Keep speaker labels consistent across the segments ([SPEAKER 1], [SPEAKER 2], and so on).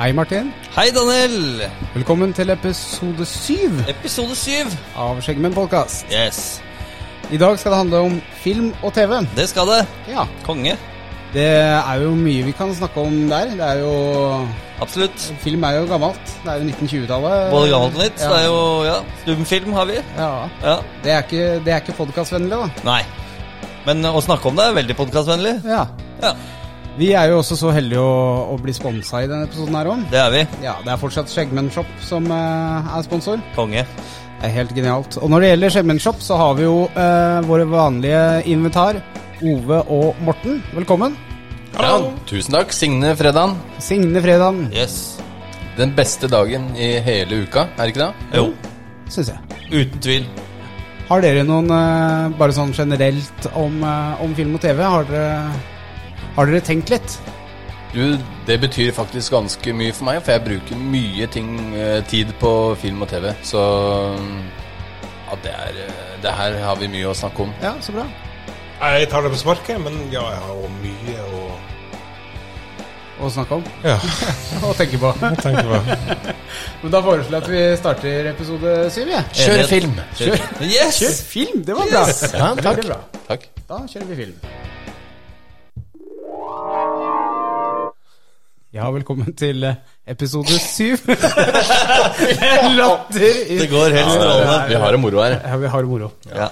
[SPEAKER 1] Hei, Martin.
[SPEAKER 2] Hei, Daniel!
[SPEAKER 1] Velkommen til episode syv
[SPEAKER 2] Episode syv.
[SPEAKER 1] av Skjeggmenn podcast.
[SPEAKER 2] Yes,
[SPEAKER 1] I dag skal det handle om film og TV.
[SPEAKER 2] det skal det.
[SPEAKER 1] Ja,
[SPEAKER 2] Konge.
[SPEAKER 1] Det er jo mye vi kan snakke om der. Det er jo
[SPEAKER 2] Absolutt.
[SPEAKER 1] Film er jo gammelt. Det er jo 1920-tallet.
[SPEAKER 2] Både gammelt og nytt.
[SPEAKER 1] Ja.
[SPEAKER 2] Det er jo Eh, ja, stumfilm har vi.
[SPEAKER 1] Ja.
[SPEAKER 2] Ja.
[SPEAKER 1] Det er ikke, det er ikke podkastvennlig, da.
[SPEAKER 2] Nei. Men å snakke om det er veldig podkastvennlig.
[SPEAKER 1] Ja.
[SPEAKER 2] Ja,
[SPEAKER 1] Vi er jo også så heldige å, å bli sponsa i denne episoden her òg.
[SPEAKER 2] det er vi.
[SPEAKER 1] Ja, det er fortsatt Skjeggmenn Shop som eh, er sponsor.
[SPEAKER 2] Konge.
[SPEAKER 1] Det er helt genialt. Og når det gjelder Skjeggmenn Shop, så har vi jo eh, våre vanlige invitar, Ove og Morten. Velkommen.
[SPEAKER 3] Ja, tusen takk. Signe Fredan.
[SPEAKER 1] Signe Fredan,
[SPEAKER 2] Yes.
[SPEAKER 3] Den beste dagen i hele uka, er det ikke det?
[SPEAKER 2] Jo,
[SPEAKER 1] syns jeg.
[SPEAKER 2] uten tvil.
[SPEAKER 1] Har dere noen eh, bare sånn generelt om, eh, om film og TV? Har dere, har dere tenkt litt?
[SPEAKER 3] Du, det betyr faktisk ganske mye for meg, for jeg bruker mye ting, eh, tid på film og TV. Så mm, ja, det, er, eh, det her har vi mye å snakke om.
[SPEAKER 1] Ja, så bra.
[SPEAKER 4] Nei, Jeg tar det på sparket, men ja, jeg har jo mye å
[SPEAKER 1] Å snakke om
[SPEAKER 4] Ja,
[SPEAKER 1] og tenke på.
[SPEAKER 4] jeg tenker på
[SPEAKER 1] Men da foreslår jeg at vi starter episode syv, jeg.
[SPEAKER 3] Kjør
[SPEAKER 2] Enighet.
[SPEAKER 3] film!
[SPEAKER 2] Yes!
[SPEAKER 1] film! Det var bra.
[SPEAKER 3] Ja,
[SPEAKER 1] Det
[SPEAKER 3] takk.
[SPEAKER 1] blir bra.
[SPEAKER 3] takk.
[SPEAKER 1] Da kjører vi film. Ja, velkommen til eh, episode syv. Latter i
[SPEAKER 2] Det går helt strålende.
[SPEAKER 3] Eh, Vi har det moro her.
[SPEAKER 1] Ja, vi har det moro.
[SPEAKER 2] Ja.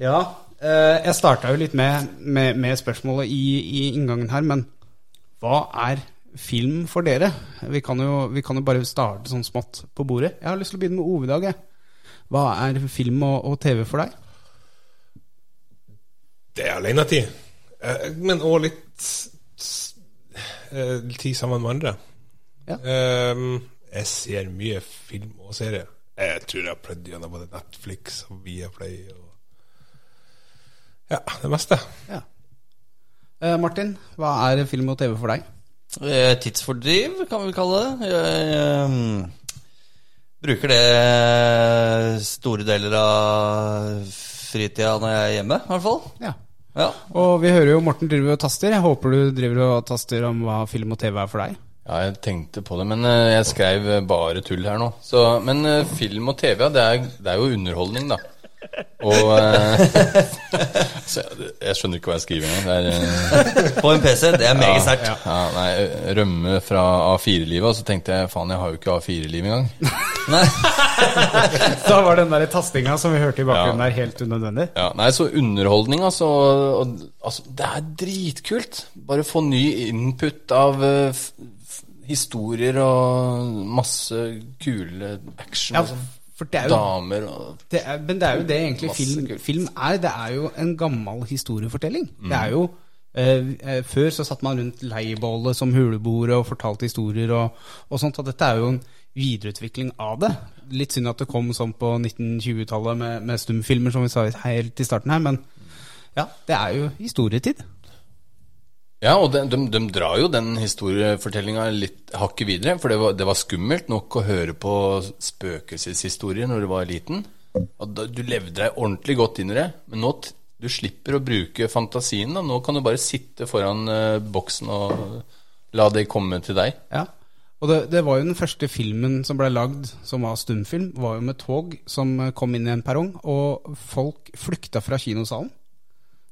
[SPEAKER 1] Ja, eh, jeg starta jo litt med, med, med spørsmålet i, i inngangen her, men hva er film for dere? Vi kan, jo, vi kan jo bare starte sånn smått på bordet. Jeg har lyst til å begynne med Ove i dag, jeg. Hva er film og, og TV for deg?
[SPEAKER 4] Det er alenetid. Eh, Men òg litt s- eh, tid sammen med andre.
[SPEAKER 1] Ja.
[SPEAKER 4] Eh, Jeg ser mye film og serier. Jeg tror jeg har pløyd gjennom både Netflix og Viaplay og Ja, det meste.
[SPEAKER 1] Ja. Eh, Martin, hva er film og TV for deg?
[SPEAKER 2] Eh, Tidsfordriv, kan vi kalle det. Jeg ehm, bruker det store deler av fritida når jeg er hjemme, i hvert fall.
[SPEAKER 1] Ja.
[SPEAKER 2] Ja.
[SPEAKER 1] Og vi hører jo Morten driver og taster. Jeg håper du driver og taster om hva film og TV er for deg.
[SPEAKER 3] Ja, jeg tenkte på det, men eh, jeg skrev eh, bare tull her nå. Så, men eh, film og TV, ja, det er, det er jo underholdning, da. Og eh, så jeg, jeg skjønner ikke hva jeg skriver engang. Det er eh,
[SPEAKER 2] På en PC. Det er meget sterkt.
[SPEAKER 3] Ja, nei, rømme fra A4-livet, og så tenkte jeg faen, jeg har jo ikke A4-liv engang.
[SPEAKER 2] Nei.
[SPEAKER 1] Da var den der tastinga som vi hørte i bakgrunnen
[SPEAKER 3] Ja.
[SPEAKER 1] der, helt unødvendig.
[SPEAKER 3] Ja, nei, så underholdning, altså. Og, og, altså det er dritkult. Bare få ny input av eh, f f historier og masse kule action.
[SPEAKER 1] Ja,
[SPEAKER 3] og sånn.
[SPEAKER 1] for det er jo,
[SPEAKER 3] Damer og
[SPEAKER 1] det er, men det er jo det egentlig
[SPEAKER 3] Masse
[SPEAKER 1] film,
[SPEAKER 3] kult.
[SPEAKER 1] film er. Det er jo en gammel historiefortelling. Det
[SPEAKER 3] Mm.
[SPEAKER 1] er jo eh, eh, Før så satt man rundt leirbålet som huleboere og fortalte historier og, og sånt, og dette er jo en videreutvikling av det. Litt synd at det kom sånn på 1920-tallet med, med stumfilmer, som vi sa helt i starten her, men ja, det er jo historietid.
[SPEAKER 3] Ja, og de, de, de drar jo den historiefortellinga litt hakket videre. For det var, det var skummelt nok å høre på spøkelseshistorier når du var liten. Og da, du levde deg ordentlig godt inn i det. Men nå t- du slipper å bruke fantasien. da Nå kan du bare sitte foran eh, boksen og la det komme til deg.
[SPEAKER 1] Ja. Og det, det var jo den første filmen som ble lagd som var stumfilm, var jo med tog som eh, kom inn i en perrong, og folk flykta fra kinosalen.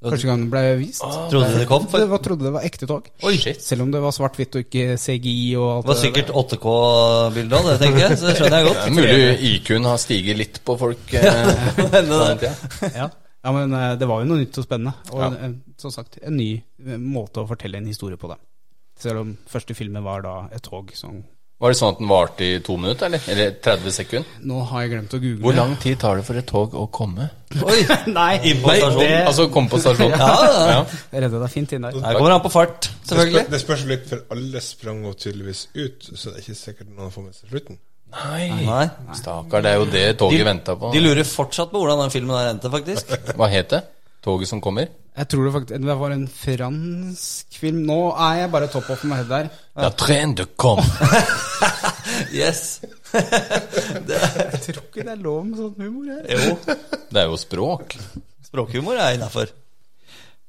[SPEAKER 1] Første gang den ble vist.
[SPEAKER 2] Trodde du det kom?
[SPEAKER 1] Det
[SPEAKER 2] For
[SPEAKER 1] var, trodde det var ekte tog.
[SPEAKER 3] Oi, shit.
[SPEAKER 1] Selv om det var svart-hvitt og ikke CGI og alt
[SPEAKER 2] det var sikkert 8K-bilde av det, tenker jeg. Så det skjønner jeg
[SPEAKER 3] Det
[SPEAKER 2] godt.
[SPEAKER 3] er mulig IQ-en har stiget litt på folk. Eh, på den
[SPEAKER 2] Men,
[SPEAKER 3] tida.
[SPEAKER 1] der. Ja. ja, men eh, det var jo noe nytt og spennende. Og en- som sagt, en ny eh, måte å fortelle en historie på, da. Selv om første filmen var da et tog som
[SPEAKER 3] Var det sånn at den varte i to minutter, eller? Eller 30 sekunder?
[SPEAKER 1] Nå har jeg glemt å google.
[SPEAKER 3] Hvor lang tid tar det for et tog å komme?
[SPEAKER 2] Oi!
[SPEAKER 1] Nei,
[SPEAKER 2] Inn på stasjonen.
[SPEAKER 1] det-
[SPEAKER 3] Altså komme på stasjonen?
[SPEAKER 2] Ja, ja.
[SPEAKER 3] Ja.
[SPEAKER 1] Jeg redda deg fint inn der.
[SPEAKER 2] Her kommer han på fart,
[SPEAKER 4] Det spørs,
[SPEAKER 2] selvfølgelig.
[SPEAKER 4] det spørs jo litt, for alle sprang jo tydeligvis ut, så det er ikke sikkert noen har fått med seg slutten.
[SPEAKER 3] Nei.
[SPEAKER 2] Nei.
[SPEAKER 3] Stakkar, det er jo det toget venta på.
[SPEAKER 2] De lurer fortsatt på hvordan den filmen der endte, faktisk.
[SPEAKER 3] Hva het det? Toget som kommer?
[SPEAKER 1] Jeg tror det faktisk Det var en fransk film. Nå er jeg bare top off my head der.
[SPEAKER 3] La train de kom.
[SPEAKER 2] Yes.
[SPEAKER 1] Jeg tror ikke det er lov med sånn humor her.
[SPEAKER 2] Jo,
[SPEAKER 3] Det er jo språk.
[SPEAKER 2] språkhumor er innafor.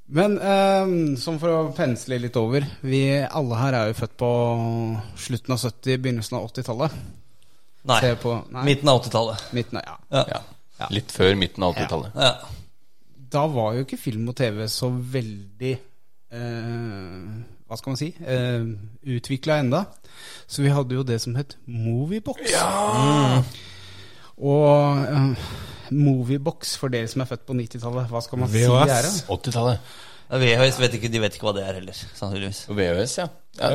[SPEAKER 1] Men eh, som for å pensle litt over Vi alle her er jo født på slutten av 70, begynnelsen av 80-tallet.
[SPEAKER 2] Nei.
[SPEAKER 1] Se på- nei.
[SPEAKER 2] Midten av 80-tallet.
[SPEAKER 1] Midten av- Ja.
[SPEAKER 2] Ja.
[SPEAKER 3] Ja. Litt før midten av 80-tallet.
[SPEAKER 2] Ja.
[SPEAKER 1] Da var jo ikke film og TV så veldig eh, Hva skal man si? Eh, Utvikla enda. Så vi hadde jo det som het Moviebox. Mm. Og eh, Moviebox, for dere som er født på 90-tallet, hva skal man si
[SPEAKER 4] VHS.
[SPEAKER 1] det er? da?
[SPEAKER 3] 80-tallet.
[SPEAKER 2] VHS vet ikke, de vet ikke hva det er heller, sannsynligvis.
[SPEAKER 3] Og VHS, ja. ja.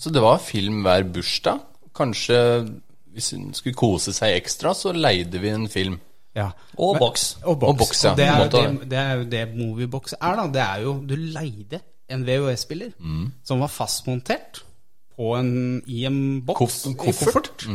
[SPEAKER 3] Så det var film hver bursdag. Kanskje hvis hun skulle kose seg ekstra, så leide vi en film.
[SPEAKER 1] Ja.
[SPEAKER 2] Og
[SPEAKER 1] Men-
[SPEAKER 2] boks.
[SPEAKER 1] Og boks.
[SPEAKER 3] Og boks, ja.
[SPEAKER 1] Og det, er
[SPEAKER 3] Måte
[SPEAKER 1] jo
[SPEAKER 3] å-
[SPEAKER 1] det, det er jo det Moviebox er, da. Det er jo Du leide en VHS-spiller
[SPEAKER 3] Mm.
[SPEAKER 1] som var fastmontert på en, i en boks.
[SPEAKER 3] Koff- Mm.
[SPEAKER 1] i koffert.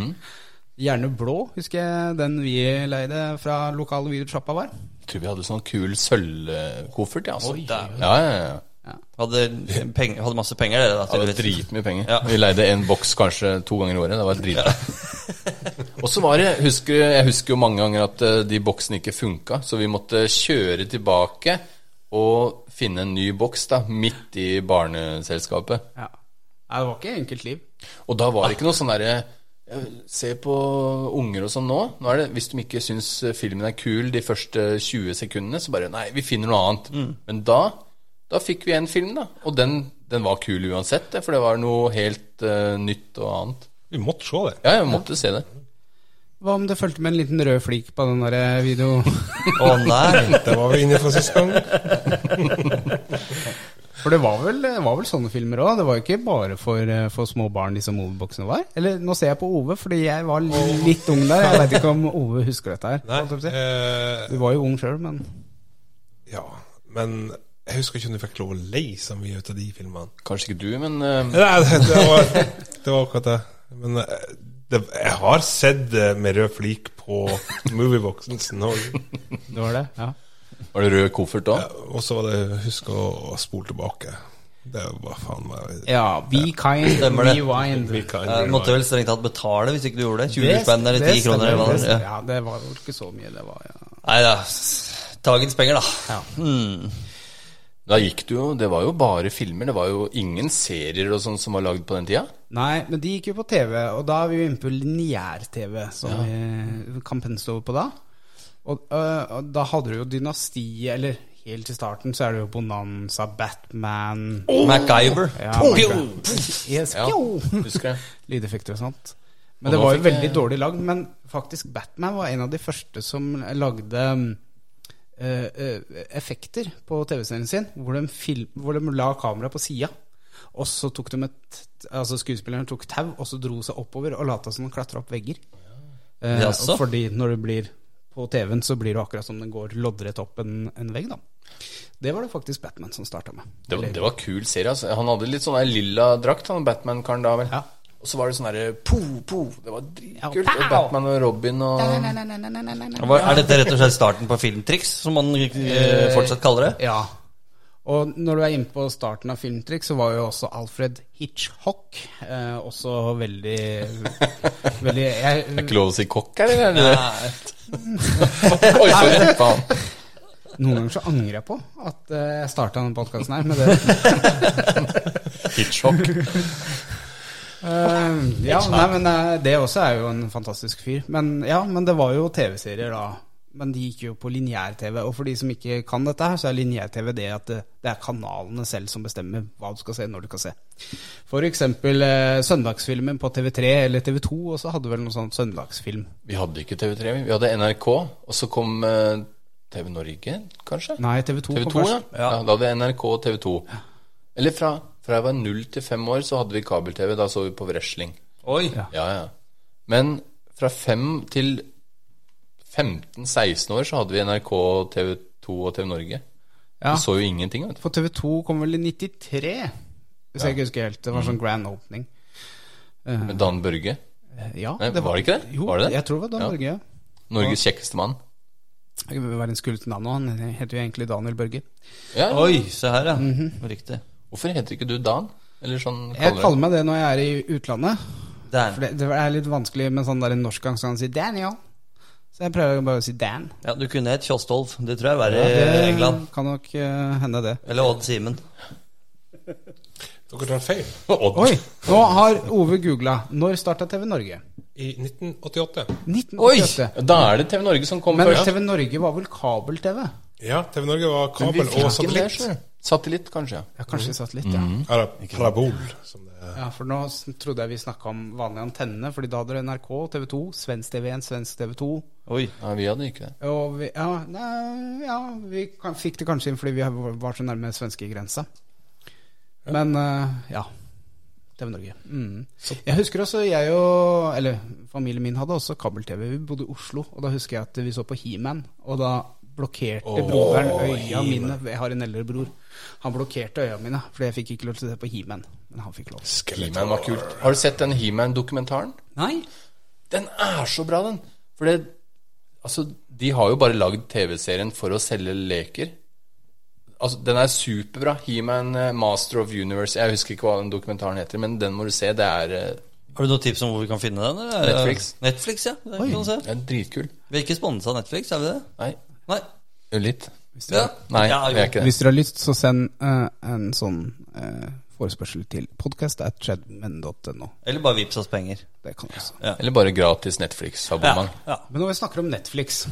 [SPEAKER 1] Gjerne blå, husker jeg den vi leide fra lokale videosjappa var.
[SPEAKER 3] Tror vi hadde sånn kul sølvkoffert, ja. Altså.
[SPEAKER 2] Oi,
[SPEAKER 3] ja,
[SPEAKER 2] dæven.
[SPEAKER 3] ja, ja.
[SPEAKER 2] Hadde, penger, hadde masse penger, dere. da,
[SPEAKER 3] Det var
[SPEAKER 2] tydeligvis.
[SPEAKER 3] dritmye penger.
[SPEAKER 2] Ja.
[SPEAKER 3] Vi leide en boks kanskje to ganger i året. Det var dritbra. og så var det husker, Jeg husker jo mange ganger at eh, de boksene ikke funka, så vi måtte kjøre tilbake og finne en ny boks da, midt i barneselskapet.
[SPEAKER 1] Ja. Nei, det var ikke enkelt liv.
[SPEAKER 3] Og da var det ikke noe sånn derre eh, Se på unger og sånn nå. nå er det, hvis de ikke syns eh, filmen er kul de første 20 sekundene, så bare Nei, vi finner noe annet.
[SPEAKER 1] Mm.
[SPEAKER 3] Men da da fikk vi en film, da. Og den, den var kul uansett, det, for det var noe helt eh, nytt og annet.
[SPEAKER 4] Vi måtte se det.
[SPEAKER 3] Ja, jeg måtte se det.
[SPEAKER 1] Hva om det fulgte med en liten rød flik på den der video...
[SPEAKER 2] Å nei!
[SPEAKER 4] Det var vi inne for sist gang.
[SPEAKER 1] For det var vel, det var vel sånne filmer òg? Det var jo ikke bare for, eh, for små barn disse movieboksene var? Eller nå ser jeg på Ove, fordi jeg var li litt ung der. Jeg veit ikke om Ove husker dette her.
[SPEAKER 4] Nei,
[SPEAKER 1] holdt jeg på å si.
[SPEAKER 4] eh,
[SPEAKER 1] Du var jo ung sjøl, men
[SPEAKER 4] ja, men jeg husker ikke om du fikk lov å leie så mye ut av de filmene.
[SPEAKER 3] Kanskje ikke du, men eh,
[SPEAKER 4] Nei, det, det, var, det var akkurat det. Men eh, det, jeg har sett det med rød flik på movieboxen. så nå-
[SPEAKER 1] det var det. ja
[SPEAKER 3] Var det rød koffert òg?
[SPEAKER 4] Og så var det husk å, å spole tilbake. Det var faen meg
[SPEAKER 1] Ja, Be kind,
[SPEAKER 2] Stemmer det.
[SPEAKER 1] rewind.
[SPEAKER 4] Vi kan-
[SPEAKER 2] Jeg Eh, måtte vel strengt tatt betale hvis ikke du gjorde det.
[SPEAKER 1] Det-
[SPEAKER 2] 20 spenn eller
[SPEAKER 1] det
[SPEAKER 2] 10 kroner eller
[SPEAKER 1] stemmer,
[SPEAKER 2] hva det var.
[SPEAKER 1] det-
[SPEAKER 2] Ja.
[SPEAKER 1] Ja, det var jo ikke så mye, det var ja.
[SPEAKER 2] Nei da. Dagens penger, da.
[SPEAKER 1] Ja.
[SPEAKER 2] Hmm.
[SPEAKER 3] Da gikk det jo Det var jo bare filmer. Det var jo ingen serier og sånn som var lagd på den tida.
[SPEAKER 1] Nei, men de gikk jo på TV, og da er vi jo inne på lineær-TV, som vi kan pense over på da. Og, øh, og da hadde du jo Dynastiet, eller helt i starten så er det jo Bonanza, Batman
[SPEAKER 2] MacGyver.
[SPEAKER 1] Ja,
[SPEAKER 2] Pio!
[SPEAKER 1] Yes,
[SPEAKER 3] Ja,
[SPEAKER 1] pjo!
[SPEAKER 3] husker jeg.
[SPEAKER 1] Lydeffekter og sånt.
[SPEAKER 3] Og
[SPEAKER 1] Men det
[SPEAKER 3] nå
[SPEAKER 1] var jo
[SPEAKER 3] fikk
[SPEAKER 1] veldig
[SPEAKER 3] jeg-
[SPEAKER 1] dårlig lagd. Men faktisk Batman var en av de første som lagde mm, eh, eh, effekter på TV-serien sin, hvor de, film, hvor de la kamera på sida. Og så tok de et Altså skuespilleren tok tau, og så dro seg oppover og lata som de klatra opp vegger. Eh,
[SPEAKER 2] Jaså?
[SPEAKER 1] og fordi når du blir på TV-en, så blir du akkurat som den går loddrett opp en, en vegg, da. Det var det faktisk Batman som starta med.
[SPEAKER 3] Det var,
[SPEAKER 1] Eller-
[SPEAKER 3] det var kul serie. Altså. Han hadde litt sånn der lilla drakt, han Batman-karen da vel.
[SPEAKER 1] Ja.
[SPEAKER 3] Og så var det sånn derre po, po. Det var dritkult.
[SPEAKER 1] Ja,
[SPEAKER 3] og Batman og Robin og
[SPEAKER 2] Hva- Er dette rett og slett starten på filmtriks, som man eh, fortsatt kaller det?
[SPEAKER 1] Ja. Og når du er inne på starten av Filmtrykk, så var jo også Alfred Hitchhock eh, også veldig, veldig jeg,
[SPEAKER 3] Ikke lov å si kokk, er det? eller?
[SPEAKER 2] Nei.
[SPEAKER 3] Oi, sorry. Faen.
[SPEAKER 1] Noen ganger så angrer jeg på at eh, jeg starta denne podkasten her med det.
[SPEAKER 3] Hitchcock.
[SPEAKER 1] Eh, ja, nei, men eh, det også er jo en fantastisk fyr. Men ja, men det var jo TV-serier da. Men de gikk jo på lineær-TV. Og for de som ikke kan dette her, så er lineær-TV det at det, det er kanalene selv som bestemmer hva du skal se, når du skal se. For eksempel eh, søndagsfilmen på TV3 eller TV2, og så hadde vel noe sånt søndagsfilm.
[SPEAKER 3] Vi hadde ikke TV3, vi. Vi hadde NRK, og så kom eh, TV Norge, kanskje?
[SPEAKER 1] Nei, TV2,
[SPEAKER 3] TV2,
[SPEAKER 1] kom
[SPEAKER 3] ja.
[SPEAKER 1] først.
[SPEAKER 3] ja. Da hadde NRK og TV2. Eller fra, fra jeg var null til fem år, så hadde vi kabel-TV. Da så vi på wrestling.
[SPEAKER 2] Oi.
[SPEAKER 3] Ja, ja. Men fra fem til 15-16 år så hadde vi NRK, TV2 og TV Norge.
[SPEAKER 1] Ja.
[SPEAKER 3] Vi så jo ingenting, vet du.
[SPEAKER 1] For TV2 kom vel i 93, hvis jeg ikke husker helt. Det
[SPEAKER 3] Mm.
[SPEAKER 1] var sånn grand opening.
[SPEAKER 3] Med Dan Børge.
[SPEAKER 1] Eh, Ja,
[SPEAKER 3] Nei, var det ikke det?
[SPEAKER 1] Jo,
[SPEAKER 3] Var det det?
[SPEAKER 1] jeg tror det var Dan
[SPEAKER 3] Ja.
[SPEAKER 1] Børge. Ja.
[SPEAKER 3] Norges kjekkeste mann.
[SPEAKER 1] Jeg vil være en skuldrete navn, og han heter jo egentlig Daniel Børge.
[SPEAKER 3] Ja, ja.
[SPEAKER 2] Oi, se her, ja. Riktig.
[SPEAKER 3] Hvorfor heter ikke du Dan? Eller sånn
[SPEAKER 1] Jeg
[SPEAKER 3] kaller du
[SPEAKER 1] kaller meg det når jeg er i utlandet.
[SPEAKER 2] Der.
[SPEAKER 1] For det, det er litt vanskelig med sånn der norsk aksent å si 'Daniel'. Så jeg prøver bare å si Dan.
[SPEAKER 2] Ja, Du kunne hett Kjostolv. Det tror jeg er verre i
[SPEAKER 1] Det
[SPEAKER 2] England.
[SPEAKER 1] Kan nok eh, hende det.
[SPEAKER 2] Eller Odd Simen.
[SPEAKER 4] Dere tar feil.
[SPEAKER 3] Odd.
[SPEAKER 1] Oi, nå har Ove googla. Når starta TV Norge?
[SPEAKER 4] I 1988.
[SPEAKER 1] 1988.
[SPEAKER 3] Da er det TV Norge som kommer
[SPEAKER 1] Men
[SPEAKER 3] først.
[SPEAKER 1] TV Norge var vel kabel-TV?
[SPEAKER 4] Ja, TV Norge var
[SPEAKER 3] Men vi
[SPEAKER 4] kabel
[SPEAKER 3] fikk
[SPEAKER 4] og
[SPEAKER 3] ikke mer,
[SPEAKER 4] satellitt.
[SPEAKER 3] skjønner
[SPEAKER 1] sånn.
[SPEAKER 3] du. Satellitt, kanskje. ja.
[SPEAKER 1] Ja, kanskje satellitt, ja.
[SPEAKER 4] Eller parabol, som det er.
[SPEAKER 1] Ja, for nå s- trodde jeg vi snakka om vanlige antennene, fordi da hadde dere NRK, TV 2, svensk TV1, svensk TV 2.
[SPEAKER 2] Oi.
[SPEAKER 3] Nei, vi hadde ikke det.
[SPEAKER 1] Og vi, ja, nei, ja, vi kan, fikk det kanskje inn fordi vi var- var så nærme svenskegrensa. Men eh, ja. TV Norge. Mm. Jeg husker også jeg og Eller familien min hadde også kabel-TV. Vi bodde i Oslo, og da husker jeg at vi så på He-Man. Og da blokkerte broderen øya mine. Jeg har en eldre bror. Han blokkerte øya mine, fordi jeg fikk ikke lov til å se på He-Man. Men han fikk lov.
[SPEAKER 3] He-Man var kult. Har du sett den He-Man-dokumentaren?
[SPEAKER 1] Nei?
[SPEAKER 3] Den er så bra, den! For det Altså, de har jo bare lagd TV-serien for å selge leker. Altså, Den er superbra. He-Man, eh, Master of Universe Jeg husker ikke hva den dokumentaren heter, men den må du se. Det er, eh,
[SPEAKER 2] Har du noen tips om hvor vi kan finne den? eller?
[SPEAKER 3] Netflix.
[SPEAKER 2] Netflix, ja. Der kan du se.
[SPEAKER 3] det er dritkul.
[SPEAKER 2] Vi er ikke sponsa av Netflix, er vi det?
[SPEAKER 3] Nei,
[SPEAKER 2] Nei.
[SPEAKER 3] jo litt.
[SPEAKER 2] Ja.
[SPEAKER 3] Nei,
[SPEAKER 2] ja,
[SPEAKER 3] vi er ikke det.
[SPEAKER 1] Hvis dere har lyst, så send eh, en sånn eh, forespørsel til podcast at chadman.no.
[SPEAKER 2] Eller bare vips oss penger.
[SPEAKER 1] Det kan jeg også.
[SPEAKER 3] Eller bare gratis
[SPEAKER 2] Ja.
[SPEAKER 3] Netflix-abonnement.
[SPEAKER 2] ja.
[SPEAKER 1] Men når vi snakker om Netflix,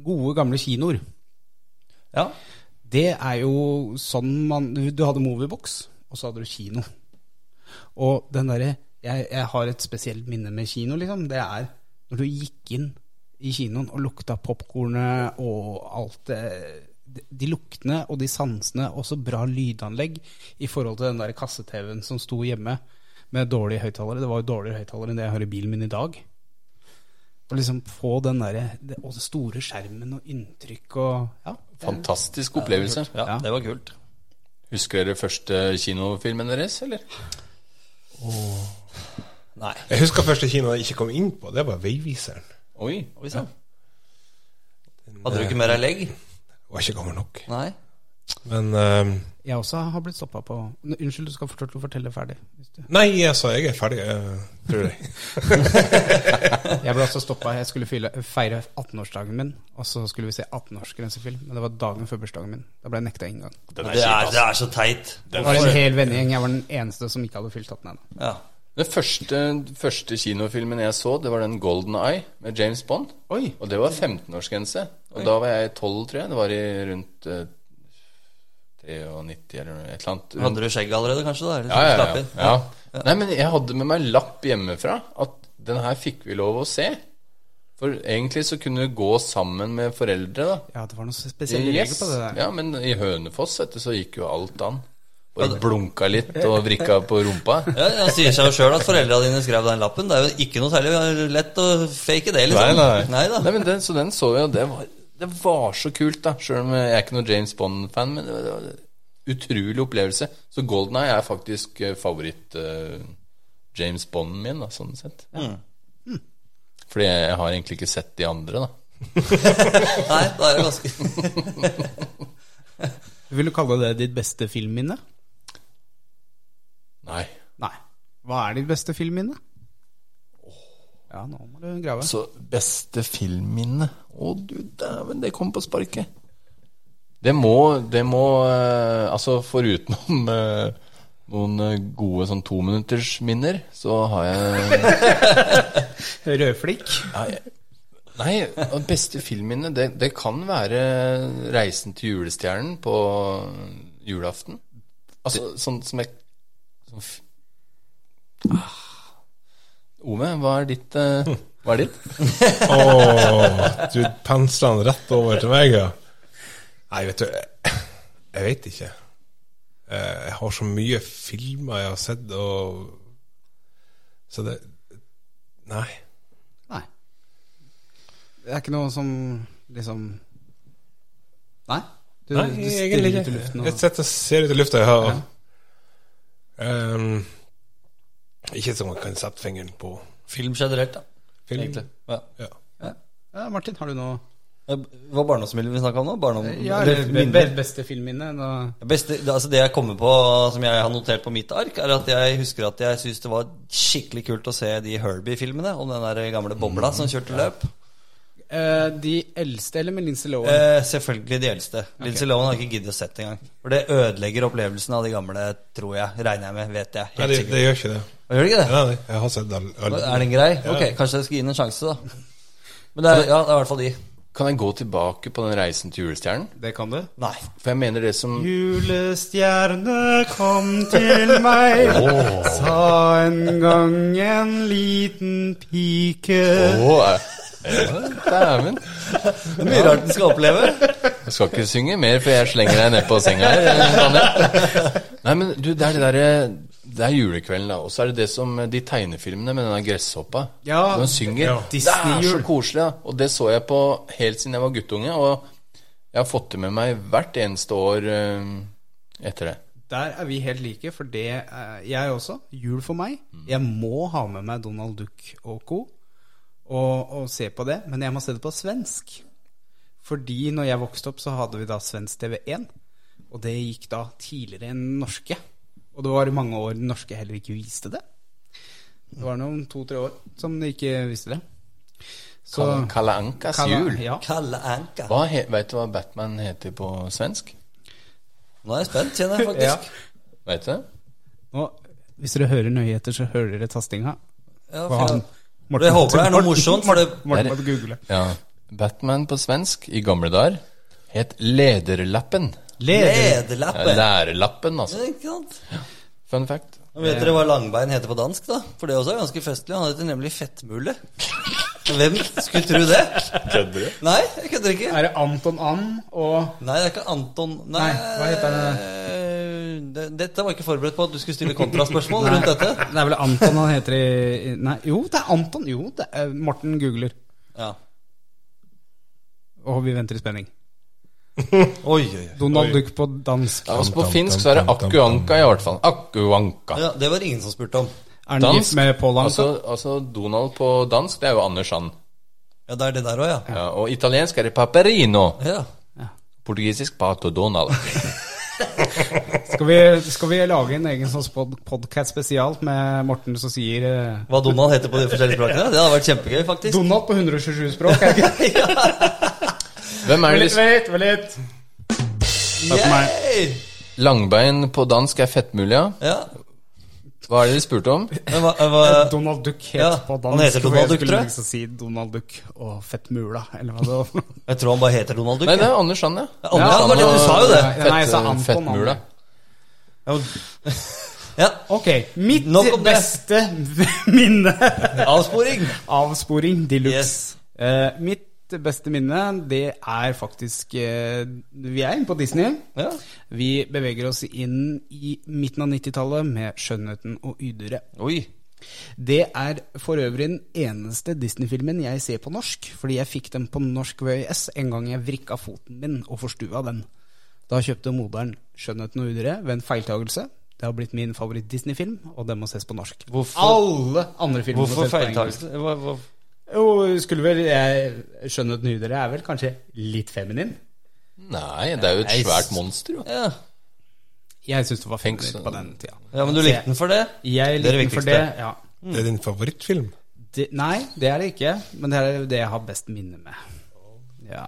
[SPEAKER 1] gode gamle kinoer,
[SPEAKER 2] ja.
[SPEAKER 1] det er jo sånn man Du du hadde Moviebox, og så hadde du kino. Og den derre jeg, jeg har et spesielt minne med kino, liksom. Det er når du gikk inn i kinoen og lukta popkornet og alt det de- de luktene og de sansene, og så bra lydanlegg i forhold til den der kasse-TV-en som sto hjemme med dårlige høyttalere. Det var jo dårligere høyttalere enn det jeg har i bilen min i dag. Og liksom få den derre det- Og den store skjermen og inntrykk og Ja. det er-
[SPEAKER 3] Fantastisk opplevelse.
[SPEAKER 2] ja.
[SPEAKER 1] Ja.
[SPEAKER 2] Det var kult.
[SPEAKER 3] Husker dere første kinofilmen deres, eller?
[SPEAKER 2] Nei.
[SPEAKER 4] Jeg husker første kinoen jeg ikke kom inn på. Det var Veiviseren.
[SPEAKER 3] Oi.
[SPEAKER 2] Oi sann. Hadde du ikke mer av legg?
[SPEAKER 4] Jeg var ikke gammel nok.
[SPEAKER 2] Nei.
[SPEAKER 4] Men eh,
[SPEAKER 1] Jeg også har blitt stoppa på N- Unnskyld, du skal få lov til å fortelle ferdig. Hvis du.
[SPEAKER 4] Nei, altså, jeg er ferdig, eh, tror jeg.
[SPEAKER 1] Jeg ble også stoppa. Jeg skulle fylle, feire 18-årsdagen min, og så skulle vi se 18-årsgrensefilm. Men det var dagen før bursdagen min. Da ble jeg nekta inngang.
[SPEAKER 3] Den
[SPEAKER 2] Det er, det er så teit.
[SPEAKER 1] Det var en hel vennegjeng. Jeg var den eneste som ikke hadde fylt 18 ennå.
[SPEAKER 2] Ja.
[SPEAKER 3] Den første, første kinofilmen jeg så, det var den Golden Eye med James Bond.
[SPEAKER 1] Oi.
[SPEAKER 3] Og det var 15-årsgrense. Og da var jeg 12, tror jeg. Det var i rundt eh, 93 eller noe et eller annet. Rundt-
[SPEAKER 2] Hadde du skjegg allerede, kanskje? da? sånn Eller
[SPEAKER 3] ja, ja,
[SPEAKER 2] slapp
[SPEAKER 3] ja,
[SPEAKER 2] i?
[SPEAKER 3] ja. Nei, men jeg hadde med meg lapp hjemmefra at den her fikk vi lov å se. For egentlig så kunne du gå sammen med foreldre, da.
[SPEAKER 1] Ja, det var noe spesielle regler
[SPEAKER 3] Yes.
[SPEAKER 1] på det der.
[SPEAKER 3] Ja, men i Hønefoss vet du, så gikk jo alt an. Bare blunka litt og vrikka på rumpa.
[SPEAKER 2] Ja, Han sier seg jo sjøl at foreldra dine skrev den lappen. Det er jo ikke noe særlig lett å fake det. liksom. Neida.
[SPEAKER 3] Nei, men den, så den så jeg, og det var, det var så kult, da. Sjøl om jeg er ikke noen James Bond-fan, men det var, det var en utrolig opplevelse. Så Golden Eye er faktisk eh, favoritt eh, James Bond-en min, da, sånn sett. Fordi jeg, jeg har egentlig ikke sett de andre, da.
[SPEAKER 2] Nei, da er det ganske
[SPEAKER 1] Vil du kalle det ditt beste filmminne?
[SPEAKER 3] Nei.
[SPEAKER 1] Nei. Hva er ditt beste filmminne? Ja, nå må du grave.
[SPEAKER 3] Så Altså, beste filmminne Å, du dæven, det kom på sparket. Det må, det må eh, Altså, forutenom eh, noen eh, gode sånn tominuttersminner, så har jeg
[SPEAKER 1] Rødflikk.
[SPEAKER 3] Nei, nei og beste filmminne det, det kan være 'Reisen til julestjernen' på julaften. Altså sånn som jeg sånn, f- ah. Ove, hva er ditt eh, Hva er ditt?
[SPEAKER 4] Å, du pensla den rett over til meg, ja. Nei, vet du Jeg, jeg vet ikke. Eh, Jeg har så mye filmer jeg har sett, og Så det Nei.
[SPEAKER 1] Nei. Det er ikke noe som liksom Nei? Du,
[SPEAKER 4] Nei,
[SPEAKER 1] du stirrer ut
[SPEAKER 4] egentlig
[SPEAKER 1] i
[SPEAKER 4] ikke.
[SPEAKER 1] luften
[SPEAKER 4] Jeg
[SPEAKER 1] og
[SPEAKER 4] setter, ser ut i lufta, jeg har Ehm, Ikke som man kan sette fingeren på
[SPEAKER 2] film generelt, da.
[SPEAKER 4] film.
[SPEAKER 2] Egentlig. Ja.
[SPEAKER 4] Ja.
[SPEAKER 1] ja, Martin, har du noe
[SPEAKER 2] Det var barndomsfamilien vi snakka om nå? Barndom,
[SPEAKER 1] Ja,
[SPEAKER 2] eller
[SPEAKER 1] eller
[SPEAKER 2] minner.
[SPEAKER 1] be- beste filmminne. da-
[SPEAKER 2] Det Beste, det, altså det jeg kommer på som jeg har notert på mitt ark, er at jeg husker at jeg syns det var skikkelig kult å se de Herbie-filmene om den der gamle bobla som kjørte løp.
[SPEAKER 1] Eh, de eldste, eller med Lindsay Lohan?
[SPEAKER 2] Eh, selvfølgelig de eldste. Lindsay Lohan har ikke giddet å sett engang. For det ødelegger opplevelsen av de gamle, tror jeg. Regner jeg med. Vet jeg.
[SPEAKER 4] Nei,
[SPEAKER 2] Helt
[SPEAKER 4] det, det
[SPEAKER 2] sikkert.
[SPEAKER 4] gjør ikke det.
[SPEAKER 2] Gjør det ikke det?
[SPEAKER 4] Nei, nei, jeg har sett alle. alle.
[SPEAKER 2] Er den grei? Ok, kanskje jeg skal gi den en sjanse, da. Men det er, ja, det er i hvert fall de.
[SPEAKER 3] Kan jeg gå tilbake på den reisen til julestjernen?
[SPEAKER 1] Det kan du.
[SPEAKER 2] Nei.
[SPEAKER 3] For jeg mener det som
[SPEAKER 1] Julestjerne, kom til meg, sa en gang en liten pike.
[SPEAKER 3] Åh, eh, Dæven.
[SPEAKER 2] Det er mye rart den skal oppleve.
[SPEAKER 3] Jeg skal ikke synge mer, for jeg slenger deg ned på senga her. eh, Daniel. Nei, men du, det er det derre Det er julekvelden, da. Og så er det det som eh, de tegnefilmene med denne gresshoppa.
[SPEAKER 1] Ja,
[SPEAKER 3] Når hun synger.
[SPEAKER 4] ja.
[SPEAKER 3] Det er så
[SPEAKER 1] Disney-jul.
[SPEAKER 3] koselig, da. Og det så jeg på helt siden jeg var guttunge. Og jeg har fått det med meg hvert eneste år eh, etter det.
[SPEAKER 1] Der er vi helt like, for det er jeg også. Jul for meg.
[SPEAKER 2] Mm.
[SPEAKER 1] Jeg må ha med meg Donald Duck og co. Og, og se på det, men jeg må se det på svensk. Fordi når jeg vokste opp, så hadde vi da svensk TV1. Og det gikk da tidligere enn norske. Og det var i mange år den norske heller ikke viste det. Det var noen to-tre år som de ikke visste det. Så
[SPEAKER 3] Kal- Kalle Ankas
[SPEAKER 1] Kalla-
[SPEAKER 3] jul.
[SPEAKER 1] Ja.
[SPEAKER 2] Kalle Anka.
[SPEAKER 3] Hva he, vet du hva Batman heter på svensk?
[SPEAKER 2] Nå er jeg spent, kjenner jeg faktisk.
[SPEAKER 3] Vet du det?
[SPEAKER 1] Og hvis dere hører nøye etter, så hører dere tastinga. Hva
[SPEAKER 2] Ja, for-
[SPEAKER 1] han-
[SPEAKER 2] Du, jeg håper det er noe morsomt. Var det
[SPEAKER 1] Morten måtte google.
[SPEAKER 3] Ja. Batman på svensk i gamle dager het Lederlappen.
[SPEAKER 1] Leder.
[SPEAKER 3] Ja,
[SPEAKER 2] lederlappe?
[SPEAKER 3] lærelappen, altså.
[SPEAKER 2] Ikke sant?
[SPEAKER 3] Fun fact.
[SPEAKER 2] Nå vet dere hva langbein heter på dansk, da? For det også er ganske festlig. Han heter nemlig fettmule. Hvem skulle tro det?
[SPEAKER 3] Kødder du?
[SPEAKER 2] Nei, jeg kødder ikke.
[SPEAKER 1] Er det Anton Am og
[SPEAKER 2] Nei, det er ikke Anton Nei, eh,
[SPEAKER 1] Nei, hva heter han?
[SPEAKER 2] det? Dette var jeg ikke forberedt på at du skulle stille kontraspørsmål rundt dette.
[SPEAKER 1] Det er vel Anton han heter i i- Nei, jo, det er Anton. Jo, det er Morten googler.
[SPEAKER 2] Ja.
[SPEAKER 1] Og vi venter i spenning.
[SPEAKER 2] Oi, oi, oi.
[SPEAKER 1] Donald Duck på dansk.
[SPEAKER 3] Ja, altså på finsk så er det Akuanka i hvert fall. Akuanka.
[SPEAKER 2] Ja, det var det ingen som spurte om.
[SPEAKER 1] Er han gift med Paul Anka?
[SPEAKER 3] Altså, altså Donald på dansk, det er jo Anders Sand.
[SPEAKER 2] Ja, det er det der òg, ja.
[SPEAKER 3] Ja, og italiensk er det Paperino.
[SPEAKER 2] ja.
[SPEAKER 3] Portugisisk Pato Donald.
[SPEAKER 1] Skal, vi, skal vi lage en egen sånn spod- podcast spesial med Morten som sier eh,
[SPEAKER 2] Hva Donald heter på de forskjellige språkene? Det hadde vært kjempegøy, faktisk.
[SPEAKER 1] Donald på 127 språk? Er det ikke?
[SPEAKER 3] Hvem
[SPEAKER 1] Vent
[SPEAKER 3] er det liksom?
[SPEAKER 1] litt, vent litt. Takk for meg.
[SPEAKER 2] Yay!
[SPEAKER 3] Langbein på dansk er fettmulia.
[SPEAKER 2] Ja.
[SPEAKER 3] Hva er det de spurte om?
[SPEAKER 2] Men hva, hva,
[SPEAKER 1] Donald Duck het
[SPEAKER 2] Ja,
[SPEAKER 1] på dansk.
[SPEAKER 2] han heter
[SPEAKER 1] hvor
[SPEAKER 2] Donald
[SPEAKER 1] jeg
[SPEAKER 2] Duck,
[SPEAKER 1] skulle
[SPEAKER 2] tror jeg.
[SPEAKER 1] liksom si Donald Duck og Fettmula, eller hva det var.
[SPEAKER 2] Jeg tror han bare heter Donald Duck.
[SPEAKER 3] Nei, det
[SPEAKER 2] jeg.
[SPEAKER 3] er Anders Sand, ja.
[SPEAKER 2] Ja, det var det du sa jo det.
[SPEAKER 1] Nei, nei, jeg sa Anton,
[SPEAKER 3] fettmula.
[SPEAKER 1] Anton.
[SPEAKER 2] Ja, Ja,
[SPEAKER 1] Ok, mitt
[SPEAKER 2] Nok om det.
[SPEAKER 1] beste minne
[SPEAKER 2] avsporing.
[SPEAKER 1] Avsporing de luxe.
[SPEAKER 2] Yes.
[SPEAKER 1] Eh, mitt beste minne, det er faktisk eh, Vi er inne på Disney.
[SPEAKER 2] Ja.
[SPEAKER 1] Vi beveger oss inn i midten av 90-tallet med 'Skjønnheten og udyret'.
[SPEAKER 2] Oi.
[SPEAKER 1] Det er for øvrig den eneste Disney-filmen jeg ser på norsk, fordi jeg fikk den på norsk VHS en gang jeg vrikka foten min og forstua den. Da kjøpte moderen 'Skjønnheten og udyret' ved en feiltagelse. Det har blitt min favoritt-Disney-film, og den må ses på norsk.
[SPEAKER 2] Hvorfor-
[SPEAKER 1] Alle andre filmer må
[SPEAKER 2] Hvorfor
[SPEAKER 1] ses på engelsk.
[SPEAKER 2] feiltakelse? Hva- hva-
[SPEAKER 1] Jo, skulle vel jeg skjønnet nudere er vel kanskje litt feminin?
[SPEAKER 3] Nei, det er jo et
[SPEAKER 2] Nei,
[SPEAKER 3] svært monster, jo.
[SPEAKER 2] Ja.
[SPEAKER 1] Jeg syns det var
[SPEAKER 3] Tenk
[SPEAKER 1] feminin
[SPEAKER 3] så-
[SPEAKER 1] på den tida.
[SPEAKER 2] ja, men du likte den for det?
[SPEAKER 1] Jeg
[SPEAKER 2] Det er det
[SPEAKER 1] likte den for det,
[SPEAKER 2] viktigste.
[SPEAKER 1] ja.
[SPEAKER 4] Det er din favorittfilm?
[SPEAKER 1] Det, nei, det er det ikke, men det er det jeg har best minne med. Ja.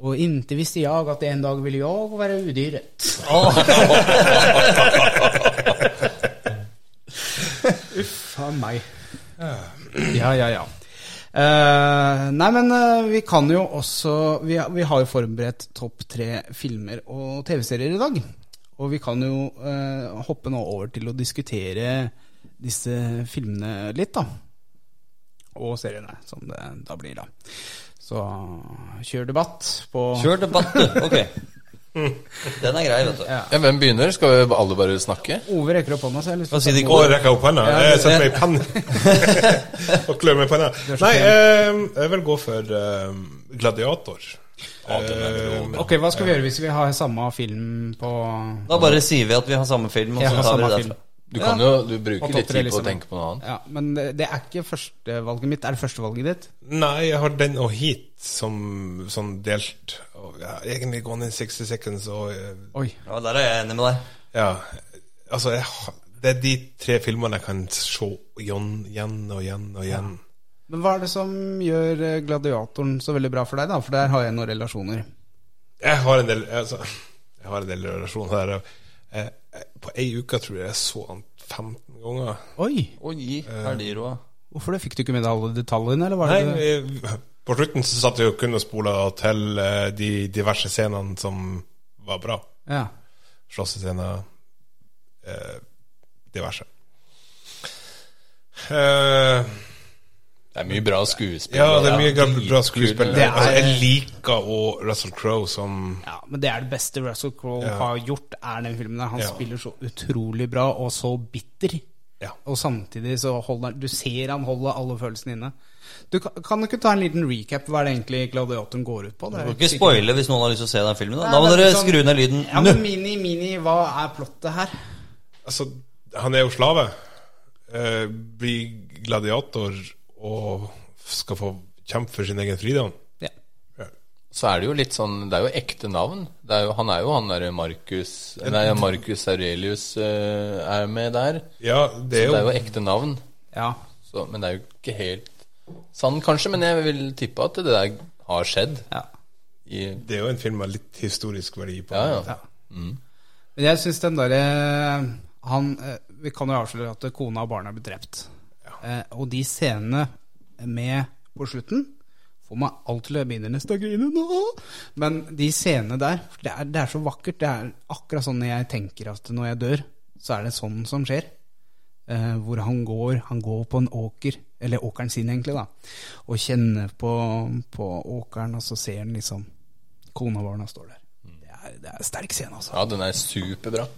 [SPEAKER 1] Og inntil visste jeg at en dag ville jeg være udyret. Uff a meg. Ja, ja, ja. Eh, nei, men eh, vi kan jo også Vi, har- vi har jo forberedt topp tre filmer og TV-serier i dag. Og vi kan jo eh, hoppe nå over til å diskutere disse filmene litt, da. Og seriene, som det da blir, da. Så kjør debatt på
[SPEAKER 2] Kjør debatt, du. Ok. Den er grei, vet du.
[SPEAKER 1] Ja.
[SPEAKER 3] Ja, hvem begynner? Skal vi alle bare snakke?
[SPEAKER 1] Ove rekker opp hånda, så jeg har lyst
[SPEAKER 2] Hva sier de
[SPEAKER 1] til
[SPEAKER 4] Å,
[SPEAKER 1] å
[SPEAKER 4] jeg rekker opp handa.
[SPEAKER 1] Ja,
[SPEAKER 4] Jeg setter meg i pannen. og klør meg i panna. Nei, eh, jeg vil gå for eh, Gladiator. Eh,
[SPEAKER 1] Ok, hva skal vi gjøre hvis vi har samme film på
[SPEAKER 2] Da bare sier vi at vi har samme film, og
[SPEAKER 1] Jeg
[SPEAKER 2] så
[SPEAKER 1] har
[SPEAKER 2] tar vi
[SPEAKER 1] samme
[SPEAKER 2] det
[SPEAKER 1] film.
[SPEAKER 2] derfra.
[SPEAKER 3] Du kan jo du bruker
[SPEAKER 1] Og
[SPEAKER 3] litt
[SPEAKER 1] topp tre,
[SPEAKER 3] tid på å
[SPEAKER 1] liksom.
[SPEAKER 3] tenke på noe annet.
[SPEAKER 1] Ja, Men det det er ikke førstevalget mitt. Er det førstevalget ditt?
[SPEAKER 4] Ehm, Nei, jeg har den og Heat som sånn delt. Og, ja, egentlig Gone in 60 Seconds og eh,
[SPEAKER 1] Oi.
[SPEAKER 2] Ja, Der er jeg enig med deg.
[SPEAKER 4] Ja. Altså, jeg, har- det er de tre filmene jeg kan se igjen, igjen og igjen og igjen.
[SPEAKER 1] Men hva er det som gjør eh, Gladiatoren så veldig bra for deg, da? For der har jeg noen relasjoner.
[SPEAKER 4] Jeg har en del altså, Jeg har en del relasjoner her. Jeg, jeg, på ei uke tror jeg jeg så han 15 ganger.
[SPEAKER 1] Oi! eh.
[SPEAKER 2] Oi, er de rå?
[SPEAKER 1] Hvorfor det? Fikk du ikke med deg alle detaljene, eller var det
[SPEAKER 4] Nei, vi- på slutten så satt vi jo kun og spola til eh, de diverse scenene som var bra.
[SPEAKER 1] Ja.
[SPEAKER 4] Slåssescener, eh, diverse. Eh,
[SPEAKER 3] Det er mye bra skuespill.
[SPEAKER 4] ja,
[SPEAKER 3] og
[SPEAKER 4] det er mye
[SPEAKER 3] dritkult.
[SPEAKER 4] bra skuespill.
[SPEAKER 1] Det er-
[SPEAKER 4] Altså, jeg liker også Russell Crowe som
[SPEAKER 1] ja. Men det er det beste Russell Crowe
[SPEAKER 4] Ja.
[SPEAKER 1] har gjort, er den filmen der. Han
[SPEAKER 4] Ja.
[SPEAKER 1] spiller så utrolig bra, og så bitter.
[SPEAKER 4] Ja.
[SPEAKER 1] Og samtidig så holder han Du ser han holder alle følelsene inne. Du kan, kan du ikke ta en liten recap? Hva er det egentlig Gladiatoren går ut på? Det
[SPEAKER 2] Du
[SPEAKER 1] er
[SPEAKER 2] kan
[SPEAKER 1] ikke
[SPEAKER 2] ikke
[SPEAKER 1] sikkert-
[SPEAKER 2] spoile hvis noen har lyst til å se den filmen. Da,
[SPEAKER 1] Nei,
[SPEAKER 2] da må
[SPEAKER 1] det er
[SPEAKER 2] dere
[SPEAKER 1] liksom-
[SPEAKER 2] skru ned lyden
[SPEAKER 1] Ja,
[SPEAKER 2] nå.
[SPEAKER 1] men mini, mini, hva er plottet her?
[SPEAKER 4] Altså, han er jo slave. Eh, blir gladiator og skal få kjempe for sin egen fridom.
[SPEAKER 1] Ja.
[SPEAKER 3] Så er det jo litt sånn Det er jo ekte navn. Det er jo, han er jo han derre Markus Nei, Markus Aurelius eh, er med der.
[SPEAKER 4] Ja, det er
[SPEAKER 3] Det er
[SPEAKER 4] jo
[SPEAKER 3] jo ekte navn.
[SPEAKER 1] ja.
[SPEAKER 3] Så, men det er jo ikke helt sann, kanskje. Men jeg vil tippe at det der har skjedd.
[SPEAKER 1] ja.
[SPEAKER 3] I,
[SPEAKER 4] det er jo en film med litt historisk verdi på
[SPEAKER 3] ja,
[SPEAKER 4] den.
[SPEAKER 3] ja.
[SPEAKER 1] Men jeg syns den derre Han eh, Vi kan jo avsløre at kona og barna er blitt drept. Eh, og de scenene med på slutten får meg alt til å begynne nesten å grine nå. Men de scenene der, for det er, det er så vakkert. Det er akkurat sånn jeg tenker at når jeg dør, så er det sånn som skjer. Eh, hvor han går Han går på en åker, eller åkeren sin, egentlig, da. Og kjenner på, på åkeren, og så ser han liksom Kona og barna står der. Det er, det er en sterk scene, altså.
[SPEAKER 3] ja, den er superbra.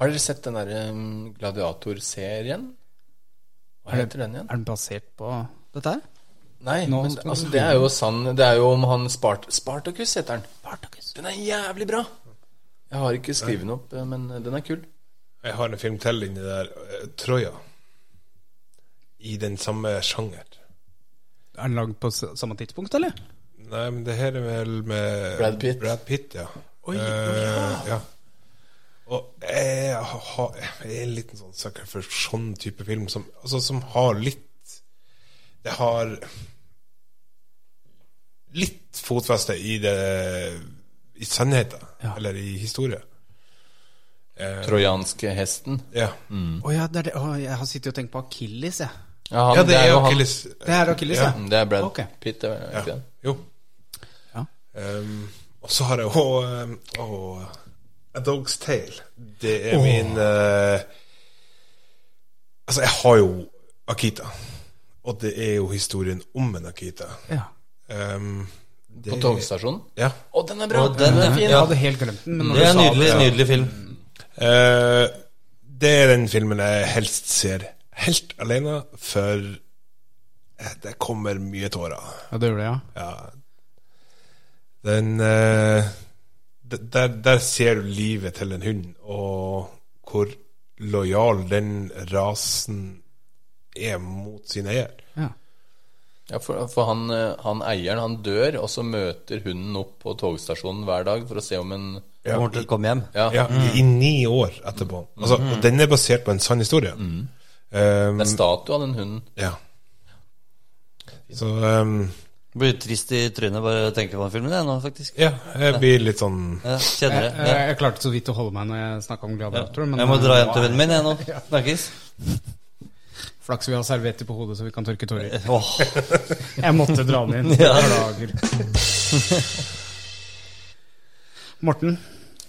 [SPEAKER 3] Har dere sett den derre mm, Gladiator-serien? Hva heter den igjen?
[SPEAKER 1] Er den basert på dette her?
[SPEAKER 3] Nei,
[SPEAKER 1] Nå
[SPEAKER 3] men
[SPEAKER 1] skal
[SPEAKER 3] altså,
[SPEAKER 1] du-
[SPEAKER 3] det er jo sann Det er jo om han Spart Spartacus heter den.
[SPEAKER 1] Spartacus.
[SPEAKER 3] Den er jævlig bra. Jeg har ikke skrevet den opp, men eh, den er kul.
[SPEAKER 4] Jeg har en film til inni der. eh, Troja. I den samme sjanger.
[SPEAKER 1] Er den lagd på s- samme tidspunkt, eller?
[SPEAKER 4] Nei, men det her er vel med
[SPEAKER 3] Brad Pitt.
[SPEAKER 4] Brad Pitt, ja. Eh, ja. Og jeg, har, jeg er en liten sånn sucker for sånn type film som, altså, som har litt Det har litt fotfeste i det I sannheten, eller i historie. Eh.
[SPEAKER 3] Trojanske hesten.
[SPEAKER 4] Ja.
[SPEAKER 3] Mm.
[SPEAKER 1] Å
[SPEAKER 2] Mm.
[SPEAKER 1] ja, det er det. Å, jeg har sittet og tenkt på Akilles, jeg.
[SPEAKER 2] Eh,
[SPEAKER 3] Ja, han,
[SPEAKER 4] ja, det er jo
[SPEAKER 3] han.
[SPEAKER 4] Achilles.
[SPEAKER 1] Det er Akilles,
[SPEAKER 4] Ja.
[SPEAKER 1] ja.
[SPEAKER 3] Mm, Det er Brad
[SPEAKER 1] Ok.
[SPEAKER 3] Pitt, det er ikke det?
[SPEAKER 4] Jo.
[SPEAKER 1] Ja.
[SPEAKER 4] Ehm, og så har jeg òg A Dog's Tale. Det er min eh, Altså, jeg har jo Akita. Og det er jo historien om en Akita.
[SPEAKER 1] ja.
[SPEAKER 4] Ehm, det-
[SPEAKER 3] På togstasjonen?
[SPEAKER 4] Ja.
[SPEAKER 3] Å, den er bra!
[SPEAKER 2] Å, den er fin.
[SPEAKER 1] Jeg hadde helt glemt den. Men når
[SPEAKER 2] Det er
[SPEAKER 1] du
[SPEAKER 2] en
[SPEAKER 1] sa
[SPEAKER 2] nydelig,
[SPEAKER 1] det,
[SPEAKER 2] nydelig film.
[SPEAKER 4] Eh, det er den filmen jeg helst ser helt alene, for eh, det kommer mye tårer.
[SPEAKER 1] Ja, det gjorde det, ja.
[SPEAKER 4] Ja. Den eh, d- der, der ser du livet til en hund, og hvor lojal den rasen er mot sin eier.
[SPEAKER 1] ja.
[SPEAKER 3] Ja, for, for han, eh, han eieren, han dør, og så møter hunden opp på togstasjonen hver dag for å se om en
[SPEAKER 2] Kommer til å komme hjem.
[SPEAKER 3] Ja, Mm.
[SPEAKER 4] Ja, I ni år etterpå. Altså, og den er basert på en sann historie.
[SPEAKER 3] Mm.
[SPEAKER 4] Um,
[SPEAKER 3] det er statue av den hunden.
[SPEAKER 4] ja. Så um,
[SPEAKER 2] Blir trist i trynet bare å tenke på den filmen, jeg nå, faktisk.
[SPEAKER 4] ja, jeg blir litt sånn
[SPEAKER 2] Ja, kjenner
[SPEAKER 1] Jeg,
[SPEAKER 2] det. Ja.
[SPEAKER 1] jeg, jeg klarte så vidt å holde meg når Eh, jeg snakka om gladiator. Men
[SPEAKER 2] Jeg må dra hjem til
[SPEAKER 1] eh,
[SPEAKER 2] vennen min, jeg nå. Snakkes.
[SPEAKER 1] Flaks vi har servietter på hodet, så vi kan tørke tårer.
[SPEAKER 2] Åh,
[SPEAKER 1] Jeg måtte dra den inn.
[SPEAKER 2] Ja.
[SPEAKER 1] Beklager. Morten,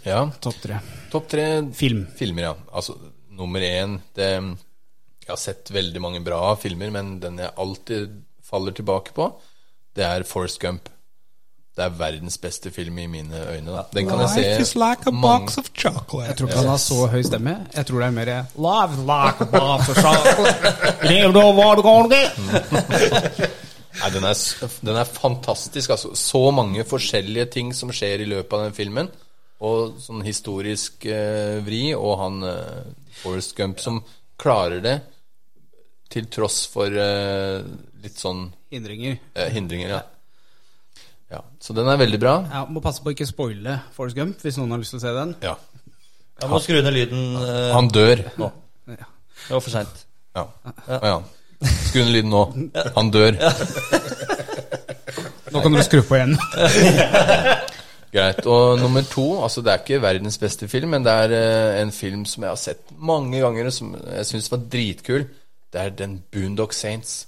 [SPEAKER 3] Ja.
[SPEAKER 1] topp tre.
[SPEAKER 3] Topp tre
[SPEAKER 1] Film.
[SPEAKER 3] filmer, ja. Altså, nummer én det, Jeg har sett veldig mange bra filmer, men den jeg alltid faller tilbake på, det er Forrest Gump. Det er verdens beste film i mine øyne. Da. Den kan jeg se mange
[SPEAKER 4] of chocolate.
[SPEAKER 1] Jeg tror ikke han har så høy stemme. Jeg tror det er mer Love like a box of chocolate. Lev da hva du kan gi.
[SPEAKER 3] Nei, den, er, s- den er fantastisk. Altså, så mange forskjellige ting som skjer i løpet av den filmen. Og sånn historisk eh, vri, og han eh, Forrest Gump som klarer det til tross for eh, litt sånn
[SPEAKER 1] Hindringer.
[SPEAKER 3] Eh, hindringer, ja. ja. Så den er veldig bra.
[SPEAKER 1] Ja, må passe på å ikke spoile Forrest Gump hvis noen har lyst til å se den.
[SPEAKER 3] Ja.
[SPEAKER 2] Jeg må skru ned lyden. eh,
[SPEAKER 3] Han dør nå.
[SPEAKER 2] Det var for seint.
[SPEAKER 3] Ja. Ja. ja. Skru ned lyden nå. Han dør.
[SPEAKER 1] Nå kan dere skru på igjen.
[SPEAKER 3] Greit. Og nummer to, altså det er ikke verdens beste film, men det er eh, en film som jeg har sett mange ganger, og som jeg syns var dritkul. Det er den Boondock Saints.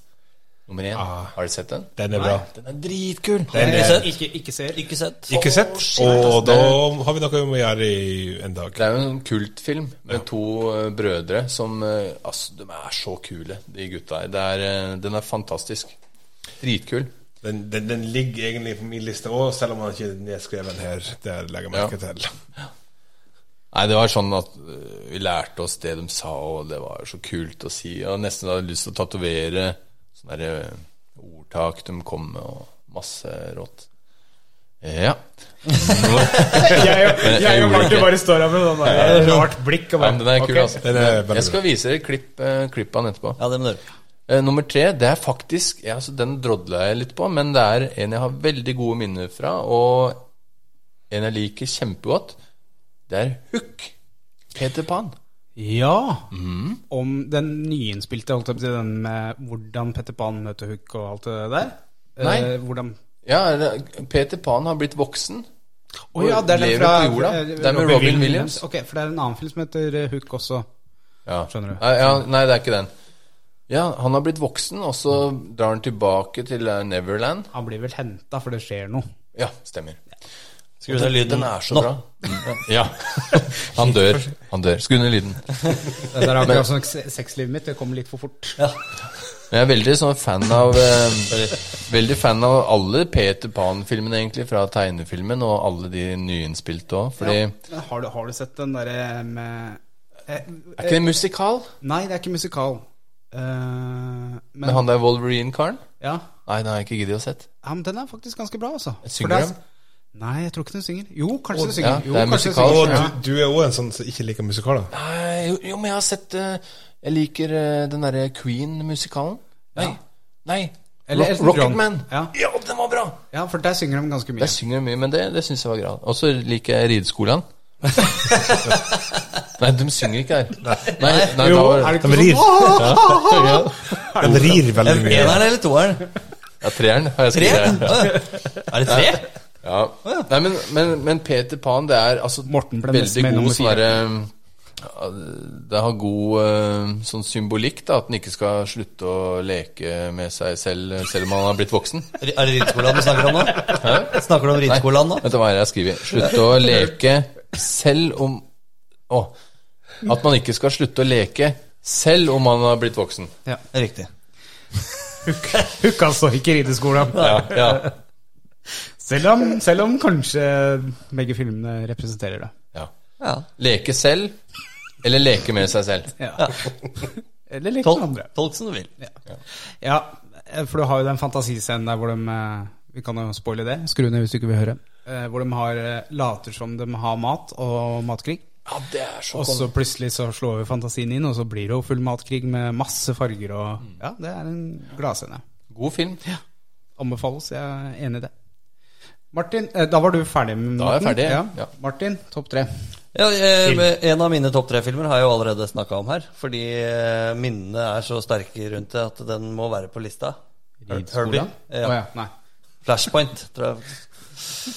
[SPEAKER 3] Nummer én. Har du sett den?
[SPEAKER 4] Den er bra.
[SPEAKER 3] Ah. Den er dritkul.
[SPEAKER 2] Ikke sett?
[SPEAKER 1] Ikke, ikke ser.
[SPEAKER 2] Ikke sett.
[SPEAKER 4] Ikke sett. Og da har vi noe vi må gjøre i en dag.
[SPEAKER 3] Det er jo en kultfilm med to eh, brødre som eh, Altså, de er så kule, de gutta her. Det er, eh, den er fantastisk. Dritkul.
[SPEAKER 4] Den, den, den ligger egentlig på min liste òg, selv om han ikke er nedskreven her. Det legger jeg merke til.
[SPEAKER 3] Nei, det var sånn at øh, vi lærte oss det de sa, og det var så kult å si. Og nesten hadde lyst til å tatovere sånne der, øh, ordtak de kom med, og masse rått. Eh, Ja.
[SPEAKER 1] Jeg,
[SPEAKER 3] jeg og Martin bare
[SPEAKER 1] står her med sånn rart blikk.
[SPEAKER 3] ja men den er kul, altså.
[SPEAKER 4] Den er veldig
[SPEAKER 3] Jeg skal vise dere klipp, eh, klipp av den etterpå.
[SPEAKER 2] Ja, det må du gjøre.
[SPEAKER 3] Eh, nummer tre, det er faktisk ja, altså, Den drodla jeg litt på, men det er en jeg har veldig gode minner fra, og en jeg liker kjempegodt. Det er Hook. Peter Pan.
[SPEAKER 1] Ja. Om den nyinnspilte, holdt jeg på å si, den med hvordan Petter Pan møter Hook og alt det der.
[SPEAKER 3] Nei.
[SPEAKER 1] Eh, hvordan
[SPEAKER 3] Ja, eller, Peter Pan har blitt voksen.
[SPEAKER 1] Å ja, det er den
[SPEAKER 3] Lever
[SPEAKER 1] fra
[SPEAKER 3] på jorda.
[SPEAKER 1] eh,
[SPEAKER 3] Det er med Robin Williams.
[SPEAKER 1] Ok, For det er en annen film som heter eh, Hook også.
[SPEAKER 3] Ja.
[SPEAKER 1] Skjønner du.
[SPEAKER 3] Nei, ja, nei, det er ikke den. Ja, han har blitt voksen, og så drar han tilbake til eh, Neverland.
[SPEAKER 1] Han blir vel henta, for det skjer noe.
[SPEAKER 3] Ja, stemmer.
[SPEAKER 2] Skru ned lyden.
[SPEAKER 3] Den er så
[SPEAKER 2] Nå.
[SPEAKER 3] bra. Ja. Han dør. Han dør. Skru ned lyden.
[SPEAKER 1] Det der er akkurat som se- sexlivet mitt, det kommer litt for fort.
[SPEAKER 3] Jeg er veldig sånn fan av eh, Veldig fan av alle Peter Pan-filmene, egentlig, fra tegnefilmen, og alle de nyinnspilte òg, fordi
[SPEAKER 1] Ja. Men har, du, har du sett den derre med eh,
[SPEAKER 3] Er ikke det musikal?
[SPEAKER 1] Nei, det er ikke musikal. Eh, men
[SPEAKER 3] Med han der Wolverine-karen?
[SPEAKER 1] ja.
[SPEAKER 3] Nei, den har jeg ikke giddet å sett.
[SPEAKER 1] ja, men den er faktisk ganske bra, altså.
[SPEAKER 3] Synger
[SPEAKER 1] For det er-
[SPEAKER 3] de?
[SPEAKER 1] Nei, jeg tror ikke den synger. Jo, kanskje den
[SPEAKER 3] ja,
[SPEAKER 1] synger. Jo,
[SPEAKER 3] det er
[SPEAKER 1] kanskje den
[SPEAKER 3] musikal.
[SPEAKER 1] synger.
[SPEAKER 4] Og
[SPEAKER 1] Ja.
[SPEAKER 4] du, du er òg en sånn som ikke liker musikaler.
[SPEAKER 3] Nei, jo, jo, men jeg har sett eh, Jeg liker eh, den derre Queen-musikalen. Nei. Nei.
[SPEAKER 1] Eller
[SPEAKER 3] Rock,
[SPEAKER 1] Elton John.
[SPEAKER 3] Rocket Man.
[SPEAKER 1] Ja.
[SPEAKER 3] ja, den var bra!
[SPEAKER 1] Ja, for der synger de ganske mye.
[SPEAKER 3] Jeg synger mye, men det, det syns jeg var greit. Og så liker jeg rideskolen. nei, de synger ikke her. Nei, nei, da var,
[SPEAKER 1] er det
[SPEAKER 4] De
[SPEAKER 1] ikke
[SPEAKER 4] rir.
[SPEAKER 1] sånn? Åh!
[SPEAKER 3] ja.
[SPEAKER 4] De rir veldig mye.
[SPEAKER 2] Eneren eller toeren?
[SPEAKER 3] ja, treeren har jeg
[SPEAKER 2] Treeren?
[SPEAKER 3] skrevet.
[SPEAKER 2] Er det tre?
[SPEAKER 3] Ja. Nei, men, men, men Peter Pan, det er altså
[SPEAKER 1] Morten ble nesten
[SPEAKER 3] veldig
[SPEAKER 1] med
[SPEAKER 3] god
[SPEAKER 1] nummer
[SPEAKER 3] sånn
[SPEAKER 1] fire.
[SPEAKER 3] derre ja, Det har god eh, sånn symbolikk, da. At den ikke skal slutte å leke med seg selv eh, selv om han har blitt voksen.
[SPEAKER 2] Er det ridskolen du snakker om nå? Snakker du om ridskolen nå?
[SPEAKER 3] Vet du hva jeg har skrevet? Slutt å leke selv om Å. At man ikke skal slutte å leke selv om man har blitt voksen.
[SPEAKER 2] Det er riktig.
[SPEAKER 1] Hook, altså, ikke rideskolen.
[SPEAKER 3] Ja.
[SPEAKER 1] Selv, om, selv om kanskje begge filmene representerer det.
[SPEAKER 3] ja.
[SPEAKER 2] Ja.
[SPEAKER 3] Leke selv, eller leke med seg selv.
[SPEAKER 1] Ja. Eller litt
[SPEAKER 2] Tolk,
[SPEAKER 1] andre.
[SPEAKER 2] tolk som du vil.
[SPEAKER 1] Ja, eh, for du har jo den fantasiscenen der hvor de eh, Vi kan jo spoile det. Skru ned hvis du ikke vil høre. Eh, Hvor de har, eh, later som de har mat og matkrig.
[SPEAKER 3] Ja, det er så
[SPEAKER 1] Og så plutselig så slår vi fantasien inn, og så blir det jo full matkrig med masse farger og Ja, det er en gladscene.
[SPEAKER 3] God film.
[SPEAKER 1] Anbefales. Jeg er enig i det. Martin, eh, da var du ferdig med
[SPEAKER 3] Da er jeg
[SPEAKER 1] maten.
[SPEAKER 3] ferdig,
[SPEAKER 1] Ja.
[SPEAKER 3] ja.
[SPEAKER 1] Martin, topp tre.
[SPEAKER 2] Ja, eh, med en av mine topp tre-filmer har jeg jo allerede snakka om her. Fordi eh, minnene er så sterke rundt det at den må være på lista. Herbie?
[SPEAKER 1] Ja.
[SPEAKER 2] Ja.
[SPEAKER 1] Å, ja. Nei.
[SPEAKER 2] Flashpoint, tror jeg.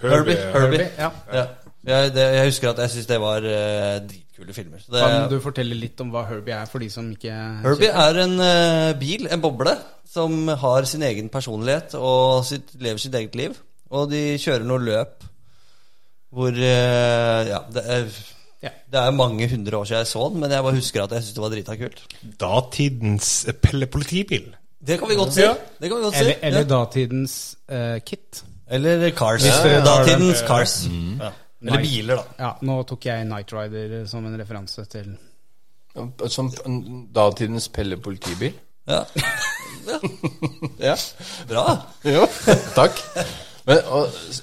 [SPEAKER 4] Herbie,
[SPEAKER 2] Herbie. Herbie.
[SPEAKER 1] Ja.
[SPEAKER 2] Ja. Jeg, det, jeg husker at jeg syns det var eh, dritkule filmer. Så det,
[SPEAKER 1] Kan du fortelle litt om hva Herbie er, for de som ikke
[SPEAKER 2] Herbie er en eh, bil, en boble, som har sin egen personlighet og sitt, lever sitt eget liv. Og de kjører noe løp hvor eh, Ja, det er,
[SPEAKER 1] Ja.
[SPEAKER 2] det er mange hundre år siden jeg så den, men jeg bare husker at jeg syntes det var drita kult.
[SPEAKER 4] Datidens eh, pelle politibil.
[SPEAKER 2] Det kan vi godt si. Det kan vi godt si.
[SPEAKER 1] Eller, eller
[SPEAKER 2] ja.
[SPEAKER 1] datidens eh, Kit.
[SPEAKER 2] eller Cars.
[SPEAKER 1] Hvis du tar den, Mm.
[SPEAKER 2] Datidens Cars. Ja. Eller
[SPEAKER 1] Nei.
[SPEAKER 2] biler, da.
[SPEAKER 1] Ja, nå tok jeg Night Rider som en referanse til
[SPEAKER 3] Som datidens Pelle politibil.
[SPEAKER 2] Ja.
[SPEAKER 3] Ja.
[SPEAKER 2] Bra.
[SPEAKER 3] Jo, takk. Men og,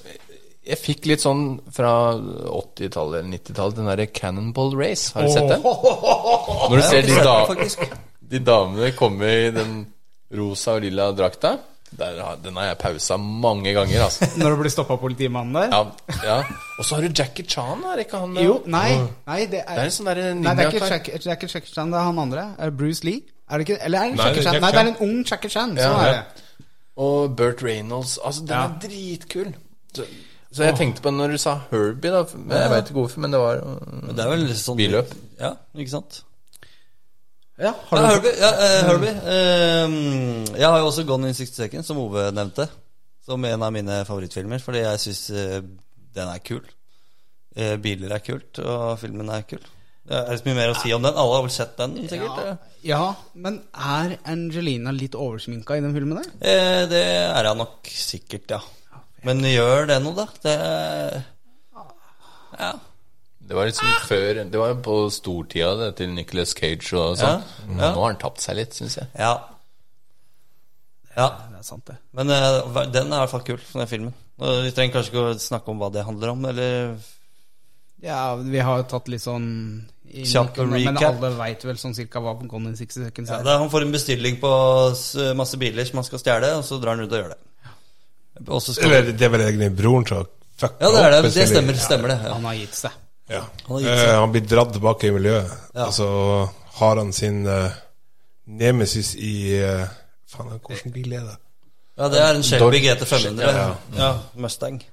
[SPEAKER 3] jeg fikk litt sånn fra 80-tallet eller 90-tallet, den derre Cannonball Race. Har du sett den? Når du
[SPEAKER 2] Jeg har ikke
[SPEAKER 3] ser
[SPEAKER 2] sett
[SPEAKER 3] de,
[SPEAKER 2] den,
[SPEAKER 3] da,
[SPEAKER 2] faktisk.
[SPEAKER 3] de damene komme i den rosa og lilla drakta der, har- Den har jeg pausa mange ganger, altså.
[SPEAKER 1] Når du blir stoppa av politimannen der?
[SPEAKER 3] Ja, ja. Og så har du Jackie Chan, er ikke han
[SPEAKER 1] Jo, nei, nei det
[SPEAKER 3] Det er
[SPEAKER 1] er,
[SPEAKER 3] en sånn derre
[SPEAKER 1] nei, det er ikke E.
[SPEAKER 3] ninja-kar.
[SPEAKER 1] Jack- det er ikke Jack Chan, det er han andre. Er Eh, Bruce Lee. Er det ikke, eller er det en
[SPEAKER 4] Nei,
[SPEAKER 1] Jackie
[SPEAKER 4] det er
[SPEAKER 1] Chan? Nei, det er
[SPEAKER 4] Jackie
[SPEAKER 1] en ung Jackie Chan.
[SPEAKER 3] Ja,
[SPEAKER 1] Sånn er
[SPEAKER 3] ja.
[SPEAKER 1] det.
[SPEAKER 3] Og Burt Reynolds. Altså, den
[SPEAKER 1] Ja.
[SPEAKER 3] er dritkul. Så, så jeg tenkte på den når du sa Herbie, da. Men jeg veit ikke hvorfor, men det var
[SPEAKER 2] Men Det er vel sånn
[SPEAKER 3] Billøp.
[SPEAKER 2] Ja, ikke sant.
[SPEAKER 3] Ja,
[SPEAKER 2] Ja, Herbie. Ja, eh, Herbie. Eh, jeg har jo også Gone in 60 Seconds, som Ove nevnte. Som en av mine favorittfilmer, fordi jeg syns den er kul. Eh, biler er kult, og filmen er kul. Det er ikke så mye mer å si om den. Alle har vel sett den, sikkert?
[SPEAKER 1] Ja.
[SPEAKER 2] eh?
[SPEAKER 1] ja, men er Angelina litt oversminka i den filmen der?
[SPEAKER 2] Eh, det er jeg nok sikkert, ja. Men gjør det noe, da? Det Ja.
[SPEAKER 3] Det var liksom før Det var jo på stortida det, til Nicolas Cage og sånn.
[SPEAKER 2] Ja.
[SPEAKER 3] Nå har han tapt seg litt, syns jeg.
[SPEAKER 2] Ja. ja.
[SPEAKER 1] Det er sant, det.
[SPEAKER 2] Men eh, den er i hvert fall kul, den filmen. Og Vi trenger kanskje ikke å snakke om hva det handler om, eller
[SPEAKER 1] Ja, vi har jo tatt litt sånn i
[SPEAKER 2] Kjapp
[SPEAKER 1] looken, Men
[SPEAKER 2] recap.
[SPEAKER 1] alle veit vel sånn cirka hva Gone in 60 Seconds
[SPEAKER 2] ja,
[SPEAKER 1] er.
[SPEAKER 2] det er- Han får en bestilling på s- masse biler som han skal stjele, og så drar han ut og gjør det. Og så skal
[SPEAKER 4] Eller det er vel egentlig broren som har fucka
[SPEAKER 2] Ja, det er
[SPEAKER 4] opp,
[SPEAKER 2] det. Det
[SPEAKER 4] eller-
[SPEAKER 2] stemmer, stemmer det. Ja.
[SPEAKER 1] Han har gitt seg.
[SPEAKER 4] Ja.
[SPEAKER 2] Han har gitt seg.
[SPEAKER 4] Eh, han blir dratt tilbake i miljøet.
[SPEAKER 2] Ja.
[SPEAKER 4] Og så har han sin eh, nemesis i eh, Faen, hvordan bil er det?
[SPEAKER 2] ja, det er en Shelby GT 500.
[SPEAKER 4] Ja.
[SPEAKER 2] Ja, Mustang.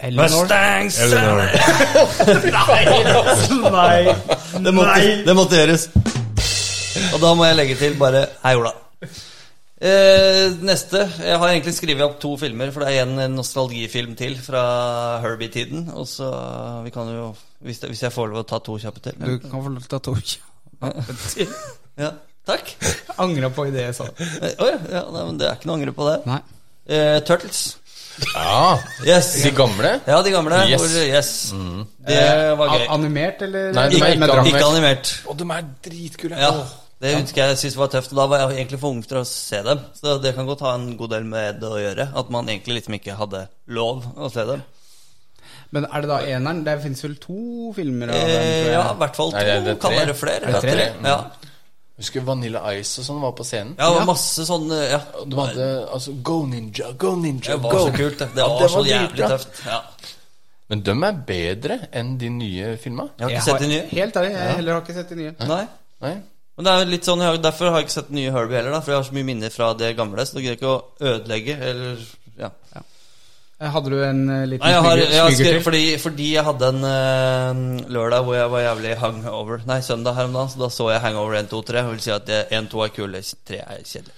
[SPEAKER 1] Eleanor.
[SPEAKER 2] Mustang!
[SPEAKER 4] Eleanor.
[SPEAKER 1] Nei.
[SPEAKER 2] Det måtte, det måtte gjøres. Og da må jeg legge til bare Hei, Ola. Eh, neste. Jeg har egentlig skrevet opp to filmer, for det er en en nostalgifilm til fra Herbie-tiden. Og så vi kan jo hvis, det, hvis jeg får lov å ta to kjappe til?
[SPEAKER 1] Du kan få lov til å ta tog.
[SPEAKER 2] Ja, takk.
[SPEAKER 1] Angra på i det jeg sa.
[SPEAKER 2] Eh, Å ja, ja, nei, men det er ikke noe å angre på det.
[SPEAKER 1] Nei.
[SPEAKER 2] Eh, Turtles.
[SPEAKER 3] Ja,
[SPEAKER 2] Yes.
[SPEAKER 3] De gamle?
[SPEAKER 2] Ja, de gamle.
[SPEAKER 3] Yes. Mm.
[SPEAKER 2] Hvor, yes. Det var gøy.
[SPEAKER 1] Eh, A- Animert, eller?
[SPEAKER 3] Nei, de er
[SPEAKER 1] Med
[SPEAKER 3] ikke
[SPEAKER 1] drama.
[SPEAKER 2] Ikke animert.
[SPEAKER 3] Og de er dritkule.
[SPEAKER 2] Ja,
[SPEAKER 3] Åh.
[SPEAKER 2] det husker jeg synes var tøft. Og da var jeg egentlig for ung til å se dem. Så det kan godt ha en god del med det å gjøre. At man egentlig liksom ikke hadde lov å se dem.
[SPEAKER 1] Men er det da eneren? Det fins vel to filmer av den? tror
[SPEAKER 2] Eh,
[SPEAKER 1] jeg.
[SPEAKER 2] ja, i hvert fall to.
[SPEAKER 3] Nei, det er- det er
[SPEAKER 2] kan
[SPEAKER 3] tre. Mm.
[SPEAKER 2] være flere.
[SPEAKER 1] Er det
[SPEAKER 2] Ja,
[SPEAKER 1] tre?
[SPEAKER 2] Ja.
[SPEAKER 3] Husker Vanilla Ice og sånn var på scenen.
[SPEAKER 2] ja, det var
[SPEAKER 1] Ja.
[SPEAKER 2] masse sånne ja.
[SPEAKER 3] Og De hadde altså Go Ninja, Go Ninja,
[SPEAKER 2] Det var
[SPEAKER 3] Go!
[SPEAKER 2] så kult. Det, det
[SPEAKER 3] Ja,
[SPEAKER 2] var,
[SPEAKER 3] det
[SPEAKER 2] så
[SPEAKER 3] var
[SPEAKER 2] jævlig
[SPEAKER 3] dritbra.
[SPEAKER 2] tøft. Ja.
[SPEAKER 3] Men de er bedre enn de nye filma.
[SPEAKER 2] Jeg har
[SPEAKER 1] Jeg
[SPEAKER 2] ikke sett de
[SPEAKER 1] har-
[SPEAKER 2] nye.
[SPEAKER 1] Helt ærlig, jeg heller har ikke sett de nye.
[SPEAKER 2] Nei.
[SPEAKER 3] Nei?
[SPEAKER 2] Men det er jo litt sånn, jeg har- Derfor har jeg ikke sett den nye Herbie heller, da, for jeg har så mye minner fra det gamle. Så det greier ikke å ødelegge eller ja.
[SPEAKER 1] Hadde du en eh, liten
[SPEAKER 2] Nei, jeg har, jeg har
[SPEAKER 1] smyger
[SPEAKER 2] skrevet
[SPEAKER 1] til?
[SPEAKER 2] fordi, fordi jeg hadde en eh, lørdag hvor jeg var jævlig hangover. Nei, søndag her om dagen, så da så jeg Hangover 1, 2, 3. Og vil si at det- 1, 2 er kule, 3 er kjedelig.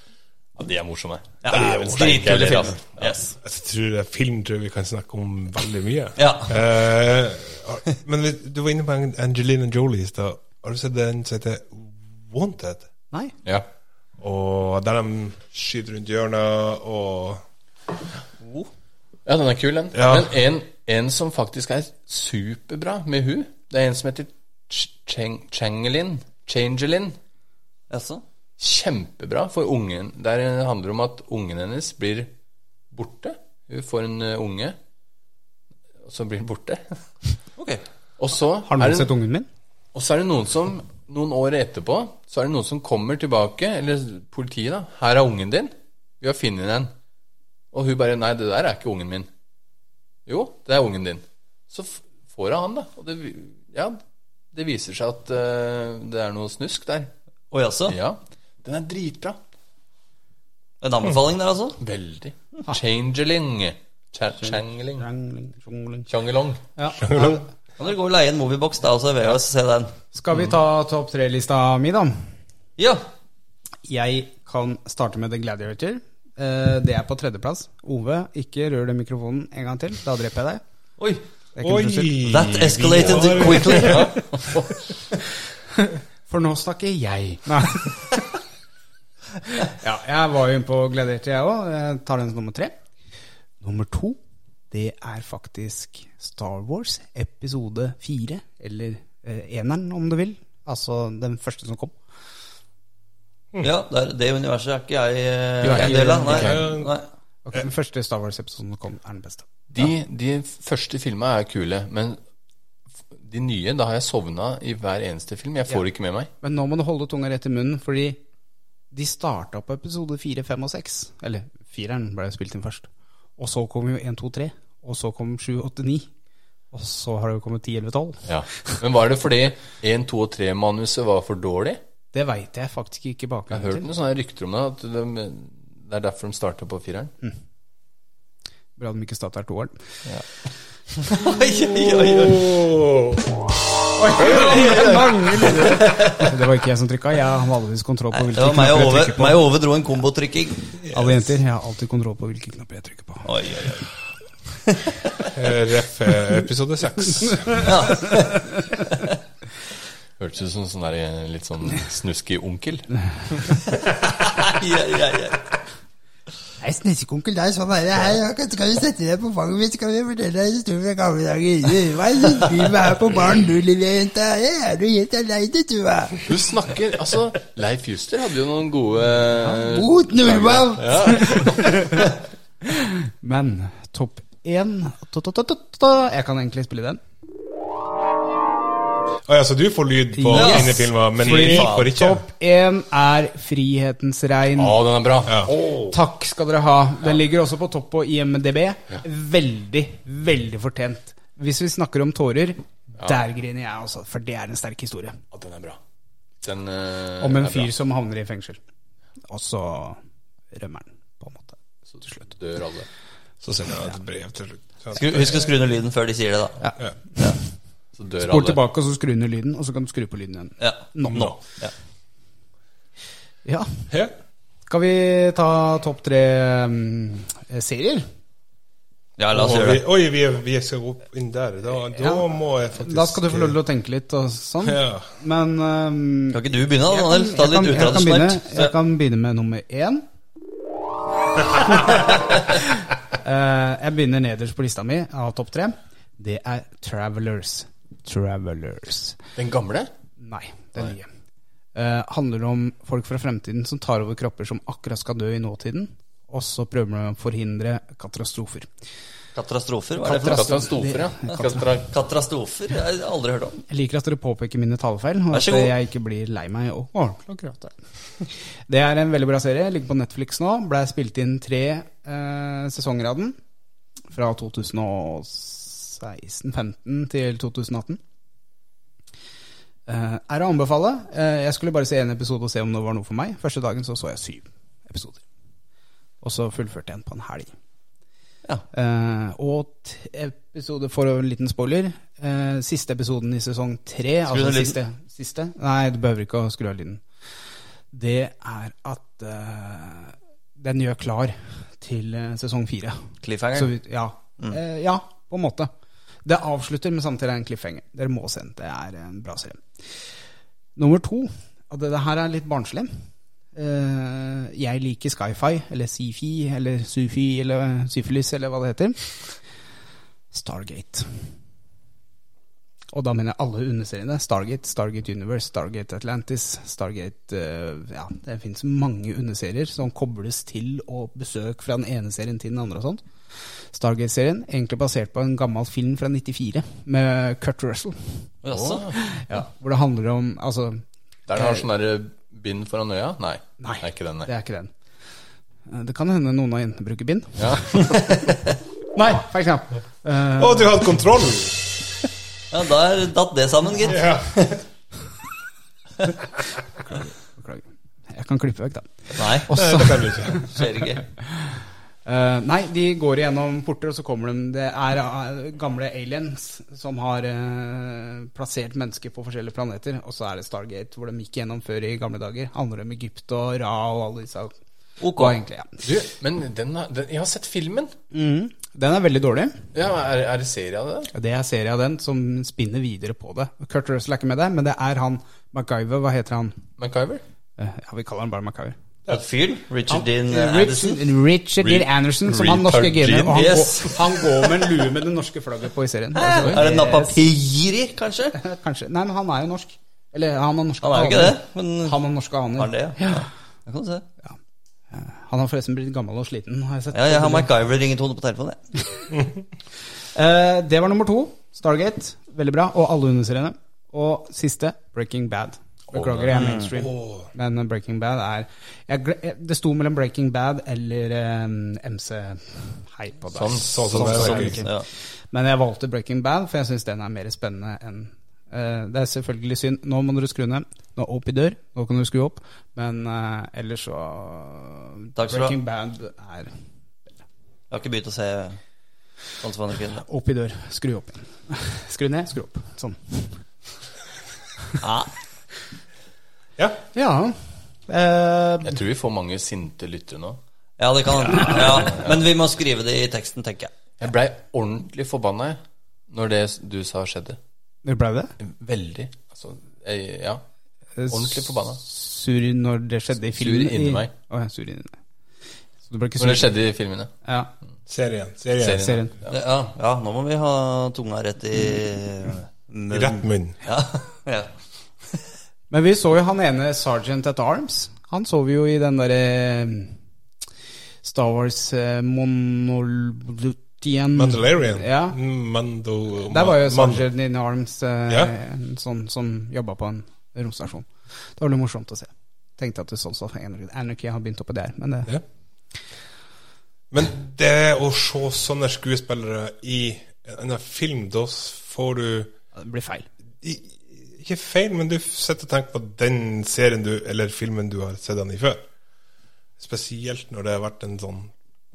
[SPEAKER 3] Ja, de er morsomme.
[SPEAKER 2] Ja,
[SPEAKER 4] Det er jo
[SPEAKER 2] Dritkule film.
[SPEAKER 3] sterke, ja.
[SPEAKER 2] Yes.
[SPEAKER 4] Altså, Jeg tror det er film tror jeg vi kan snakke om veldig mye.
[SPEAKER 2] Ja.
[SPEAKER 4] Eh, men vi- du var inne på Ang- Angelina Jolie i stad. Har du sett den som heter Wanted?
[SPEAKER 1] Nei.
[SPEAKER 3] Ja.
[SPEAKER 4] Og der de skyter rundt hjørnet og
[SPEAKER 3] ja, den er kul, den.
[SPEAKER 4] Ja.
[SPEAKER 3] Men en, en som faktisk er superbra med hun, det er en som heter Ch- Chang- Changelin. Changelin.
[SPEAKER 2] Jaså?
[SPEAKER 3] Kjempebra for ungen. Der handler det om at ungen hennes blir borte. Hun får en eh, unge, og så blir den borte.
[SPEAKER 2] Ok.
[SPEAKER 3] Og så
[SPEAKER 1] Har
[SPEAKER 3] er
[SPEAKER 1] noen
[SPEAKER 3] det-
[SPEAKER 1] sett ungen min?
[SPEAKER 3] Og så er det noen som noen år etterpå Så er det noen som kommer tilbake, eller politiet, da. 'Her er ungen din. Vi har funnet den.' Og hun bare 'Nei, det der er ikke ungen min.' 'Jo, det er ungen din.' Så f får hun han, da. Og det, vi- ja, det viser seg at eh, det er noe snusk der.
[SPEAKER 2] Og jaså?
[SPEAKER 3] Ja. Den er dritbra.
[SPEAKER 2] En anbefaling der, altså?
[SPEAKER 3] Veldig. Changeling. Cha Changeling.
[SPEAKER 1] Rangling, jongling.
[SPEAKER 3] Changelong.
[SPEAKER 1] Ja.
[SPEAKER 2] Kan dere gå og leie en moviebox da, og så ved oss se den?
[SPEAKER 1] Skal vi ta topp tre-lista mi, da?
[SPEAKER 2] Ja.
[SPEAKER 1] Jeg kan starte med The Gladiator. Eh, Det er på tredjeplass. Ove, ikke rør den mikrofonen en gang til. Da dreper jeg deg.
[SPEAKER 2] Oi.
[SPEAKER 1] Det er ikke noe trussel.
[SPEAKER 2] That escalated quickly.
[SPEAKER 1] For nå snakker jeg. Nei. ja, jeg var jo inne på Gladiator, jeg òg. Jeg tar den som nummer tre. Nummer to, det er faktisk Star Wars episode fire. Eller eh, eneren, om du vil. Altså den første som kom.
[SPEAKER 2] Ja, der, det universet er ikke jeg eh,
[SPEAKER 1] Du er
[SPEAKER 2] en
[SPEAKER 1] ikke-
[SPEAKER 2] del av. Nei.
[SPEAKER 4] ikke-
[SPEAKER 2] Nei.
[SPEAKER 1] Ok, den første Star Wars-episoden som kom, er den beste.
[SPEAKER 3] De, de første filma er kule, men f- de nye, da har jeg sovna i hver eneste film. Jeg får det ikke med meg.
[SPEAKER 1] Men nå må du holde tunga rett i munnen, fordi de starta på episode 4, 5 og 6. Eller fireren ble jo spilt inn først. Og så kom jo 1, 2, 3. Og så kom 7, 8, 9. Og så har det jo kommet 10, 11, 12.
[SPEAKER 3] Men var det fordi 1, 2 og 3-manuset var for dårlig?
[SPEAKER 1] Det veit jeg faktisk ikke
[SPEAKER 3] Jeg har
[SPEAKER 1] bakgrunnen
[SPEAKER 3] hørt
[SPEAKER 1] til.
[SPEAKER 3] noen sånne rykter om det. At de, det er derfor de starta på fireren.
[SPEAKER 1] Mm. Bra de ikke starter toeren.
[SPEAKER 2] Oi, oi, oi, oi.
[SPEAKER 1] Det var ikke jeg som trykka. Jeg har vanligvis kontroll på
[SPEAKER 2] Det
[SPEAKER 1] hvilke
[SPEAKER 2] var meg
[SPEAKER 1] knapper
[SPEAKER 2] og
[SPEAKER 1] jeg
[SPEAKER 2] Ove.
[SPEAKER 1] trykker på.
[SPEAKER 2] Meg og Ove dro en kombotrykking.
[SPEAKER 1] Alle jenter, jeg har alltid kontroll på hvilke knapper jeg trykker på.
[SPEAKER 2] Oi, oi, oi.
[SPEAKER 4] Ref eh, episode seks.
[SPEAKER 3] Hørtes ut som sånn der, eh, litt sånn snuskig onkel.
[SPEAKER 2] Ai, ai, ai, ai.
[SPEAKER 1] Nei, snissekonkel, det er sånn her. Hei, skal du sette deg på fanget mitt, skal vi fortelle deg historier fra gamle dager? Hva er det du driver her på baren, du lille jente? Er du helt aleine, du, hva?
[SPEAKER 3] Du snakker Altså, Leif Juster hadde jo noen gode
[SPEAKER 1] Mot nordmann! Men topp én ta, ta, ta, ta, ta. Jeg kan egentlig spille den.
[SPEAKER 4] Å ja, så du får lyd på
[SPEAKER 1] Yes.
[SPEAKER 4] dine filmer, men
[SPEAKER 2] Fy
[SPEAKER 4] jeg
[SPEAKER 2] faen.
[SPEAKER 4] får ikke?
[SPEAKER 1] Topp én er 'Frihetens regn'.
[SPEAKER 3] Å, den er bra.
[SPEAKER 4] Ja.
[SPEAKER 2] Oh.
[SPEAKER 1] Takk skal dere ha. Den ligger også på topp på IMDb. Veldig, veldig fortjent. Hvis vi snakker om tårer, der griner jeg også, for det er en sterk historie.
[SPEAKER 3] Ja, den er bra. Den eh,
[SPEAKER 1] Om en
[SPEAKER 3] er
[SPEAKER 1] fyr
[SPEAKER 3] bra.
[SPEAKER 1] som havner i fengsel. Og så rømmer han, på en måte.
[SPEAKER 3] Så til slutt dør alle.
[SPEAKER 4] Så sender jeg et brev til slutt. Sånn.
[SPEAKER 2] Skru- Husk å skru ned lyden før de sier det, da.
[SPEAKER 3] Så dør
[SPEAKER 1] Spol
[SPEAKER 3] alle.
[SPEAKER 1] tilbake, og så skru ned lyden, og så kan du skru på lyden igjen.
[SPEAKER 2] Ja.
[SPEAKER 1] Nå.
[SPEAKER 2] Ja.
[SPEAKER 1] Ja.
[SPEAKER 4] Ja.
[SPEAKER 1] Skal vi ta topp tre mm, serier?
[SPEAKER 2] ja, la oss
[SPEAKER 4] Oi,
[SPEAKER 2] gjøre
[SPEAKER 4] vi,
[SPEAKER 2] det.
[SPEAKER 4] oi, vi, vi skal gå opp inn der. Da, da
[SPEAKER 1] Ja.
[SPEAKER 4] må jeg faktisk
[SPEAKER 1] Da skal du få lov til å tenke litt og sånn.
[SPEAKER 4] Ja.
[SPEAKER 1] Men mm,
[SPEAKER 2] Kan ikke du begynne, da,
[SPEAKER 1] jeg,
[SPEAKER 2] Daniel? Ta
[SPEAKER 1] kan, jeg,
[SPEAKER 2] det
[SPEAKER 1] kan,
[SPEAKER 2] litt
[SPEAKER 1] jeg, kan begynne, jeg
[SPEAKER 2] utradisjonelt.
[SPEAKER 1] kan begynne med nummer én. Eh, jeg begynner nederst på lista mi av topp tre. Det er Travelers. Travelers.
[SPEAKER 3] Den gamle?
[SPEAKER 1] Nei, den nye. Eh, handler om folk fra fremtiden som tar over kropper som akkurat skal dø i nåtiden. Og så prøver de å forhindre katastrofer.
[SPEAKER 2] Katastrofer? Hva er det for noe?
[SPEAKER 3] Katastrofer, ja. Katastrofer.
[SPEAKER 2] Katastrofer? Jeg har aldri hørt om.
[SPEAKER 1] Jeg liker at dere påpeker mine talefeil, og
[SPEAKER 2] Vær
[SPEAKER 1] at
[SPEAKER 2] så god.
[SPEAKER 1] jeg ikke blir lei meg og ordentlig å gråte. Det er en veldig bra serie. Ligger på Netflix nå. Blei spilt inn tre eh, sesonger av den. Fra 2016-15 til 2018. Eh, er å anbefale. Eh, jeg skulle bare se en episode og se om det var noe for meg. Første dagen så så jeg syv episoder. Og så fullførte jeg en på en helg.
[SPEAKER 2] Ja.
[SPEAKER 1] Eh, og t- episode for en liten spoiler. eh, siste episoden i sesong tre. Altså
[SPEAKER 2] av lyden.
[SPEAKER 1] siste, siste. Nei, du behøver ikke å skru av lyden. Det er at eh, den gjør klar til eh, sesong fire. Så
[SPEAKER 2] Cliffhanger?
[SPEAKER 1] vi- ja. Eh, ja, på en måte. Det avslutter, men samtidig er det en cliffhanger. Dere må se den. Det er en bra serie. Nummer to. Og det, det her er litt barnslig. Eh, jeg liker sci-fi, eller sci-fi, eller sufi, eller syfilis, eller hva det heter. Stargate. Og da mener jeg alle underseriene. Stargate, Stargate Universe, Stargate Atlantis, Stargate eh, Ja, det finnes mange underserier som kobles til og besøk fra den ene serien til den andre og sånn. Stargate-serien, egentlig basert på en gammel film fra 94 med Kurt Russell.
[SPEAKER 2] Jaså?
[SPEAKER 1] Hvor det handler om Altså,
[SPEAKER 3] Der den har sånn derre bind foran øya? Nei.
[SPEAKER 1] Nei.
[SPEAKER 3] Det er ikke den,
[SPEAKER 1] det
[SPEAKER 3] nei.
[SPEAKER 1] er ikke den. Eh, Det kan hende noen av jentene bruker bind.
[SPEAKER 3] Ja.
[SPEAKER 1] Nei, for eksempel. Eh,
[SPEAKER 4] Å, du hadde kontroll!
[SPEAKER 2] Ja, der datt det sammen, gitt.
[SPEAKER 4] Ja.
[SPEAKER 1] Beklager. Jeg kan klippe vekk, da.
[SPEAKER 2] Nei,
[SPEAKER 1] Og så-
[SPEAKER 4] Det kan du ikke.
[SPEAKER 2] skjer ikke.
[SPEAKER 1] Eh, nei, de går igjennom porter, og så kommer de Det er eh, gamle aliens som har eh, plassert mennesker på forskjellige planeter. Og så er det Stargate, hvor de gikk gjennom før i gamle dager. Handler om Egypt og Ra og alle disse
[SPEAKER 2] Ok.
[SPEAKER 1] Og egentlig, ja.
[SPEAKER 3] Du, men den, har- den Jeg har sett filmen.
[SPEAKER 1] Mhm. Den er veldig dårlig.
[SPEAKER 3] Ja, er, er det serie av det der?
[SPEAKER 1] Det er serie av den som spinner videre på det. Kurt Russell er ikke med der, men det er han MacGyver. Hva heter han?
[SPEAKER 3] MacGyver?
[SPEAKER 1] Eh, Ja, vi kaller han bare MacGyver.
[SPEAKER 2] Et fyr? Richard Dean
[SPEAKER 1] Eh,
[SPEAKER 2] Addison?
[SPEAKER 1] Richard, Richard Dean Anderson, som har norske
[SPEAKER 4] Richard
[SPEAKER 1] gener.
[SPEAKER 4] Dean,
[SPEAKER 1] Og han,
[SPEAKER 2] yes.
[SPEAKER 1] går, han går med en lue med det norske flagget på i serien.
[SPEAKER 2] Er
[SPEAKER 1] Altså,
[SPEAKER 2] det Napapiri, kanskje?
[SPEAKER 1] Kanskje. Nei, men han er jo norsk. Eller han har norske
[SPEAKER 2] Han er jo ikke
[SPEAKER 1] aner.
[SPEAKER 2] det, men-
[SPEAKER 1] Han har norske aner.
[SPEAKER 2] Har han det, ja? Da kan du se.
[SPEAKER 1] Han har forresten blitt gammel og sliten, har jeg sett.
[SPEAKER 2] Ja, jeg har MacGyver-ringetone på telefonen. jeg.
[SPEAKER 1] Eh, det var nummer to. Stargate. Veldig bra. Og alle underseriene. Og siste, Breaking Bad. Beklager, jeg er mainstream. Men eh, Breaking Bad er jeg, gle- eh, Det sto mellom Breaking Bad eller eh, MC Hei på deg.
[SPEAKER 4] sånn som det er,
[SPEAKER 1] sånn, ikke.
[SPEAKER 4] Breaking
[SPEAKER 2] Bad.
[SPEAKER 1] Men jeg valgte Breaking Bad, for jeg syns den er mer spennende enn Eh, det er selvfølgelig synd. Nå må dere skru ned. Nå opp i dør. Nå kan du skru opp. Men eh, ellers så
[SPEAKER 2] Takk skal du ha.
[SPEAKER 1] Breaking Bad er
[SPEAKER 2] Jeg har ikke begynt å se Hans van der Kinde.
[SPEAKER 1] opp i dør. Skru opp igjen. Skru ned, skru opp. Sånn.
[SPEAKER 2] Ja.
[SPEAKER 4] Ja.
[SPEAKER 1] Ja. Eh,
[SPEAKER 3] Jeg tror vi får mange sinte lyttere nå.
[SPEAKER 2] ja, det kan ja. Men vi må skrive det i teksten, tenker jeg.
[SPEAKER 3] Jeg blei ordentlig forbanna jeg, når det du sa, skjedde.
[SPEAKER 1] det ble det?
[SPEAKER 3] Veldig. Altså, jeg, ja. Ordentlig forbanna.
[SPEAKER 1] Sur når det skjedde i filmen?
[SPEAKER 3] inni
[SPEAKER 1] i-
[SPEAKER 3] meg.
[SPEAKER 1] Å, ja, sur inni deg. Så du ble ikke sur?
[SPEAKER 3] Når det skjedde i filmene.
[SPEAKER 1] Ja,
[SPEAKER 4] Serien. Serien.
[SPEAKER 3] Serien.
[SPEAKER 1] serien.
[SPEAKER 2] Det, ja, ja, nå må vi ha tunga rett i
[SPEAKER 4] I
[SPEAKER 2] munnen.
[SPEAKER 4] rett munn.
[SPEAKER 2] Ja, ja.
[SPEAKER 1] Men vi så jo han ene Sergeant at Arms. Han så vi jo i den derre eh, Star Wars eh, Monolutian
[SPEAKER 4] Mandalorian. Mm,
[SPEAKER 1] Ja.
[SPEAKER 4] Mando...
[SPEAKER 1] Der var jo
[SPEAKER 4] Man-
[SPEAKER 1] Sergeant in Arms eh,
[SPEAKER 4] Ja.
[SPEAKER 1] en sånn som jobba på en romstasjon. Det var litt morsomt å se. Tenkte at det sånn så Anarchy har begynt oppå der, men det
[SPEAKER 4] Ja. Men det å se sånne skuespillere i en annen film, da får du
[SPEAKER 1] det blir feil.
[SPEAKER 4] i- Ikke feil, men du sitter og tenker på den serien du, eller filmen du har sett den i før. Spesielt når det har vært en sånn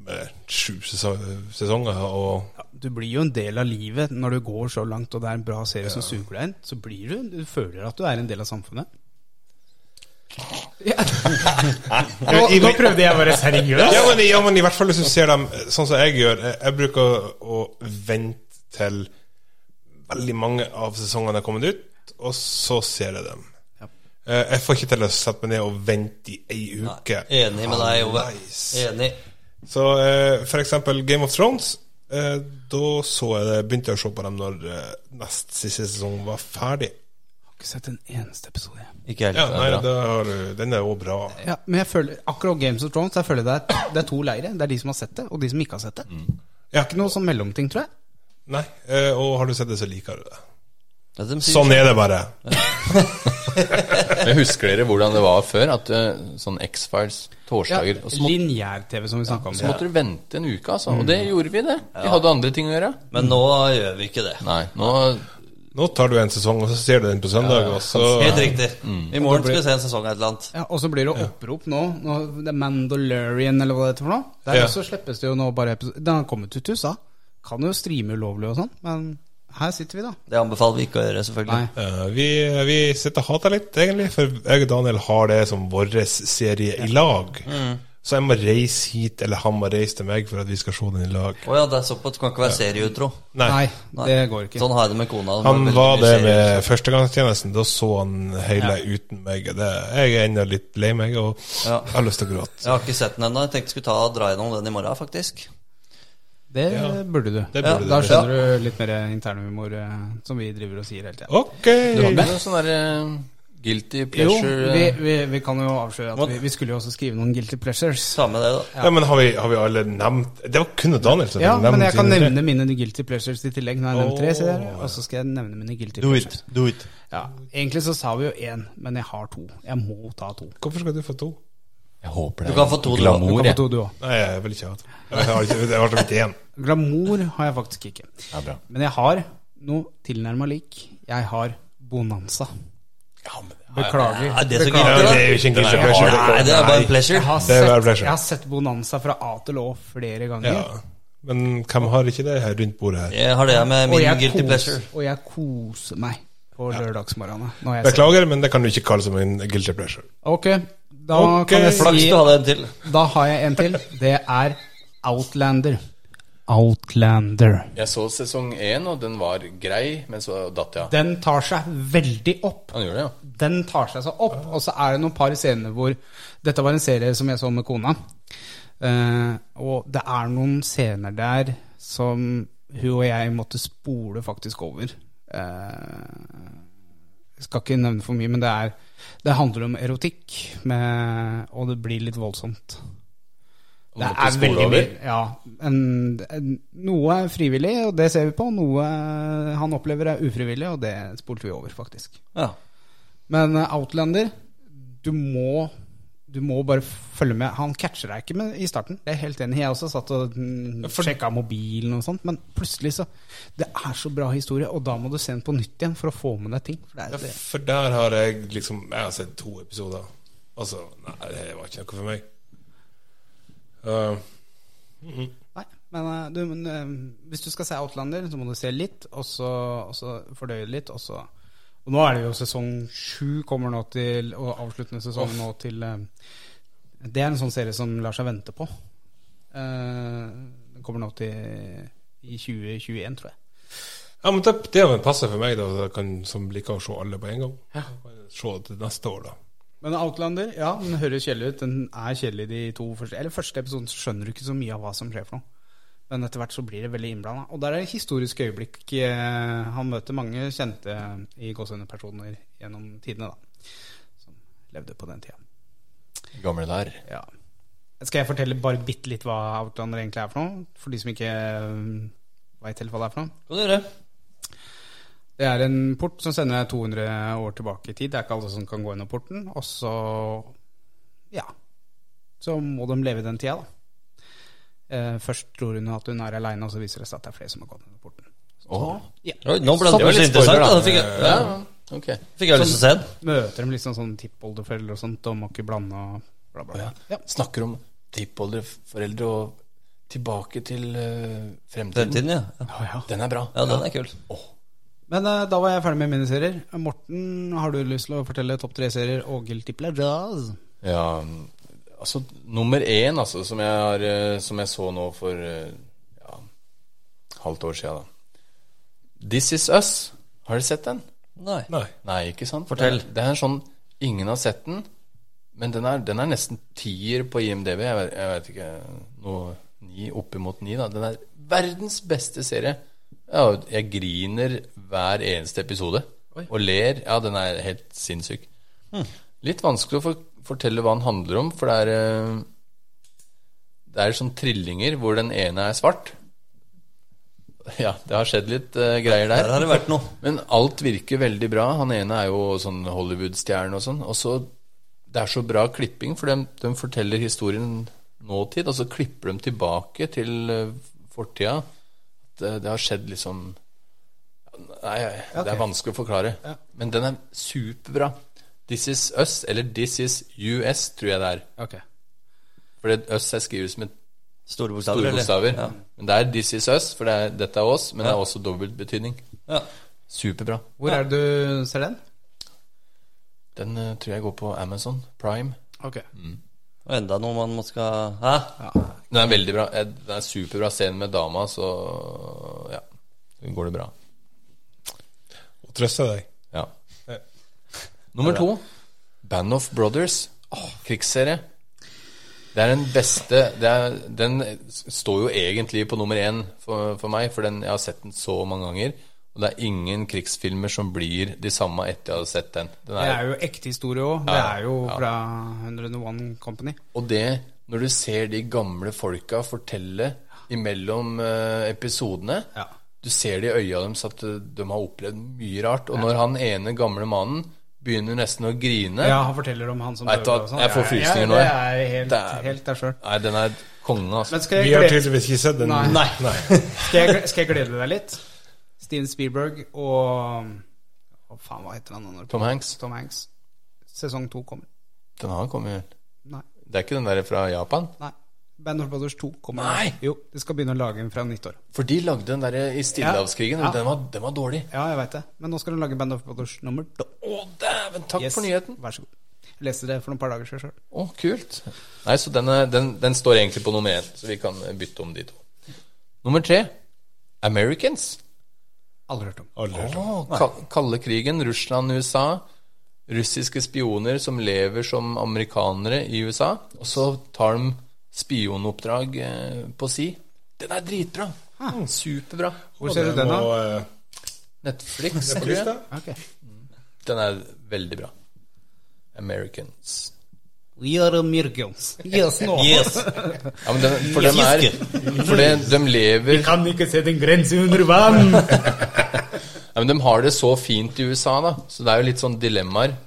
[SPEAKER 4] eh, sju sesong- sesonger, og
[SPEAKER 1] Du blir jo en del av livet når du går så langt og det er en bra serie som suger deg inn. Så blir du, du føler at du er en del av samfunnet. Ja. Nå, nå prøvde jeg å være seriøs.
[SPEAKER 4] ja men, ja, men i hvert fall hvis du ser dem eh, sånn som jeg gjør. Jeg, jeg bruker å, å vente til veldig mange av sesongene er kommet ut, og så ser jeg dem.
[SPEAKER 1] Ja.
[SPEAKER 4] Eh, Jeg får ikke til å sette meg ned og vente i ei uke.
[SPEAKER 2] Enig med deg, Ove.
[SPEAKER 4] Nice.
[SPEAKER 2] Enig.
[SPEAKER 4] Så eh, for eksempel Game of Thrones eh, Da så jeg det, begynte jeg å se på dem når eh, nest siste sesong var ferdig.
[SPEAKER 1] Jeg har ikke sett en eneste episode. jeg.
[SPEAKER 2] Ikke helt.
[SPEAKER 4] Ja,
[SPEAKER 2] det er
[SPEAKER 4] nei,
[SPEAKER 2] bra.
[SPEAKER 4] det har, du- den er jo bra.
[SPEAKER 1] Ja, men jeg føler, akkurat Games of Thrones jeg føler det er, det er to leire. Det er de som har sett det, og de som ikke har sett det.
[SPEAKER 4] Ja,
[SPEAKER 1] Ikke noe sånn mellomting, tror jeg.
[SPEAKER 4] nei, eh, Og har du sett det, så liker du det.
[SPEAKER 2] Det er de sier.
[SPEAKER 4] Sånn er det bare.
[SPEAKER 3] Men husker dere hvordan det var før? At eh, sånn X-Files,
[SPEAKER 1] Ja,
[SPEAKER 3] torsdager og så, må,
[SPEAKER 1] Lineær-TV, som vi snakka om.
[SPEAKER 3] så måtte du vente en uke, altså. Og det
[SPEAKER 1] Mm.
[SPEAKER 3] gjorde vi, det. Vi hadde andre ting å gjøre.
[SPEAKER 2] Men nå gjør vi ikke det.
[SPEAKER 3] Nei, nå
[SPEAKER 4] Nå tar du en sesong, og så ser du den på søndag, og så
[SPEAKER 2] Helt riktig.
[SPEAKER 4] Mm.
[SPEAKER 2] I morgen skal vi se en sesong av et eller annet.
[SPEAKER 1] Ja, og så blir det opprop nå. nå det er Mandalorian, eller hva det heter for noe. Der
[SPEAKER 4] Ja.
[SPEAKER 1] også slippes det jo nå bare episode Den har kommet ut til USA. Kan jo streame ulovlig og sånn, men her sitter vi, da.
[SPEAKER 2] Det anbefaler vi ikke å gjøre, selvfølgelig.
[SPEAKER 1] Nei.
[SPEAKER 4] Eh, vi, vi sitter og hater litt, egentlig, for jeg og Daniel har det som vår serie i lag. Så jeg må reise hit, eller han må reise til meg, for at vi skal se den i lag.
[SPEAKER 2] Å ja, det er såpass. Det kan ikke være serieutro.
[SPEAKER 1] Nei, det går ikke.
[SPEAKER 2] Sånn har jeg det med kona.
[SPEAKER 4] Han
[SPEAKER 2] Veldig
[SPEAKER 4] var
[SPEAKER 2] mye
[SPEAKER 4] det
[SPEAKER 2] serier.
[SPEAKER 4] ved førstegangstjenesten. Da så han hele uten meg. og Det, jeg er ennå litt lei meg, og
[SPEAKER 2] Ja.
[SPEAKER 4] jeg har lyst til å gråte.
[SPEAKER 2] Jeg har ikke sett den ennå. Jeg tenkte jeg skulle ta og dra gjennom den i morgen, faktisk.
[SPEAKER 1] Det
[SPEAKER 4] Ja.
[SPEAKER 1] burde du.
[SPEAKER 4] Det burde
[SPEAKER 1] Da
[SPEAKER 4] du.
[SPEAKER 1] skjønner du litt mer internhumor, eh, som vi driver og sier hele tida.
[SPEAKER 4] Ok!
[SPEAKER 3] Du hadde noe sånn derre guilty
[SPEAKER 1] Mm. Jo,
[SPEAKER 3] pleasure eh.
[SPEAKER 1] vi, vi, eh, vi kan jo avsløre at vi, vi skulle jo også skrive noen guilty pleasures.
[SPEAKER 2] Ta med det, da.
[SPEAKER 4] Ja, men har vi, har vi alle nevnt Det var kun Daniel som
[SPEAKER 1] Ja,
[SPEAKER 4] nevnte
[SPEAKER 1] men jeg kan
[SPEAKER 4] sine tre.
[SPEAKER 1] nevne mine guilty pleasures i tillegg. Nå har jeg nevnt tre, sier jeg. Og så skal jeg nevne mine guilty pleasures.
[SPEAKER 2] Do it.
[SPEAKER 1] Ja, Egentlig så sa vi jo én, men jeg har to. Jeg må ta to.
[SPEAKER 4] Hvorfor skal du få to?
[SPEAKER 3] Jeg håper det
[SPEAKER 2] Du kan få to
[SPEAKER 1] Du
[SPEAKER 3] glamour,
[SPEAKER 1] kan få
[SPEAKER 3] jeg.
[SPEAKER 1] to, du òg.
[SPEAKER 4] Nei, jeg vil ikke ha to. Jeg har ikke, jeg har ikke én.
[SPEAKER 1] Glamour har jeg faktisk ikke.
[SPEAKER 3] Ja, bra.
[SPEAKER 1] Men jeg har noe tilnærma lik. Jeg har bonanza.
[SPEAKER 3] Ja, men det er-
[SPEAKER 1] Beklager.
[SPEAKER 2] Er det så
[SPEAKER 4] Ja,
[SPEAKER 2] guilty,
[SPEAKER 4] det
[SPEAKER 2] da?
[SPEAKER 4] er jo ikke en guilty
[SPEAKER 2] Nei,
[SPEAKER 4] pleasure.
[SPEAKER 2] Nei, det er bare en
[SPEAKER 1] Jeg
[SPEAKER 2] pleasure.
[SPEAKER 1] har,
[SPEAKER 4] Det er bare
[SPEAKER 1] sett,
[SPEAKER 4] pleasure.
[SPEAKER 1] jeg har sett bonanza fra A til Å flere ganger.
[SPEAKER 4] Ja. Men hvem har ikke det her rundt bordet her?
[SPEAKER 2] Jeg har det med
[SPEAKER 1] Og
[SPEAKER 2] min
[SPEAKER 1] jeg,
[SPEAKER 2] guilty
[SPEAKER 1] kos,
[SPEAKER 2] pleasure.
[SPEAKER 1] og jeg koser meg på lørdagsmorgenene. når jeg ser-
[SPEAKER 4] Beklager, men det kan du ikke kalle som en guilty pleasure.
[SPEAKER 1] Ok, da
[SPEAKER 4] Ok,
[SPEAKER 1] kan jeg
[SPEAKER 2] Flaks
[SPEAKER 1] si
[SPEAKER 2] du hadde en til.
[SPEAKER 1] Da har jeg en til. Det er Outlander. Outlander.
[SPEAKER 3] Jeg så sesong én, og den var grei, men så datt jeg av.
[SPEAKER 1] Den tar seg veldig opp.
[SPEAKER 3] Han gjorde det, ja.
[SPEAKER 1] Den tar seg så opp. Og så er det noen par scener hvor Dette var en serie som jeg så med kona. Eh, og det er noen scener der som hun og jeg måtte spole faktisk over. Eh, jeg skal ikke nevne for mye, men det, er, det handler om erotikk. Med, og det blir litt voldsomt.
[SPEAKER 3] Og
[SPEAKER 1] Det
[SPEAKER 3] måtte
[SPEAKER 1] er
[SPEAKER 3] spole
[SPEAKER 1] veldig
[SPEAKER 3] over.
[SPEAKER 1] mye. Ja, en, en, noe er frivillig, og det ser vi på. Noe han opplever er ufrivillig, og det spolte vi over, faktisk.
[SPEAKER 2] Ja.
[SPEAKER 1] Men eh, Outlander, du må du må bare følge med. Han catcher deg ikke med, i starten. Det er jeg helt enig. i. Jeg også satt og mm, sjekka mobilen og sånt, men plutselig så Det er så bra historie, og da må du se den på nytt igjen for å få med deg ting. For det er, det.
[SPEAKER 4] For der har jeg liksom Jeg har sett to episoder. Altså, nei, det var ikke noe for meg. Eh,
[SPEAKER 1] Nei, men, eh, du, men eh, hvis du skal se Outlander, så må du se litt, og så, og så fordøye det litt, og så Og nå er det jo sesong sju kommer nå til, og avsluttende sesong nå til eh, Det er en sånn serie som lar seg vente på. Eh, Den kommer nå til i 2021, tror jeg.
[SPEAKER 4] ja, men det, det er jo en passer for meg, da, så jeg kan, som liker å se alle på en gang. Kan jeg Se til neste år, da.
[SPEAKER 1] Men Outlander, ja, den høres kjedelig ut. Den er kjedelig de to første Eller første episoden så skjønner du ikke så mye av hva som skjer for noe. Men etter hvert så blir det veldig innblanda. Og der er det historiske øyeblikk. eh, Han møter mange kjente i gåsehudepersoner gjennom tidene, da. Som levde på den tida.
[SPEAKER 3] Gamle der.
[SPEAKER 1] Ja. Skal jeg fortelle bare bitte litt hva Outlander egentlig er for noe? For de som ikke veit helt hva det er for noe?
[SPEAKER 2] Kan du gjøre?
[SPEAKER 1] Det er en port som sender deg 200 år tilbake i tid. Det er ikke alle som kan gå gjennom porten. Og så ja. Så må de leve i den tida, da. Eh, først tror hun at hun er aleine, og så viser det seg at det er flere som har gått gjennom porten.
[SPEAKER 3] Åh.
[SPEAKER 2] Oi, nå ble det
[SPEAKER 3] var
[SPEAKER 2] plutselig
[SPEAKER 3] litt
[SPEAKER 2] interessant.
[SPEAKER 3] spoiler,
[SPEAKER 2] Da. Da
[SPEAKER 3] da.
[SPEAKER 2] fikk jeg, ja,
[SPEAKER 3] Ok.
[SPEAKER 2] fikk jeg lyst til å se den.
[SPEAKER 1] Møter dem liksom sånn tippolderforeldre og sånt, og må ikke blande og bla, bla, bla. Ja.
[SPEAKER 3] Snakker om tippoldeforeldre og tilbake til eh, fremtiden.
[SPEAKER 2] Fremtiden, ja.
[SPEAKER 3] Den er bra.
[SPEAKER 2] Ja, den er kul.
[SPEAKER 1] Men eh, da var jeg ferdig med miniserier. Morten, har du lyst til å fortelle topp tre-serier og guilty pleasures?
[SPEAKER 3] Ja, altså nummer én altså, som, jeg har, eh, som jeg så nå for eh, ja, halvt år siden. Da. This Is Us. Har dere sett den?
[SPEAKER 2] Nei.
[SPEAKER 4] Nei.
[SPEAKER 3] Nei, ikke sant?
[SPEAKER 2] Fortell.
[SPEAKER 3] Det, det er sånn Ingen har sett den, men den er, den er nesten tier på IMDv. Jeg, vet- jeg vet ikke noe ni, Oppimot ni, da. Den er verdens beste serie. Ja, jeg griner hver eneste episode og ler. Ja, den er helt sinnssyk.
[SPEAKER 2] Hm.
[SPEAKER 3] Litt vanskelig å for, fortelle hva den handler om, for det er eh, Det er sånn trillinger hvor den ene er svart. Ja, det har skjedd litt eh, greier der.
[SPEAKER 2] Der har det vært noe.
[SPEAKER 3] Men alt virker veldig bra. Han ene er jo sånn Hollywood-stjerne og sånn. Og så Det er så bra klipping, for de, de forteller historien nåtid, og så klipper de tilbake til eh, fortida. Det, det har skjedd liksom Nei, det er vanskelig å forklare. Men den er superbra. This Is Us, eller This Is US, tror jeg det er.
[SPEAKER 1] Okay.
[SPEAKER 3] For det- Us er skrevet med
[SPEAKER 2] Store bokstaver.
[SPEAKER 3] store
[SPEAKER 2] eller?
[SPEAKER 3] bokstaver.
[SPEAKER 2] Ja.
[SPEAKER 3] Men det er This Is Us, for det er, dette er oss, men det er også dobbeltbetydning.
[SPEAKER 2] Ja.
[SPEAKER 3] Superbra.
[SPEAKER 1] Hvor er det du ser den?
[SPEAKER 3] Den eh, tror jeg går på Amazon Prime.
[SPEAKER 1] Ok.
[SPEAKER 2] Og enda noe man må skal Hæ?
[SPEAKER 3] Den er veldig bra. Eh, Den er superbra scene med dama, så ja. Så går det bra.
[SPEAKER 4] Og trøste deg.
[SPEAKER 3] Ja. Nummer to. Band of Brothers. Krigsserie. Det er den beste det er, Den står jo egentlig på nummer én for, for meg, for den, jeg har sett den så mange ganger. Og det er ingen krigsfilmer som blir de samme etter jeg har sett den. den
[SPEAKER 1] Det er jo ekte historie òg. Det
[SPEAKER 3] Ja,
[SPEAKER 1] er jo
[SPEAKER 3] ja.
[SPEAKER 1] fra 101 Company.
[SPEAKER 3] Og det, når du ser de gamle folka fortelle imellom eh, episodene
[SPEAKER 1] Ja.
[SPEAKER 3] Du ser det i øya deres at eh, de har opplevd mye rart. Og når han ene gamle mannen begynner nesten å grine
[SPEAKER 1] Ja, han forteller om han som
[SPEAKER 3] Vet du
[SPEAKER 1] døde
[SPEAKER 3] hva,
[SPEAKER 1] og sånn.
[SPEAKER 3] jeg får
[SPEAKER 1] Ja,
[SPEAKER 3] frysninger nå,
[SPEAKER 1] Ja, det
[SPEAKER 3] jeg.
[SPEAKER 1] er helt,
[SPEAKER 3] Dæven.
[SPEAKER 1] helt deg sjøl.
[SPEAKER 3] Nei, den er konge, altså.
[SPEAKER 1] Men skal
[SPEAKER 4] Vi har
[SPEAKER 1] jeg, glede,
[SPEAKER 4] tydeligvis ikke sett den.
[SPEAKER 1] Nei.
[SPEAKER 4] Nei.
[SPEAKER 1] skal, jeg, skal jeg glede deg litt? Steven Spielberg og Å, faen, hva heter han nå?
[SPEAKER 3] Tom Hanks.
[SPEAKER 1] Tom Hanks. Sesong to kommer.
[SPEAKER 3] Den har kommet
[SPEAKER 1] Nei.
[SPEAKER 3] Det er ikke den der fra Japan?
[SPEAKER 1] Nei. Band of Brothers 2 kommer.
[SPEAKER 3] Nei!
[SPEAKER 1] Jo, de skal begynne å lage den fra nyttår.
[SPEAKER 3] For de lagde den der i Stillehavskrigen,
[SPEAKER 1] Ja.
[SPEAKER 3] og den var, den var dårlig.
[SPEAKER 1] Ja, jeg veit det. Men nå skal de lage Band of Brothers nummer to.
[SPEAKER 3] Å, dæven! Takk
[SPEAKER 1] Yes,
[SPEAKER 3] for nyheten.
[SPEAKER 1] Vær så god. Jeg leste det for noen par dager siden sjøl.
[SPEAKER 3] Å, kult. Nei, så den, er, den, den står egentlig på nummer én, så vi kan bytte om de to. Nummer tre Americans.
[SPEAKER 1] Aldri hørt om.
[SPEAKER 4] Aldri hørt om.
[SPEAKER 3] Åh, ka- Kalde krigen, Russland, USA. Russiske spioner som lever som amerikanere i USA. Og så tar de spionoppdrag eh, på si. Den er dritbra! Superbra.
[SPEAKER 1] Hvor ser du den, da?
[SPEAKER 4] Og, eh,
[SPEAKER 3] Netflix,
[SPEAKER 4] på
[SPEAKER 3] tror jeg.
[SPEAKER 4] lista?
[SPEAKER 1] Ok.
[SPEAKER 3] Den er veldig bra. Americans.
[SPEAKER 1] We are Americans. Yes, no.
[SPEAKER 2] Yes.
[SPEAKER 3] Ja, men den, for dem er For det, de lever
[SPEAKER 1] Kan ikke se den grense under vann!
[SPEAKER 3] Ja, men De har det så fint i USA, da. Så det er jo litt sånn dilemmaer.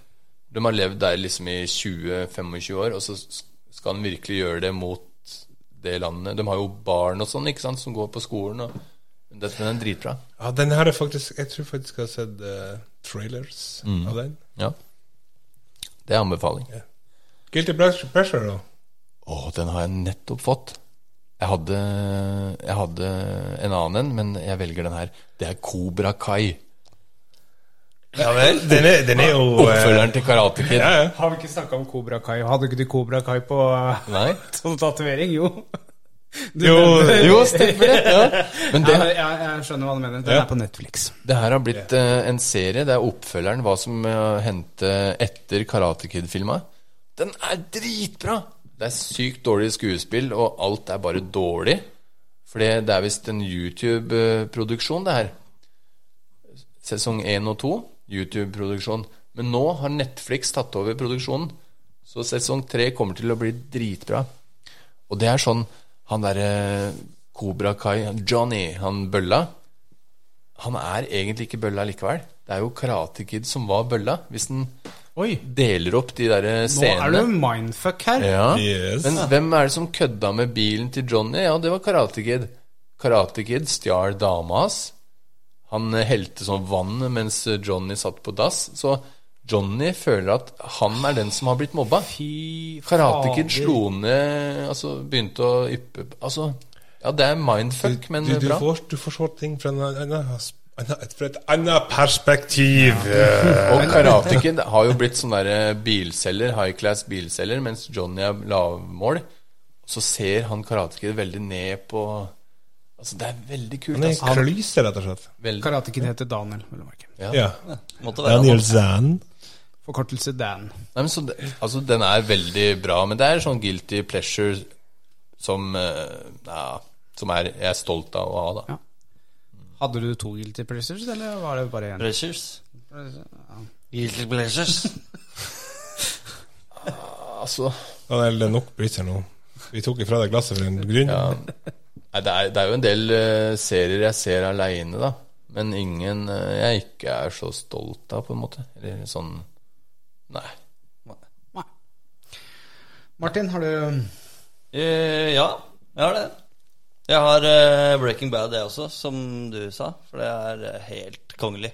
[SPEAKER 3] De har levd der liksom i 20-25 år, og så s- skal han virkelig gjøre det mot det landet. De har jo barn og sånn, ikke sant, som går på skolen. og Dette den er dritbra.
[SPEAKER 4] Ja, den har jeg faktisk Jeg tror faktisk jeg har sett eh, trailers av den.
[SPEAKER 3] Ja. Det er anbefaling.
[SPEAKER 4] Guilty Pressure, da.
[SPEAKER 3] Å, den har jeg nettopp fått. Jeg hadde, jeg hadde en annen en, men jeg velger den her. Det er Cobra Kai.
[SPEAKER 2] Ja vel?
[SPEAKER 4] Den er, den er jo eh,
[SPEAKER 3] Oppfølgeren til Karate Kid.
[SPEAKER 4] ja, ja.
[SPEAKER 1] Har vi ikke snakka om Kobra Kai? Hadde ikke du Kobra Kai på eh,
[SPEAKER 3] Nei?
[SPEAKER 1] sånn tatovering? Jo. Du
[SPEAKER 4] Jo,
[SPEAKER 1] nevnte-
[SPEAKER 3] Jo, stemmer det. Ja. Men det,
[SPEAKER 1] Ja, jeg, jeg skjønner hva du mener. Den
[SPEAKER 4] Ja.
[SPEAKER 1] er på Netflix.
[SPEAKER 3] det her har blitt eh, en serie. Det er oppfølgeren, hva som eh, hendte etter Karate Kid-filma. Den er dritbra! Det er sykt dårlig skuespill, og alt er bare dårlig. For det det er visst en YouTube-produksjon, det her. Sesong 1 og 2, YouTube-produksjon. Men nå har Netflix tatt over produksjonen, så sesong 3 kommer til å bli dritbra. Og det er sånn Han derre Kobra Kai, Johnny, han bølla Han er egentlig ikke bølla likevel. Det er jo Karate Kid som var bølla, hvis den
[SPEAKER 1] Oi,
[SPEAKER 3] deler opp de derre
[SPEAKER 1] nå
[SPEAKER 3] scenene.
[SPEAKER 1] er det mindfuck her.
[SPEAKER 3] Ja.
[SPEAKER 4] Yes.
[SPEAKER 3] Men hvem er det som kødda med bilen til Johnny? Ja, det var Karate Kid. Karate Kid stjal dama hans. Han eh, helte sånn vann mens eh, Johnny satt på dass. Så Johnny føler at han er den som har blitt mobba.
[SPEAKER 1] Fy
[SPEAKER 3] Karate Kid
[SPEAKER 1] fader.
[SPEAKER 3] slo ned Altså begynte å yppe Altså, ja, det er mindfuck, men
[SPEAKER 4] du, du,
[SPEAKER 3] bra.
[SPEAKER 4] får, du får se ting fra en annen, has- annen- et, fra et annet perspektiv. eh.
[SPEAKER 3] Og Karate Kid har jo blitt sånn derre bilselger, high class bilselger, mens Johnny er lavmål. Så ser han Karate Kid veldig ned på Altså, det er veldig kult.
[SPEAKER 4] Han er
[SPEAKER 3] altså.
[SPEAKER 4] en klyse, rett og slett.
[SPEAKER 3] Veldig.
[SPEAKER 1] Karate Kid heter Daniel, vil du merke.
[SPEAKER 4] Ja.
[SPEAKER 2] Måtte være
[SPEAKER 4] Daniel
[SPEAKER 2] han.
[SPEAKER 4] Zan.
[SPEAKER 1] Forkortelse Dan.
[SPEAKER 3] Nei, men så det, altså, den er veldig bra, men det er sånn guilty pleasure som eh, ja, Som er, jeg er stolt av å ha, da.
[SPEAKER 1] Ja. Hadde du to guilty pleasures, eller var det bare én?
[SPEAKER 2] Pleasures. Guilty pleasures.
[SPEAKER 3] Altså,
[SPEAKER 4] Daniel, det er nok bryter nå. Vi tok ifra deg glasset for en grunn.
[SPEAKER 3] ja. Nei, det, er, det er jo en del eh, serier jeg ser aleine, da. Men ingen eh, jeg ikke er så stolt av, på en måte. Eller sånn Nei.
[SPEAKER 1] Nei. Martin, har du
[SPEAKER 2] Eh, ja, jeg har det. Jeg har eh, Breaking Bad, jeg også, som du sa. For det er eh, helt kongelig.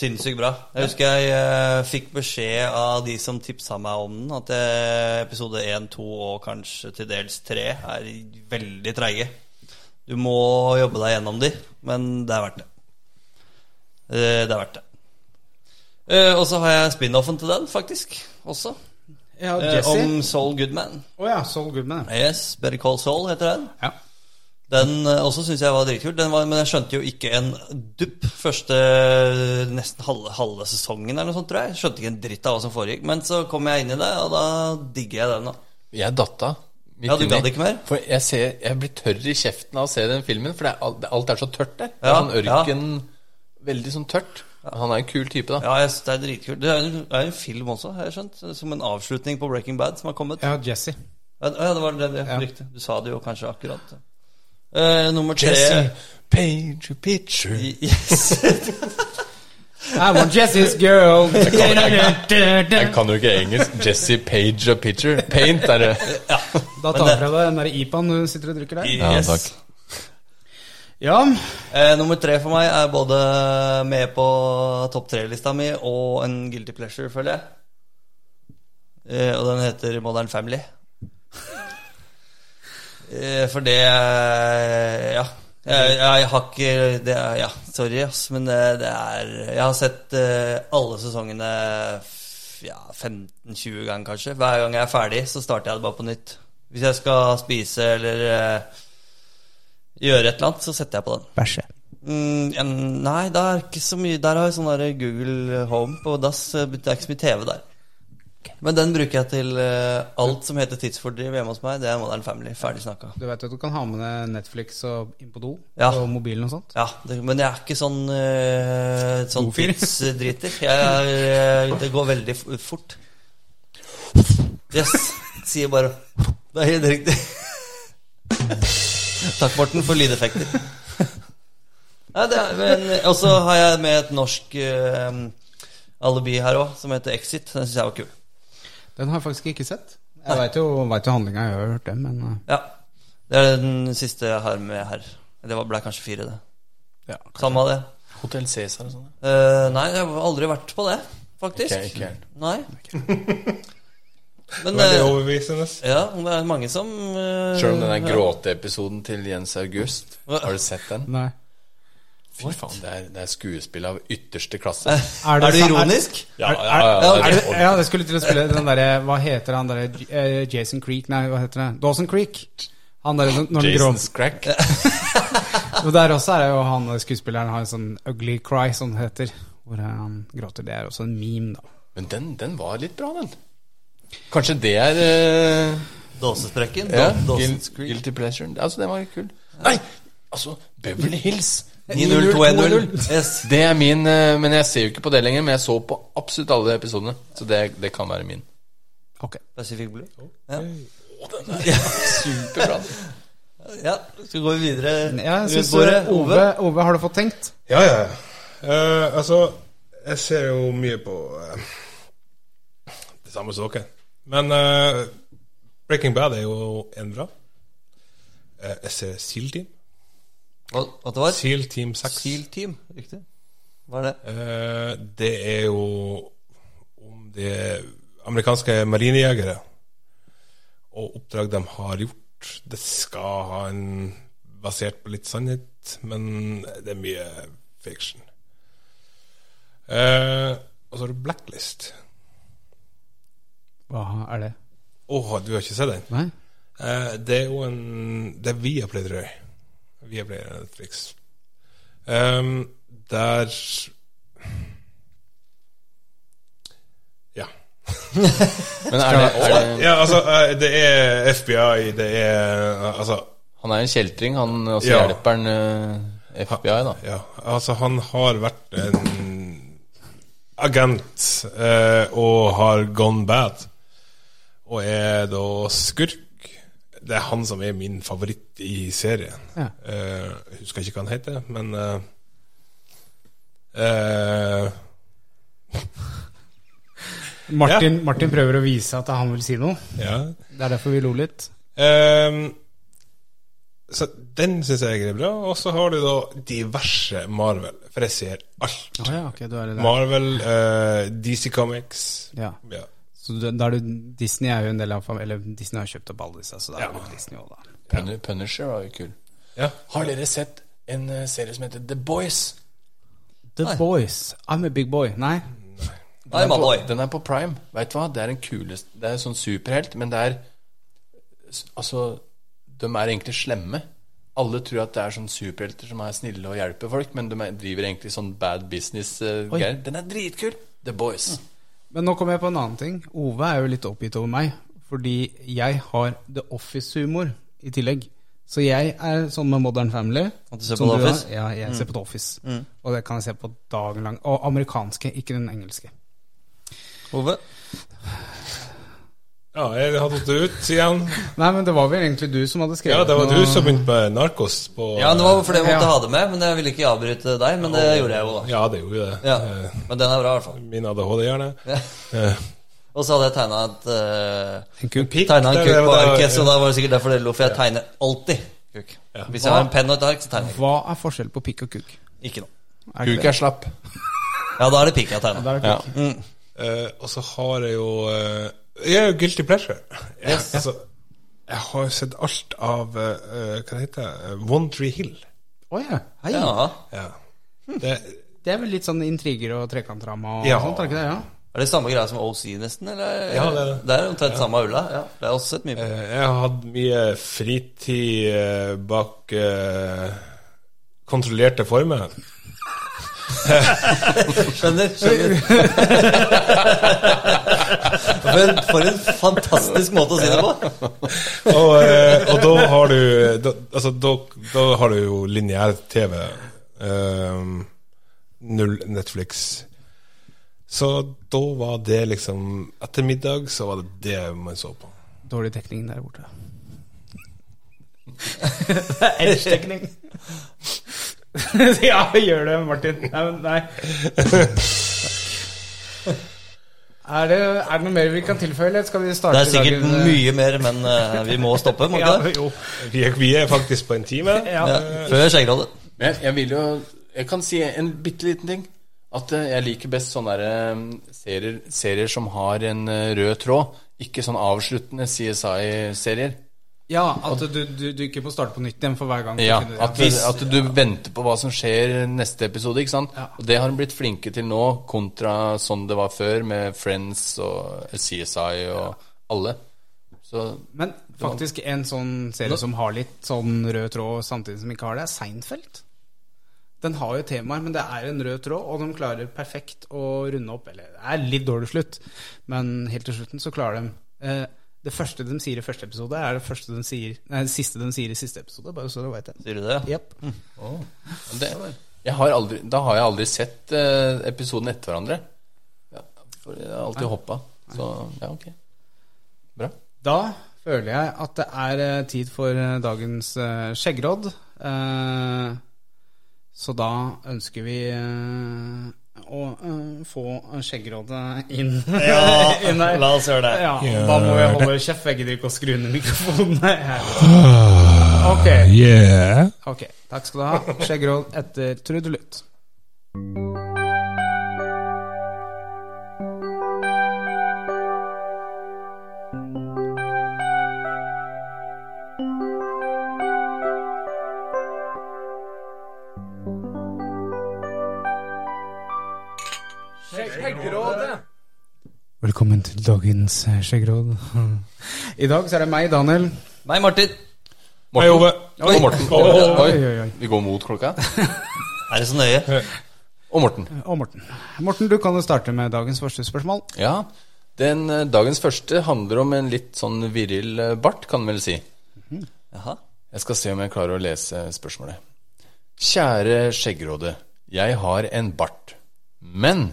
[SPEAKER 2] Sinnssykt bra. Jeg husker jeg eh, fikk beskjed av de som tipsa meg om den, at eh, episode 1, 2 og kanskje til dels 3 er veldig treige. Du må jobbe deg gjennom de, men det er verdt det. Eh, det er verdt det. Eh, og så har jeg spin-offen til den, faktisk, også.
[SPEAKER 1] Ja,
[SPEAKER 2] Eh,
[SPEAKER 1] Jesse. Å
[SPEAKER 2] om Saul Goodman.
[SPEAKER 1] ja, Saul Goodman. ja.
[SPEAKER 2] Yes, Better Call Saul heter den.
[SPEAKER 1] Ja.
[SPEAKER 2] Den eh, også syns jeg var dritkul, den var, men jeg skjønte jo ikke en dupp første eh, nesten halve, halve sesongen eller noe sånt, tror jeg. Skjønte ikke en dritt av hva som foregikk. Men så kom jeg inn i det, og da digger jeg den, da.
[SPEAKER 3] Jeg datt av. midt
[SPEAKER 2] Ja, du
[SPEAKER 3] inni.
[SPEAKER 2] gadd ikke mer?
[SPEAKER 3] For jeg, ser, jeg blir tørr i kjeften av å se den filmen, for det er, alt- alt er så tørt der. Det er
[SPEAKER 2] Ja,
[SPEAKER 3] sånn ørken Veldig sånn tørt. Han er en kul type, da.
[SPEAKER 2] Ja, jeg synes det er dritkult. Det er en, det er en film også, har jeg skjønt. Som en avslutning på Breaking Bad som har kommet. Ja,
[SPEAKER 1] ja, Jesse.
[SPEAKER 2] ja det var det, det,
[SPEAKER 1] Ja.
[SPEAKER 2] riktig. Du sa det jo kanskje akkurat. Eh, nummer tre
[SPEAKER 3] Jesse, paint a picture
[SPEAKER 2] I- Yes.
[SPEAKER 1] I want Jesse's girl.
[SPEAKER 3] Jeg kan jo ikke engelsk. Jesse Page a picture. Paint er det.
[SPEAKER 1] Da tar jeg fra deg den der IPA-en du sitter og drikker der.
[SPEAKER 3] Ja,
[SPEAKER 2] Yes.
[SPEAKER 3] takk.
[SPEAKER 1] Ja,
[SPEAKER 2] Eh, nummer tre for meg er både med på topp tre-lista mi og en guilty pleasure, føler jeg. Eh, og den heter Modern Family. eh, for det eh, Ja. Jeg, jeg har ikke det er, Ja, sorry, ass, men det, det er Jeg har sett eh, alle sesongene f- ja, 15-20 ganger, kanskje. Hver gang jeg er ferdig, så starter jeg det bare på nytt. Hvis jeg skal spise eller eh, gjøre et eller annet, så setter jeg på den.
[SPEAKER 1] Bæsje.
[SPEAKER 2] Mm, en- nei, det er ikke så mye Der har jeg sånn der Google Home på dass. eh, Det er ikke så mye TV der. Men den bruker jeg til eh, alt som heter tidsfordriv hjemme hos meg. Det er Modern Family. Ferdig snakka.
[SPEAKER 1] Du vet at du kan ha med deg Netflix og inn på do
[SPEAKER 2] Ja.
[SPEAKER 1] og mobilen og sånt?
[SPEAKER 2] Ja, det, men jeg er ikke sånn, eh, sånn
[SPEAKER 1] Godfyr.
[SPEAKER 2] tidsdriter. Jeg er, eh, det går veldig f- fort. Yes. Sier bare Det er helt riktig. Takk, Morten, for lydeffekter. Nei, det er, men, og så har jeg med et norsk eh, alibi her òg, som heter Exit. Den syns jeg var kul.
[SPEAKER 1] Den har jeg faktisk ikke sett. Jeg veit jo, vet jo handlinga, jeg har hørt den, men eh,
[SPEAKER 2] Ja. Det er den siste jeg har med her. Det var- ble kanskje fire, det.
[SPEAKER 3] Ja,
[SPEAKER 2] Samme av det.
[SPEAKER 3] Hotell Cæsar og sånn.
[SPEAKER 2] Eh, nei, jeg har aldri vært på det, faktisk.
[SPEAKER 3] Ikke- ikke jeg.
[SPEAKER 2] Nei. Men
[SPEAKER 4] Veldig
[SPEAKER 2] eh,
[SPEAKER 4] overbevisende.
[SPEAKER 2] ja, det er mange som uh,
[SPEAKER 3] Sjøl om den der gråteepisoden til Jens August, har du sett den?
[SPEAKER 1] nei.
[SPEAKER 3] Fy faen, det er, det er skuespill av ytterste klasse.
[SPEAKER 2] Er det ironisk?
[SPEAKER 3] Ja, ja, ja,
[SPEAKER 1] Er
[SPEAKER 3] det
[SPEAKER 1] det,
[SPEAKER 3] er
[SPEAKER 1] ja, jeg skulle til å spille den derre Hva heter han derre J- eh, Jason Creek, nei, hva heter det? Dawson Creek. Han derre som- når den grå
[SPEAKER 3] Jason's crack.
[SPEAKER 1] Og der også er det jo han eh, skuespilleren har en sånn ugly cry, som det heter. Hvor eh, han gråter. Det er også en meme, da.
[SPEAKER 3] Men den, den var litt bra, den. Kanskje det er eh,
[SPEAKER 2] Dåsesprekken?
[SPEAKER 3] ja,
[SPEAKER 2] Da- Dawson's
[SPEAKER 3] guil-
[SPEAKER 2] Creek.
[SPEAKER 3] Guilty pleasure. Altså, den var kul. Nei, altså Beverly Hills.
[SPEAKER 2] 90210. Yes.
[SPEAKER 3] Det er min, eh, men jeg ser jo ikke på det lenger. Men jeg så på absolutt alle episodene, så det, det kan være min.
[SPEAKER 1] Ok.
[SPEAKER 2] Pacific Blue.
[SPEAKER 3] Superbra.
[SPEAKER 2] Ja, så går vi videre
[SPEAKER 1] Ja, jeg
[SPEAKER 2] rundt
[SPEAKER 1] synes,
[SPEAKER 2] bordet.
[SPEAKER 1] eh, Ove, Ove, har du fått tenkt?
[SPEAKER 4] Ja, ja. Eh, altså, jeg ser jo mye på eh, det samme som dere. Men eh, Breaking Bad er jo en bra. Eh, jeg ser Seal Team.
[SPEAKER 2] Hva, hva det var?
[SPEAKER 4] Seal Team 6.
[SPEAKER 2] Seal Team, riktig. Hva er det?
[SPEAKER 4] Eh, det er jo om de amerikanske marinejegere og oppdrag de har gjort. Det skal ha en basert på litt sannhet, men det er mye fiction. Eh, og så har du Blacklist.
[SPEAKER 1] Hva er det?
[SPEAKER 4] Åh, du har ikke sett den?
[SPEAKER 1] Nei?
[SPEAKER 4] Eh, det er jo en Det er Viaplay, tror jeg. Viaplay er Netflix. Ehm, der Ja.
[SPEAKER 3] Men er det, er det,
[SPEAKER 4] ja. Altså, eh, det er FBI, det er Altså,
[SPEAKER 3] han er en kjeltring, han også
[SPEAKER 4] Ja.
[SPEAKER 3] hjelper han eh, FBI, da.
[SPEAKER 4] ja, altså han har vært en agent eh, og har gone bad. Og er da skurk. Det er han som er min favoritt i serien.
[SPEAKER 1] Ja.
[SPEAKER 4] Eh, jeg husker ikke hva han heter, men eh, eh,
[SPEAKER 1] Martin, Martin prøver å vise at han vil si noe.
[SPEAKER 4] Ja.
[SPEAKER 1] Det er derfor vi lo litt.
[SPEAKER 4] Ehm, så den syns jeg er bra. Og så har du da diverse Marvel, for jeg ser alt.
[SPEAKER 1] ja, ok, du er det der.
[SPEAKER 4] Marvel, eh, DC Comics
[SPEAKER 1] Ja.
[SPEAKER 4] ja.
[SPEAKER 1] Så du, da er du, Disney er jo en del av fam- Eller Disney har kjøpt opp alle disse, så da er det jo Disney òg, da.
[SPEAKER 3] Pun- Punisher var jo kul.
[SPEAKER 4] Ja.
[SPEAKER 3] Har dere sett en eh, serie som heter The Boys?
[SPEAKER 1] The Boys. I'm a big boy. Nei?
[SPEAKER 2] Nei,
[SPEAKER 3] Den er på,
[SPEAKER 2] Malloy.
[SPEAKER 3] den er på Prime. Vet du hva? Det er en kulest Det er sånn superhelt, men det er s- Altså, de er egentlig slemme. Alle tror at det er sånn superhelter som er snille og hjelper folk, men de er, driver egentlig sånn bad business-greier. den er dritkul! The Boys.
[SPEAKER 1] Men nå kommer jeg på en annen ting. Ove er jo litt oppgitt over meg. Fordi jeg har The Office-humor i tillegg. Så jeg er sånn med Modern Family.
[SPEAKER 2] At du ser
[SPEAKER 1] som
[SPEAKER 2] på The
[SPEAKER 1] du er.
[SPEAKER 2] Office?
[SPEAKER 1] Ja, jeg ser på The Office. Og det kan jeg se på dagen lang. Og amerikanske, ikke den engelske.
[SPEAKER 2] Ove?
[SPEAKER 4] ja, jeg har tatt det ut igjen.
[SPEAKER 1] Nei, men det var vel egentlig du som hadde skrevet
[SPEAKER 4] Ja, det var du
[SPEAKER 1] noe.
[SPEAKER 4] som begynte med Narkos på
[SPEAKER 2] Ja, det var fordi jeg måtte
[SPEAKER 1] Ja.
[SPEAKER 2] ha det med, men jeg ville ikke avbryte deg. Men det gjorde jeg jo, da.
[SPEAKER 4] Ja, det gjorde jo det.
[SPEAKER 2] Ja,
[SPEAKER 4] Eh,
[SPEAKER 2] Men den er bra, i hvert fall.
[SPEAKER 4] Min ADHD-hjerne. Eh,
[SPEAKER 2] Og så hadde jeg tegna et eh,
[SPEAKER 1] En kuk.
[SPEAKER 2] Tegnet en
[SPEAKER 4] det-
[SPEAKER 2] kuk på
[SPEAKER 4] det-
[SPEAKER 2] arket, så da var det sikkert derfor det lo, for jeg tegner alltid kuk. Hvis jeg har en penn og et ark, så tegner jeg
[SPEAKER 1] Hva er forskjellen på pikk og kuk?
[SPEAKER 2] ikke noe.
[SPEAKER 1] Er det
[SPEAKER 3] Kuk er slapp.
[SPEAKER 2] Ja, da er det pikk jeg
[SPEAKER 1] det?
[SPEAKER 2] tegner.
[SPEAKER 1] Der er
[SPEAKER 3] Ja.
[SPEAKER 1] kuk.
[SPEAKER 4] Eh, og så har jeg jo eh, Jeg er jo guilty pleasure. Jeg, altså, jeg har jo sett alt av eh, Hva det heter det? One Tree Hill.
[SPEAKER 1] Å ja. Hei.
[SPEAKER 2] Ja.
[SPEAKER 4] Ja. Det,
[SPEAKER 1] Det er vel litt sånn intriger og trekantdrama og
[SPEAKER 4] Ja.
[SPEAKER 1] sånt, er det ikke det? Ja.
[SPEAKER 2] Er det samme greia som OC, nesten? Eller?
[SPEAKER 4] Ja, det er det.
[SPEAKER 2] det er omtrent samme ulla. Ja, det har jeg også sett mye
[SPEAKER 4] eh,
[SPEAKER 2] på.
[SPEAKER 4] jeg har hatt mye fritid eh, bak eh, kontrollerte former.
[SPEAKER 2] Skjønner. skjønner for, en, for en fantastisk måte å si det på!
[SPEAKER 4] Og, eh, og da har du da, Altså, da, da har du jo lineær-TV. eh, null Netflix. Så da var det liksom Ettermiddag så var det det man så på.
[SPEAKER 1] Dårlig dekning der borte.
[SPEAKER 2] Edge-dekning.
[SPEAKER 1] ja, gjør det, Martin. Nei, men nei. Er det, er det noe mer vi kan tilføye, eller skal vi starte
[SPEAKER 2] Det er sikkert
[SPEAKER 1] dagen, eh,
[SPEAKER 2] mye mer, men eh, vi må stoppe, må vi
[SPEAKER 1] Ja,
[SPEAKER 2] ikke det?
[SPEAKER 1] jo.
[SPEAKER 4] Vi er, vi er faktisk på en time.
[SPEAKER 1] Ja.
[SPEAKER 2] Ja, før skjeggradet.
[SPEAKER 3] Men jeg, jeg vil jo Jeg kan si en bitte liten ting. At eh, jeg liker best sånne der, eh, serier, serier som har en eh, rød tråd. Ikke sånn avsluttende CSI-serier.
[SPEAKER 1] ja, at du, du, du ikke får starte på nytt igjen for hver gang. du
[SPEAKER 3] Ja,
[SPEAKER 1] finner-
[SPEAKER 3] at, du- at du venter på hva som skjer neste episode. ikke sant?
[SPEAKER 1] Ja.
[SPEAKER 3] Og det har hun blitt flinke til nå, kontra sånn det var før, med Friends og CSI og alle. Så
[SPEAKER 1] Men faktisk en sånn serie som har litt sånn rød tråd samtidig som ikke har det, er Seinfeld. Den har jo temaer, men det er en rød tråd, og de klarer perfekt å runde opp. Eller det er litt dårlig slutt, men helt til slutten så klarer de eh, Det første de sier i første episode, er det første de sier Nei, det siste de sier i siste episode, bare så du veit det.
[SPEAKER 2] Sier du det? ja?
[SPEAKER 1] Jep.
[SPEAKER 3] det, jeg har aldri, da har jeg aldri sett eh, episoden etter hverandre. Ja, for jeg har alltid hoppa. Så ja, ok. Bra.
[SPEAKER 1] Da føler jeg at det er eh, tid for eh, dagens eh, skjeggrådd. Eh, Så da ønsker vi eh, å eh, få skjeggrådet inn. inn her.
[SPEAKER 2] la oss gjøre det.
[SPEAKER 1] Ja, da må jeg holde kjeft. Jeg gidder ikke å skru ned mikrofonen. Ok,
[SPEAKER 4] Yeah.
[SPEAKER 1] ok, takk skal du ha. Skjeggråd etter trudelutt. Velkommen til dagens skjeggråd. I dag så er det meg, Daniel.
[SPEAKER 2] Nei, Martin.
[SPEAKER 4] Hei, Ove.
[SPEAKER 3] Og Morten.
[SPEAKER 4] Oi.
[SPEAKER 3] Oi,
[SPEAKER 1] Oi, oi, oi.
[SPEAKER 3] Vi går mot klokka.
[SPEAKER 2] Er det så nøye?
[SPEAKER 3] Og Morten.
[SPEAKER 1] Og Morten. Morten, du kan jo starte med dagens første spørsmål.
[SPEAKER 3] Ja. Den, eh, dagens første handler om en litt sånn viril eh, bart, kan en vel si.
[SPEAKER 2] Jaha.
[SPEAKER 3] Jeg skal se om jeg klarer å lese spørsmålet. Kjære Skjeggråde. Jeg har en bart. Men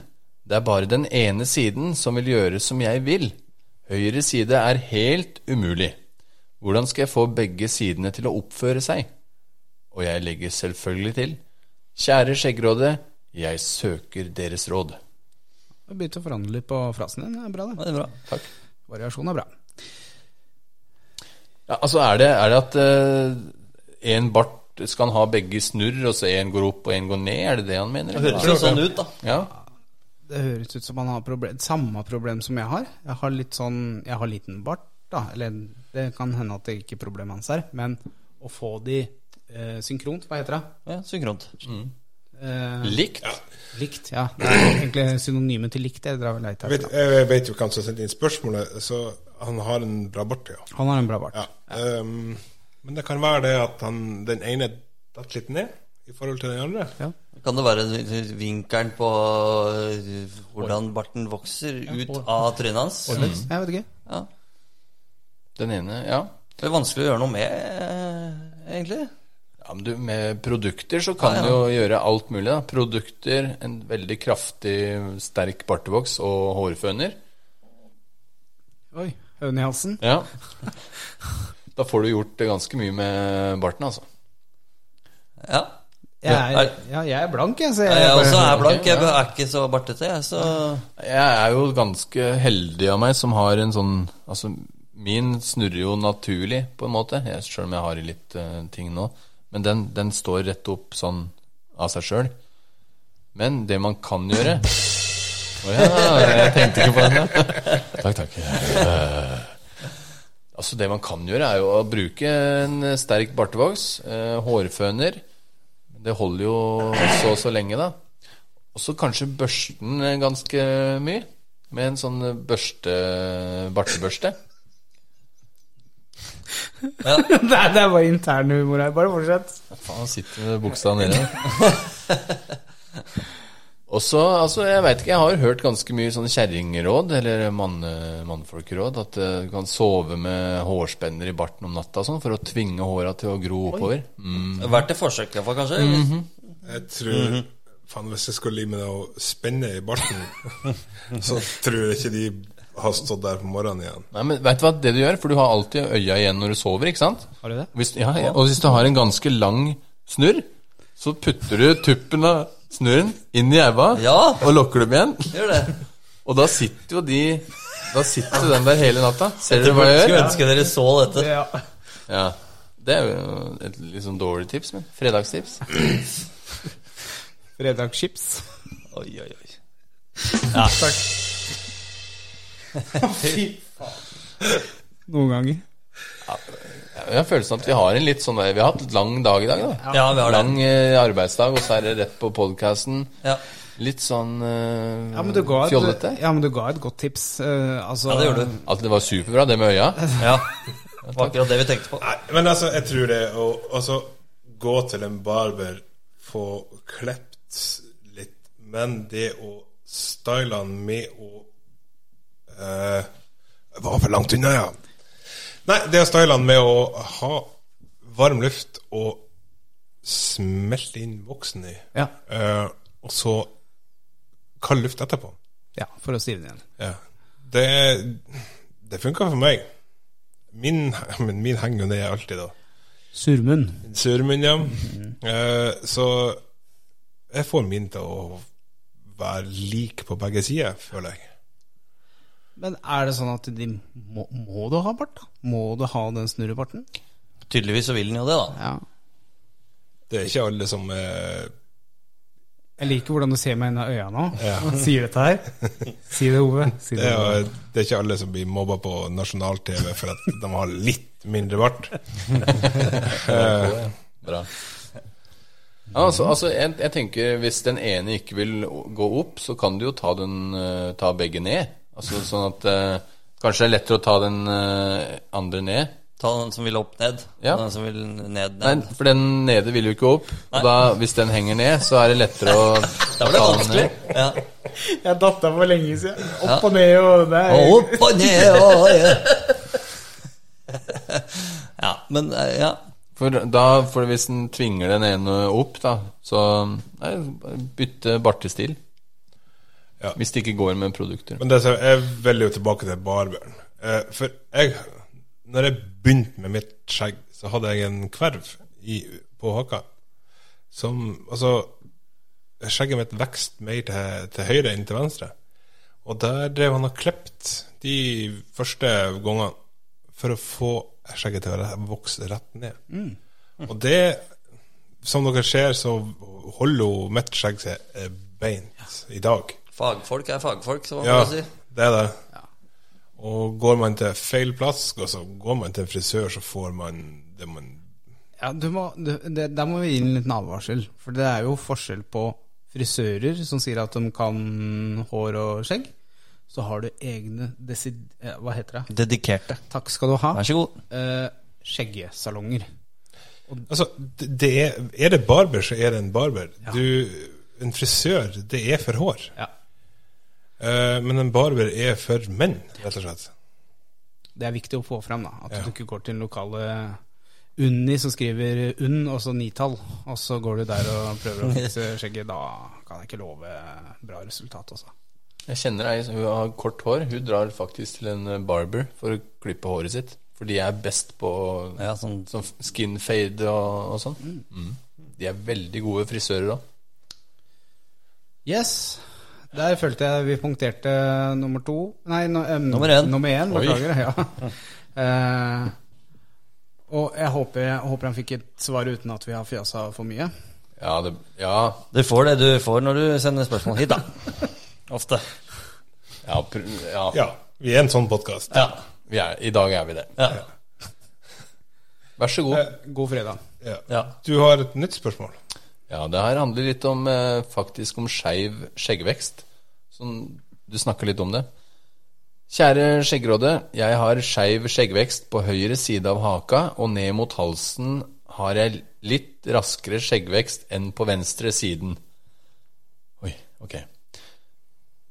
[SPEAKER 3] det er bare den ene siden som vil gjøre som jeg vil. Høyre side er helt umulig. Hvordan skal jeg få begge sidene til å oppføre seg? Og jeg legger selvfølgelig til Kjære Skjeggråde, jeg søker deres råd.
[SPEAKER 1] Du begynte å forandre litt på frasen din. Det er Bra,
[SPEAKER 2] Ja,
[SPEAKER 1] det.
[SPEAKER 2] Det er bra.
[SPEAKER 3] Takk.
[SPEAKER 1] Variasjon er bra.
[SPEAKER 3] Ja, altså er det, er det at eh, en bart skal ha begge snurr, og så en går opp og en går ned? Er det det han mener?
[SPEAKER 2] Det høres jo sånn ut, da.
[SPEAKER 3] Ja.
[SPEAKER 1] Det høres ut som han har problem, samme problem som jeg har. Jeg har litt sånn, jeg har liten bart, da. Eller det kan hende at det ikke er problemet hans her. Men å få de eh, synkront, hva heter det?
[SPEAKER 2] Ja, Synkront.
[SPEAKER 1] Eh,
[SPEAKER 3] Likt.
[SPEAKER 1] likt, ja. Det er egentlig synonyme til likt. Jeg drar vel leit
[SPEAKER 4] Jeg vet,
[SPEAKER 1] her.
[SPEAKER 4] jeg vet jo hvem som sendte inn spørsmålet, så han har en bra bart, ja.
[SPEAKER 1] Han har en bra bart.
[SPEAKER 4] ja. ehm, men det kan være det at han, den ene datt litt ned i forhold til den andre.
[SPEAKER 1] Ja.
[SPEAKER 2] Kan det være vinkelen på øh, hvordan barten vokser ut av trynet hans?
[SPEAKER 1] Jeg vet ikke.
[SPEAKER 2] Ja.
[SPEAKER 3] Den ene, ja.
[SPEAKER 2] Det er vanskelig å gjøre noe med, eh, egentlig.
[SPEAKER 3] ja men du, med produkter så kan
[SPEAKER 2] Ja, ja.
[SPEAKER 3] du jo gjøre alt mulig. Da. Produkter, en veldig kraftig, sterk bartevoks og hårføner.
[SPEAKER 1] Oi, høne i halsen.
[SPEAKER 3] Ja. Da får du gjort eh, ganske mye med barten, altså.
[SPEAKER 2] Ja.
[SPEAKER 1] Jeg er,
[SPEAKER 2] Er-
[SPEAKER 1] ja, jeg er blank, jeg. Så jeg,
[SPEAKER 2] Jeg også er
[SPEAKER 3] ok,
[SPEAKER 2] blank. Jeg
[SPEAKER 3] ja.
[SPEAKER 2] er ikke så bartete, jeg, så
[SPEAKER 3] Jeg er jo ganske heldig av meg som har en sånn Altså, min snurrer jo naturlig, på en måte, jeg- selv om jeg har i litt eh, ting nå. Men den, den står rett opp sånn av seg sjøl. Men det man kan gjøre Å ja, jeg tenkte ikke på den. ja. Takk, takk. Eh, altså, det man kan gjøre, er jo å bruke en sterk bartevoks, eh, hårføner. Det holder jo så og så lenge, da. Og så kanskje børsten ganske mye. Med en sånn børste bartebørste.
[SPEAKER 1] det, er, det er bare intern humor her. Bare fortsett.
[SPEAKER 3] Faen, han sitter med buksa nede. Og så, altså, jeg veit ikke, jeg har hørt ganske mye sånn kjerringråd, eller manne, mannfolkråd, at eh, du kan sove med hårspenner i barten om natta og sånn, for å tvinge håra til å gro oppover. Mm.
[SPEAKER 2] Verdt et forsøk, i hvert fall, kanskje.
[SPEAKER 4] Jeg tror Faen, hvis jeg skulle ligge med deg og spenne i barten, så tror jeg ikke de har stått der på morgenen igjen.
[SPEAKER 3] Nei, men vet du hva det du gjør? For du har alltid øya igjen når du sover, ikke sant?
[SPEAKER 1] Har du det?
[SPEAKER 3] Hvis, ja, ja. Og hvis du har en ganske lang snurr, så putter du tuppen av snurren inn i elva
[SPEAKER 2] Ja.
[SPEAKER 3] og lukker dem igjen.
[SPEAKER 2] Gjør det.
[SPEAKER 3] Og da sitter jo de Da sitter jo den der hele natta. Ser dere hva jeg
[SPEAKER 2] Skulle
[SPEAKER 3] gjør?
[SPEAKER 2] ønske dere så dette.
[SPEAKER 1] Ja.
[SPEAKER 3] Ja. Det er jo et litt sånn dårlig tips, men fredagstips.
[SPEAKER 1] Fredagschips.
[SPEAKER 2] Oi, oi, oi.
[SPEAKER 1] Noen ganger.
[SPEAKER 3] Jeg har følelsen at vi har en litt sånn der- Vi har hatt et lang dag i dag, da.
[SPEAKER 2] Ja, vi har det.
[SPEAKER 3] Lang eh, arbeidsdag, og så er det rett på podkasten.
[SPEAKER 2] Ja.
[SPEAKER 3] Litt sånn eh,
[SPEAKER 1] Ja, men du ga et,
[SPEAKER 3] fjollete.
[SPEAKER 1] ja, men du ga et godt tips. eh, altså,
[SPEAKER 2] ja, det gjorde du.
[SPEAKER 3] At det var superbra, det med øya.
[SPEAKER 2] Ja. Det var akkurat det vi tenkte på.
[SPEAKER 4] Nei, men altså, jeg tror det å altså, gå til en barber, få klept litt, men det å style han med å eh, Jeg var for langt unna, ja. Nei, det å style han med å ha varm luft og smelte inn voksen i,
[SPEAKER 1] Ja.
[SPEAKER 4] eh, og så kald luft etterpå.
[SPEAKER 1] Ja, for å stivne igjen.
[SPEAKER 4] Ja. Det, det funka for meg. Min, men min henger jo ned alltid, da.
[SPEAKER 1] Surmunn.
[SPEAKER 4] Surmunn, ja. Eh, så jeg får min til å være lik på begge sider, føler jeg.
[SPEAKER 1] Men er det sånn at de må, må du ha bart? da? Må du ha den snurrebarten?
[SPEAKER 2] Tydeligvis så vil den jo det, da.
[SPEAKER 1] Ja.
[SPEAKER 4] Det er ikke alle som eh,
[SPEAKER 1] Jeg liker hvordan du ser meg inn i øya nå.
[SPEAKER 4] Ja.
[SPEAKER 1] Sier dette her. Si det, Ove. Si
[SPEAKER 4] det,
[SPEAKER 1] det, Ove.
[SPEAKER 4] er, det er ikke alle som blir mobba på nasjonal-TV for at de har litt mindre bart.
[SPEAKER 2] Eh.
[SPEAKER 3] Bra. Ja, altså, altså jeg, jeg tenker Hvis den ene ikke vil o- gå opp, så kan du jo ta, den, eh, ta begge ned. Altså Sånn at eh, kanskje det er lettere å ta den eh, andre ned.
[SPEAKER 2] Ta den som vil opp, ned.
[SPEAKER 3] Ja.
[SPEAKER 2] Ta den som vil ned,
[SPEAKER 3] Nei,
[SPEAKER 2] ned.
[SPEAKER 3] for den nede vil jo ikke opp. Og da, hvis den henger ned, så er det lettere å
[SPEAKER 2] Da var det vanskelig. Ja.
[SPEAKER 1] Jeg datt av for lenge siden. Opp og ned og det er-
[SPEAKER 2] Og opp og ned og Ja, men eh, ja.
[SPEAKER 3] For da, for hvis den tvinger den ene opp, da, så nei, bytte bartestil.
[SPEAKER 4] Ja.
[SPEAKER 3] Hvis det ikke går med produkter.
[SPEAKER 4] Men det, som- jeg vil jo tilbake til barberen. Eh, for jeg Når jeg begynte med mitt skjegg, så hadde jeg en kverv i, på haka som Altså, skjegget mitt vokste mer til, til høyre enn til venstre. Og der drev han og klippet de første gangene for å få skjegget til å re- vokse rett ned. Og det Som dere ser, så holder jo mitt skjegg seg eh, beint i dag.
[SPEAKER 2] Fagfolk er fagfolk, så hva
[SPEAKER 4] Ja,
[SPEAKER 2] kan man si?
[SPEAKER 4] det er det. Og går man til feil plass, og så går man til frisør, så får man det man
[SPEAKER 1] Ja, du må, du, det, Der må vi gi en liten advarsel. For det er jo forskjell på frisører som sier at de kan hår og skjegg. Så har du egne desid... eh, Hva heter det?
[SPEAKER 2] Dedikerte.
[SPEAKER 1] Takk skal du ha.
[SPEAKER 2] Vær så god.
[SPEAKER 1] Eh, skjeggesalonger.
[SPEAKER 4] Altså, det det er, er det barber, så er det en barber. Du, en frisør, det er for hår.
[SPEAKER 1] Ja,
[SPEAKER 4] Eh, men en barber er for menn, rett og slett.
[SPEAKER 1] Det er viktig å få fram, da. At
[SPEAKER 4] Ja.
[SPEAKER 1] du ikke går til den lokale Unni som skriver UNN, og så nitall. Og så går du der og prøver å fikse skjegget. Da kan jeg ikke love bra resultat, altså.
[SPEAKER 3] Jeg kjenner ei som hun har kort hår. Hun drar faktisk til en eh, barber for å klippe håret sitt. For de er best på
[SPEAKER 2] Ja, sånn
[SPEAKER 3] sånn skin fade og, og sånn. Mm. De er veldig gode frisører òg.
[SPEAKER 1] Yes. Der følte jeg vi punkterte nummer to Nei, no, em,
[SPEAKER 2] Nummer én.
[SPEAKER 1] Nummer én,
[SPEAKER 3] Oi.
[SPEAKER 1] Beklager. Ja. Eh, og jeg håper, jeg håper han fikk et svar uten at vi har fjasa for mye.
[SPEAKER 3] Ja, det, ja,
[SPEAKER 2] Du får det du får når du sender spørsmål hit, da. Ofte.
[SPEAKER 3] ja, pr- ja.
[SPEAKER 4] Ja, vi er en sånn podkast.
[SPEAKER 2] Ja.
[SPEAKER 3] Vi er, I dag er vi det.
[SPEAKER 2] ja.
[SPEAKER 3] Vær så god.
[SPEAKER 1] God fredag.
[SPEAKER 4] Ja.
[SPEAKER 2] ja.
[SPEAKER 4] Du har et nytt spørsmål.
[SPEAKER 3] Ja, det her handler litt om eh, faktisk om skeiv skjeggvekst. Sånn, du snakker litt om det. Kjære Skjeggråde, jeg har skeiv skjeggvekst på høyre side av haka, og ned mot halsen har jeg litt raskere skjeggvekst enn på venstre siden. Oi, ok.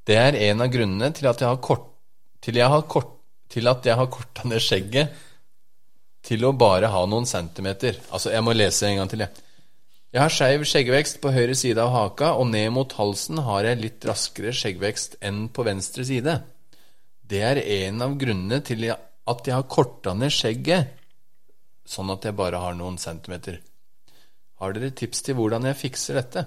[SPEAKER 3] Det er en av grunnene til at jeg har kort... Til, jeg har kort, til at jeg har korta ned skjegget til å bare ha noen centimeter. Altså, jeg må lese en gang til, jeg. Jeg har skeiv skjeggvekst på høyre side av haka, og ned mot halsen har jeg litt raskere skjeggvekst enn på venstre side. Det er en av grunnene til jeg- at jeg har korta ned skjegget, sånn at jeg bare har noen centimeter. Har dere tips til hvordan jeg fikser dette?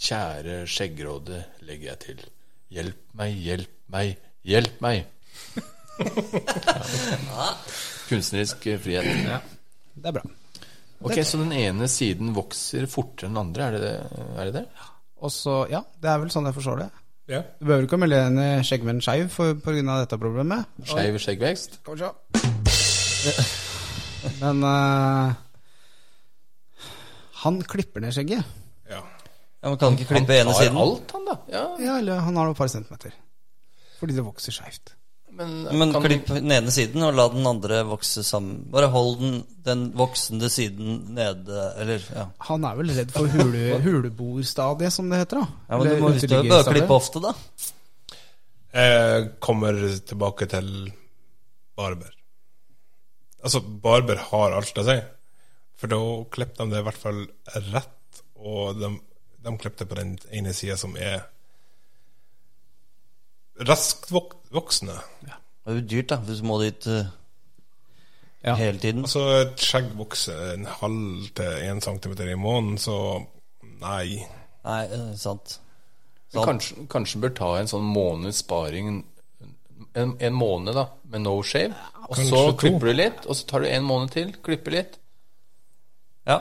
[SPEAKER 3] Kjære skjeggråde, legger jeg til. Hjelp meg, hjelp meg, hjelp meg. Kunstnerisk eh, frihet.
[SPEAKER 1] Det er bra.
[SPEAKER 3] Ok, Så den ene siden vokser fortere enn den andre, er det er det? det?
[SPEAKER 1] Og så, ja, det er vel sånn jeg forstår det.
[SPEAKER 4] Ja.
[SPEAKER 1] Du behøver ikke å melde henne skjeggmenn skeiv pga. dette problemet.
[SPEAKER 3] Skeiv skjeggvekst?
[SPEAKER 1] Skal vi se. Men eh, han klipper ned skjegget.
[SPEAKER 4] ja.
[SPEAKER 2] Ja, man kan ikke klippe ene siden.
[SPEAKER 3] alt, han, da. Ja,
[SPEAKER 1] Ja, eller han har et par centimeter. Fordi det vokser skeivt.
[SPEAKER 3] men,
[SPEAKER 2] Men
[SPEAKER 3] kan
[SPEAKER 2] klipp den ene siden og la den andre vokse sammen. Bare hold den, den voksende siden nede, eller ja.
[SPEAKER 1] Han er vel redd for hule, huleboerstadiet, som det heter. da
[SPEAKER 2] ja men du
[SPEAKER 1] Eller
[SPEAKER 2] må huske å bør
[SPEAKER 1] uteliggerstadiet.
[SPEAKER 2] klippe ofte, da.
[SPEAKER 4] Jeg Eh, kommer tilbake til barber. Altså, barber har alt å si. For da klippte de det i hvert fall rett, og de, de klippte på den ene sida som er raskt vok voksende.
[SPEAKER 2] Det er jo dyrt, da, hvis du må dit eh,
[SPEAKER 1] Ja.
[SPEAKER 2] hele tiden.
[SPEAKER 4] Altså, et skjegg vokser en halv til én centimeter i måneden, så nei.
[SPEAKER 2] Nei, eh, sant. sant.
[SPEAKER 3] Men Kanskje, kanskje bør ta en sånn måneds sparing en, en måned da, med no shave. Og
[SPEAKER 4] Kanskje
[SPEAKER 3] så
[SPEAKER 4] to.
[SPEAKER 3] klipper du litt, og så tar du en måned til, klipper litt.
[SPEAKER 2] Ja.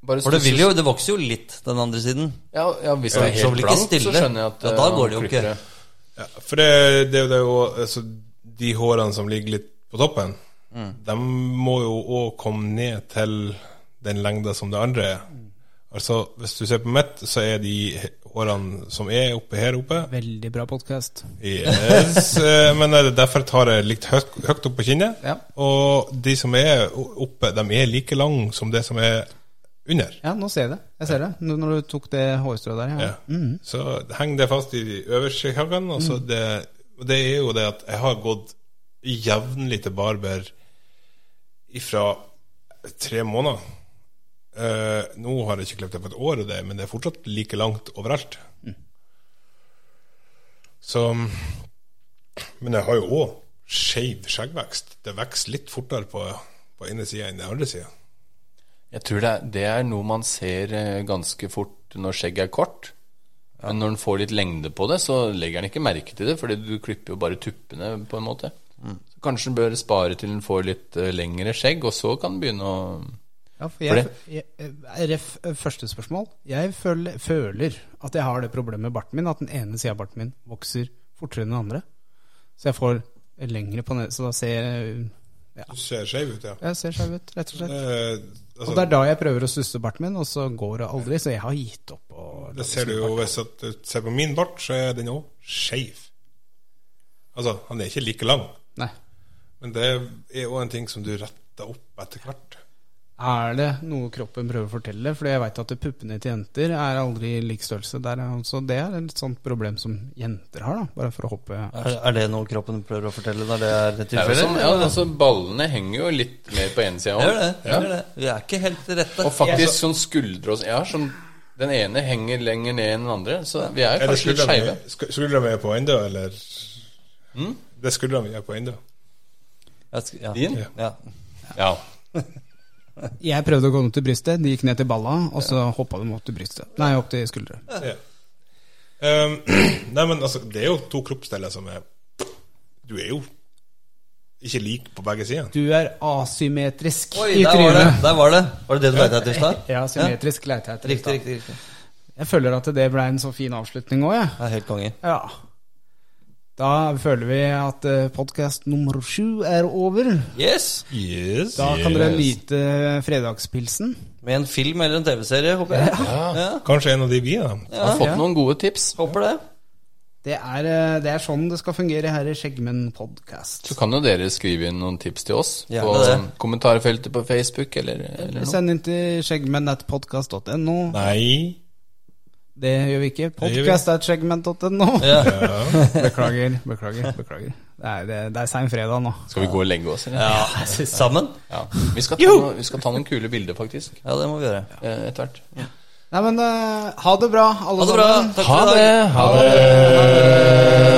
[SPEAKER 3] Bare
[SPEAKER 2] For det,
[SPEAKER 3] så-
[SPEAKER 2] vil jo, det vokser jo litt, den andre siden.
[SPEAKER 3] ja, ja, Hvis det
[SPEAKER 2] Ja,
[SPEAKER 3] er
[SPEAKER 2] så
[SPEAKER 3] helt
[SPEAKER 2] vil ikke
[SPEAKER 3] blankt, så
[SPEAKER 2] stille.
[SPEAKER 3] skjønner jeg at
[SPEAKER 2] Ja,
[SPEAKER 3] eh,
[SPEAKER 2] da går
[SPEAKER 3] han
[SPEAKER 2] det jo ikke.
[SPEAKER 3] klipper
[SPEAKER 4] Ja, for det, det, er jo- det er jo altså, De hårene som ligger litt på toppen, de må jo òg komme ned til den lengda som det andre er. Altså, Hvis du ser på mitt, så er de hårene som er oppe her oppe
[SPEAKER 1] Veldig bra podkast.
[SPEAKER 4] yes, eh, Men er det derfor jeg tar det litt høyt, høyt opp på kinnet.
[SPEAKER 1] Ja.
[SPEAKER 4] Og de som er oppe, de er like lang som det som er under.
[SPEAKER 1] Ja, nå ser jeg det. Jeg ser det. Nå- Når du tok det hårstrået der. Ja.
[SPEAKER 4] Ja. Så henger det fast i de øverste kjakkene. Og så det, og det er jo det at jeg har gått jevnlig til barber ifra tre måneder. Eh, nå har jeg ikke klippet det på et år, og det, men det er fortsatt like langt overalt. Så Men jeg har jo òg skeiv skjeggvekst. Det vokser litt fortere på, på ene sida enn den andre sida.
[SPEAKER 3] Jeg tror det er, det er noe man ser eh, ganske fort når skjegget er kort. Men når den får litt lengde på det, så legger den ikke merke til det, Fordi du klipper jo bare tuppene, på en måte. Så kanskje den bør spare til den får litt eh, lengre skjegg, og så kan den begynne å
[SPEAKER 1] Ja, for jeg, jeg, jeg- ref, eh, første spørsmål. Jeg føler, føler at jeg har det problemet med barten min, at den ene sida av barten min vokser fortere enn den andre. Så jeg får lengre på ned, så da ser jeg ja,
[SPEAKER 4] Du ser skeiv ut, ja.
[SPEAKER 1] jeg ser skeiv ut, rett og slett.
[SPEAKER 4] Eh, altså-
[SPEAKER 1] Og det er da jeg prøver å susse barten min, og så går det aldri. Så jeg har gitt opp. å-
[SPEAKER 4] Det ser du jo hvis at du ser på min bart, så er den òg skeiv. Altså, han er ikke like lang,
[SPEAKER 1] Nei.
[SPEAKER 4] men det er jo en ting som du retter opp etter hvert.
[SPEAKER 1] Er det noe kroppen prøver å fortelle? Fordi jeg veit at puppene til jenter er aldri lik størrelse. Der, er altså, det er et sånt problem som jenter har, da. Bare for å hoppe
[SPEAKER 2] Er, er det noe kroppen prøver å fortelle når det er
[SPEAKER 3] Det er jo
[SPEAKER 2] tilfellet?
[SPEAKER 3] som, ja, altså Ballene henger jo litt mer på ene sida
[SPEAKER 2] Gjør
[SPEAKER 3] òg.
[SPEAKER 2] det. Gjør det. Vi er ikke helt rette.
[SPEAKER 3] Og faktisk sånn skuldre og sånn Ja, som den ene henger lenger ned enn den andre. Så vi er
[SPEAKER 4] Er det
[SPEAKER 3] kanskje litt skeive.
[SPEAKER 4] skuldrene vi- sk- skuldrene vi er på ennå, eller Det er skuldrene vi er på ennå.
[SPEAKER 2] Jeg sk- ja.
[SPEAKER 3] Din?
[SPEAKER 2] Ja.
[SPEAKER 3] Ja.
[SPEAKER 1] Jeg prøvde å gå ned til brystet, de gikk ned til balla, og så hoppa de opp til brystet. Nei, opp til skuldre.
[SPEAKER 4] Ja. Um, nei, men altså, det er jo to kroppsdeler som er Du er jo ikke lik på begge sider.
[SPEAKER 1] Du er asymmetrisk
[SPEAKER 2] Oi,
[SPEAKER 1] i
[SPEAKER 2] der var det!
[SPEAKER 1] trynet.
[SPEAKER 2] Der var det Var det det du lette etter i stad?
[SPEAKER 1] Ja, symmetrisk leter jeg etter.
[SPEAKER 2] Riktig, riktig. riktig
[SPEAKER 1] Jeg føler at det ble en så fin avslutning òg, jeg.
[SPEAKER 2] Det er helt konge.
[SPEAKER 1] Ja. Da føler vi at podkast nummer sju er over.
[SPEAKER 2] Yes!
[SPEAKER 4] Yes.
[SPEAKER 1] Da kan dere nyte fredagspilsen.
[SPEAKER 2] Med en film eller en TV-serie, håper jeg. Ja.
[SPEAKER 4] Kanskje en av de vi er. da.
[SPEAKER 3] Har fått noen gode tips.
[SPEAKER 2] Håper det.
[SPEAKER 1] Det er, eh, det er sånn det skal fungere her i Skjeggmenn podkast.
[SPEAKER 3] Så kan jo dere skrive inn noen tips til oss
[SPEAKER 2] Ja,
[SPEAKER 3] på
[SPEAKER 2] det er det.
[SPEAKER 3] kommentarfeltet på Facebook eller, eller noe.
[SPEAKER 1] Send inn til skjeggmenn.podkast.no.
[SPEAKER 4] Nei.
[SPEAKER 1] Det gjør vi ikke.
[SPEAKER 4] gjør vi.
[SPEAKER 1] Podkast.skjeggmenn.no.
[SPEAKER 2] Ja.
[SPEAKER 1] Beklager, beklager, beklager. Det er, det, det er sein fredag nå.
[SPEAKER 3] Skal vi gå og legge oss, eller?
[SPEAKER 2] ja. Sammen?
[SPEAKER 3] Ja. Vi, skal ta noen, vi skal ta noen kule bilder, faktisk,
[SPEAKER 2] Ja, det må vi gjøre.
[SPEAKER 3] eh, etter hvert.
[SPEAKER 1] Nei, men eh, ha det bra, alle
[SPEAKER 2] Ha det bra.
[SPEAKER 1] sammen.
[SPEAKER 2] Takk for i dag.
[SPEAKER 3] Ha det!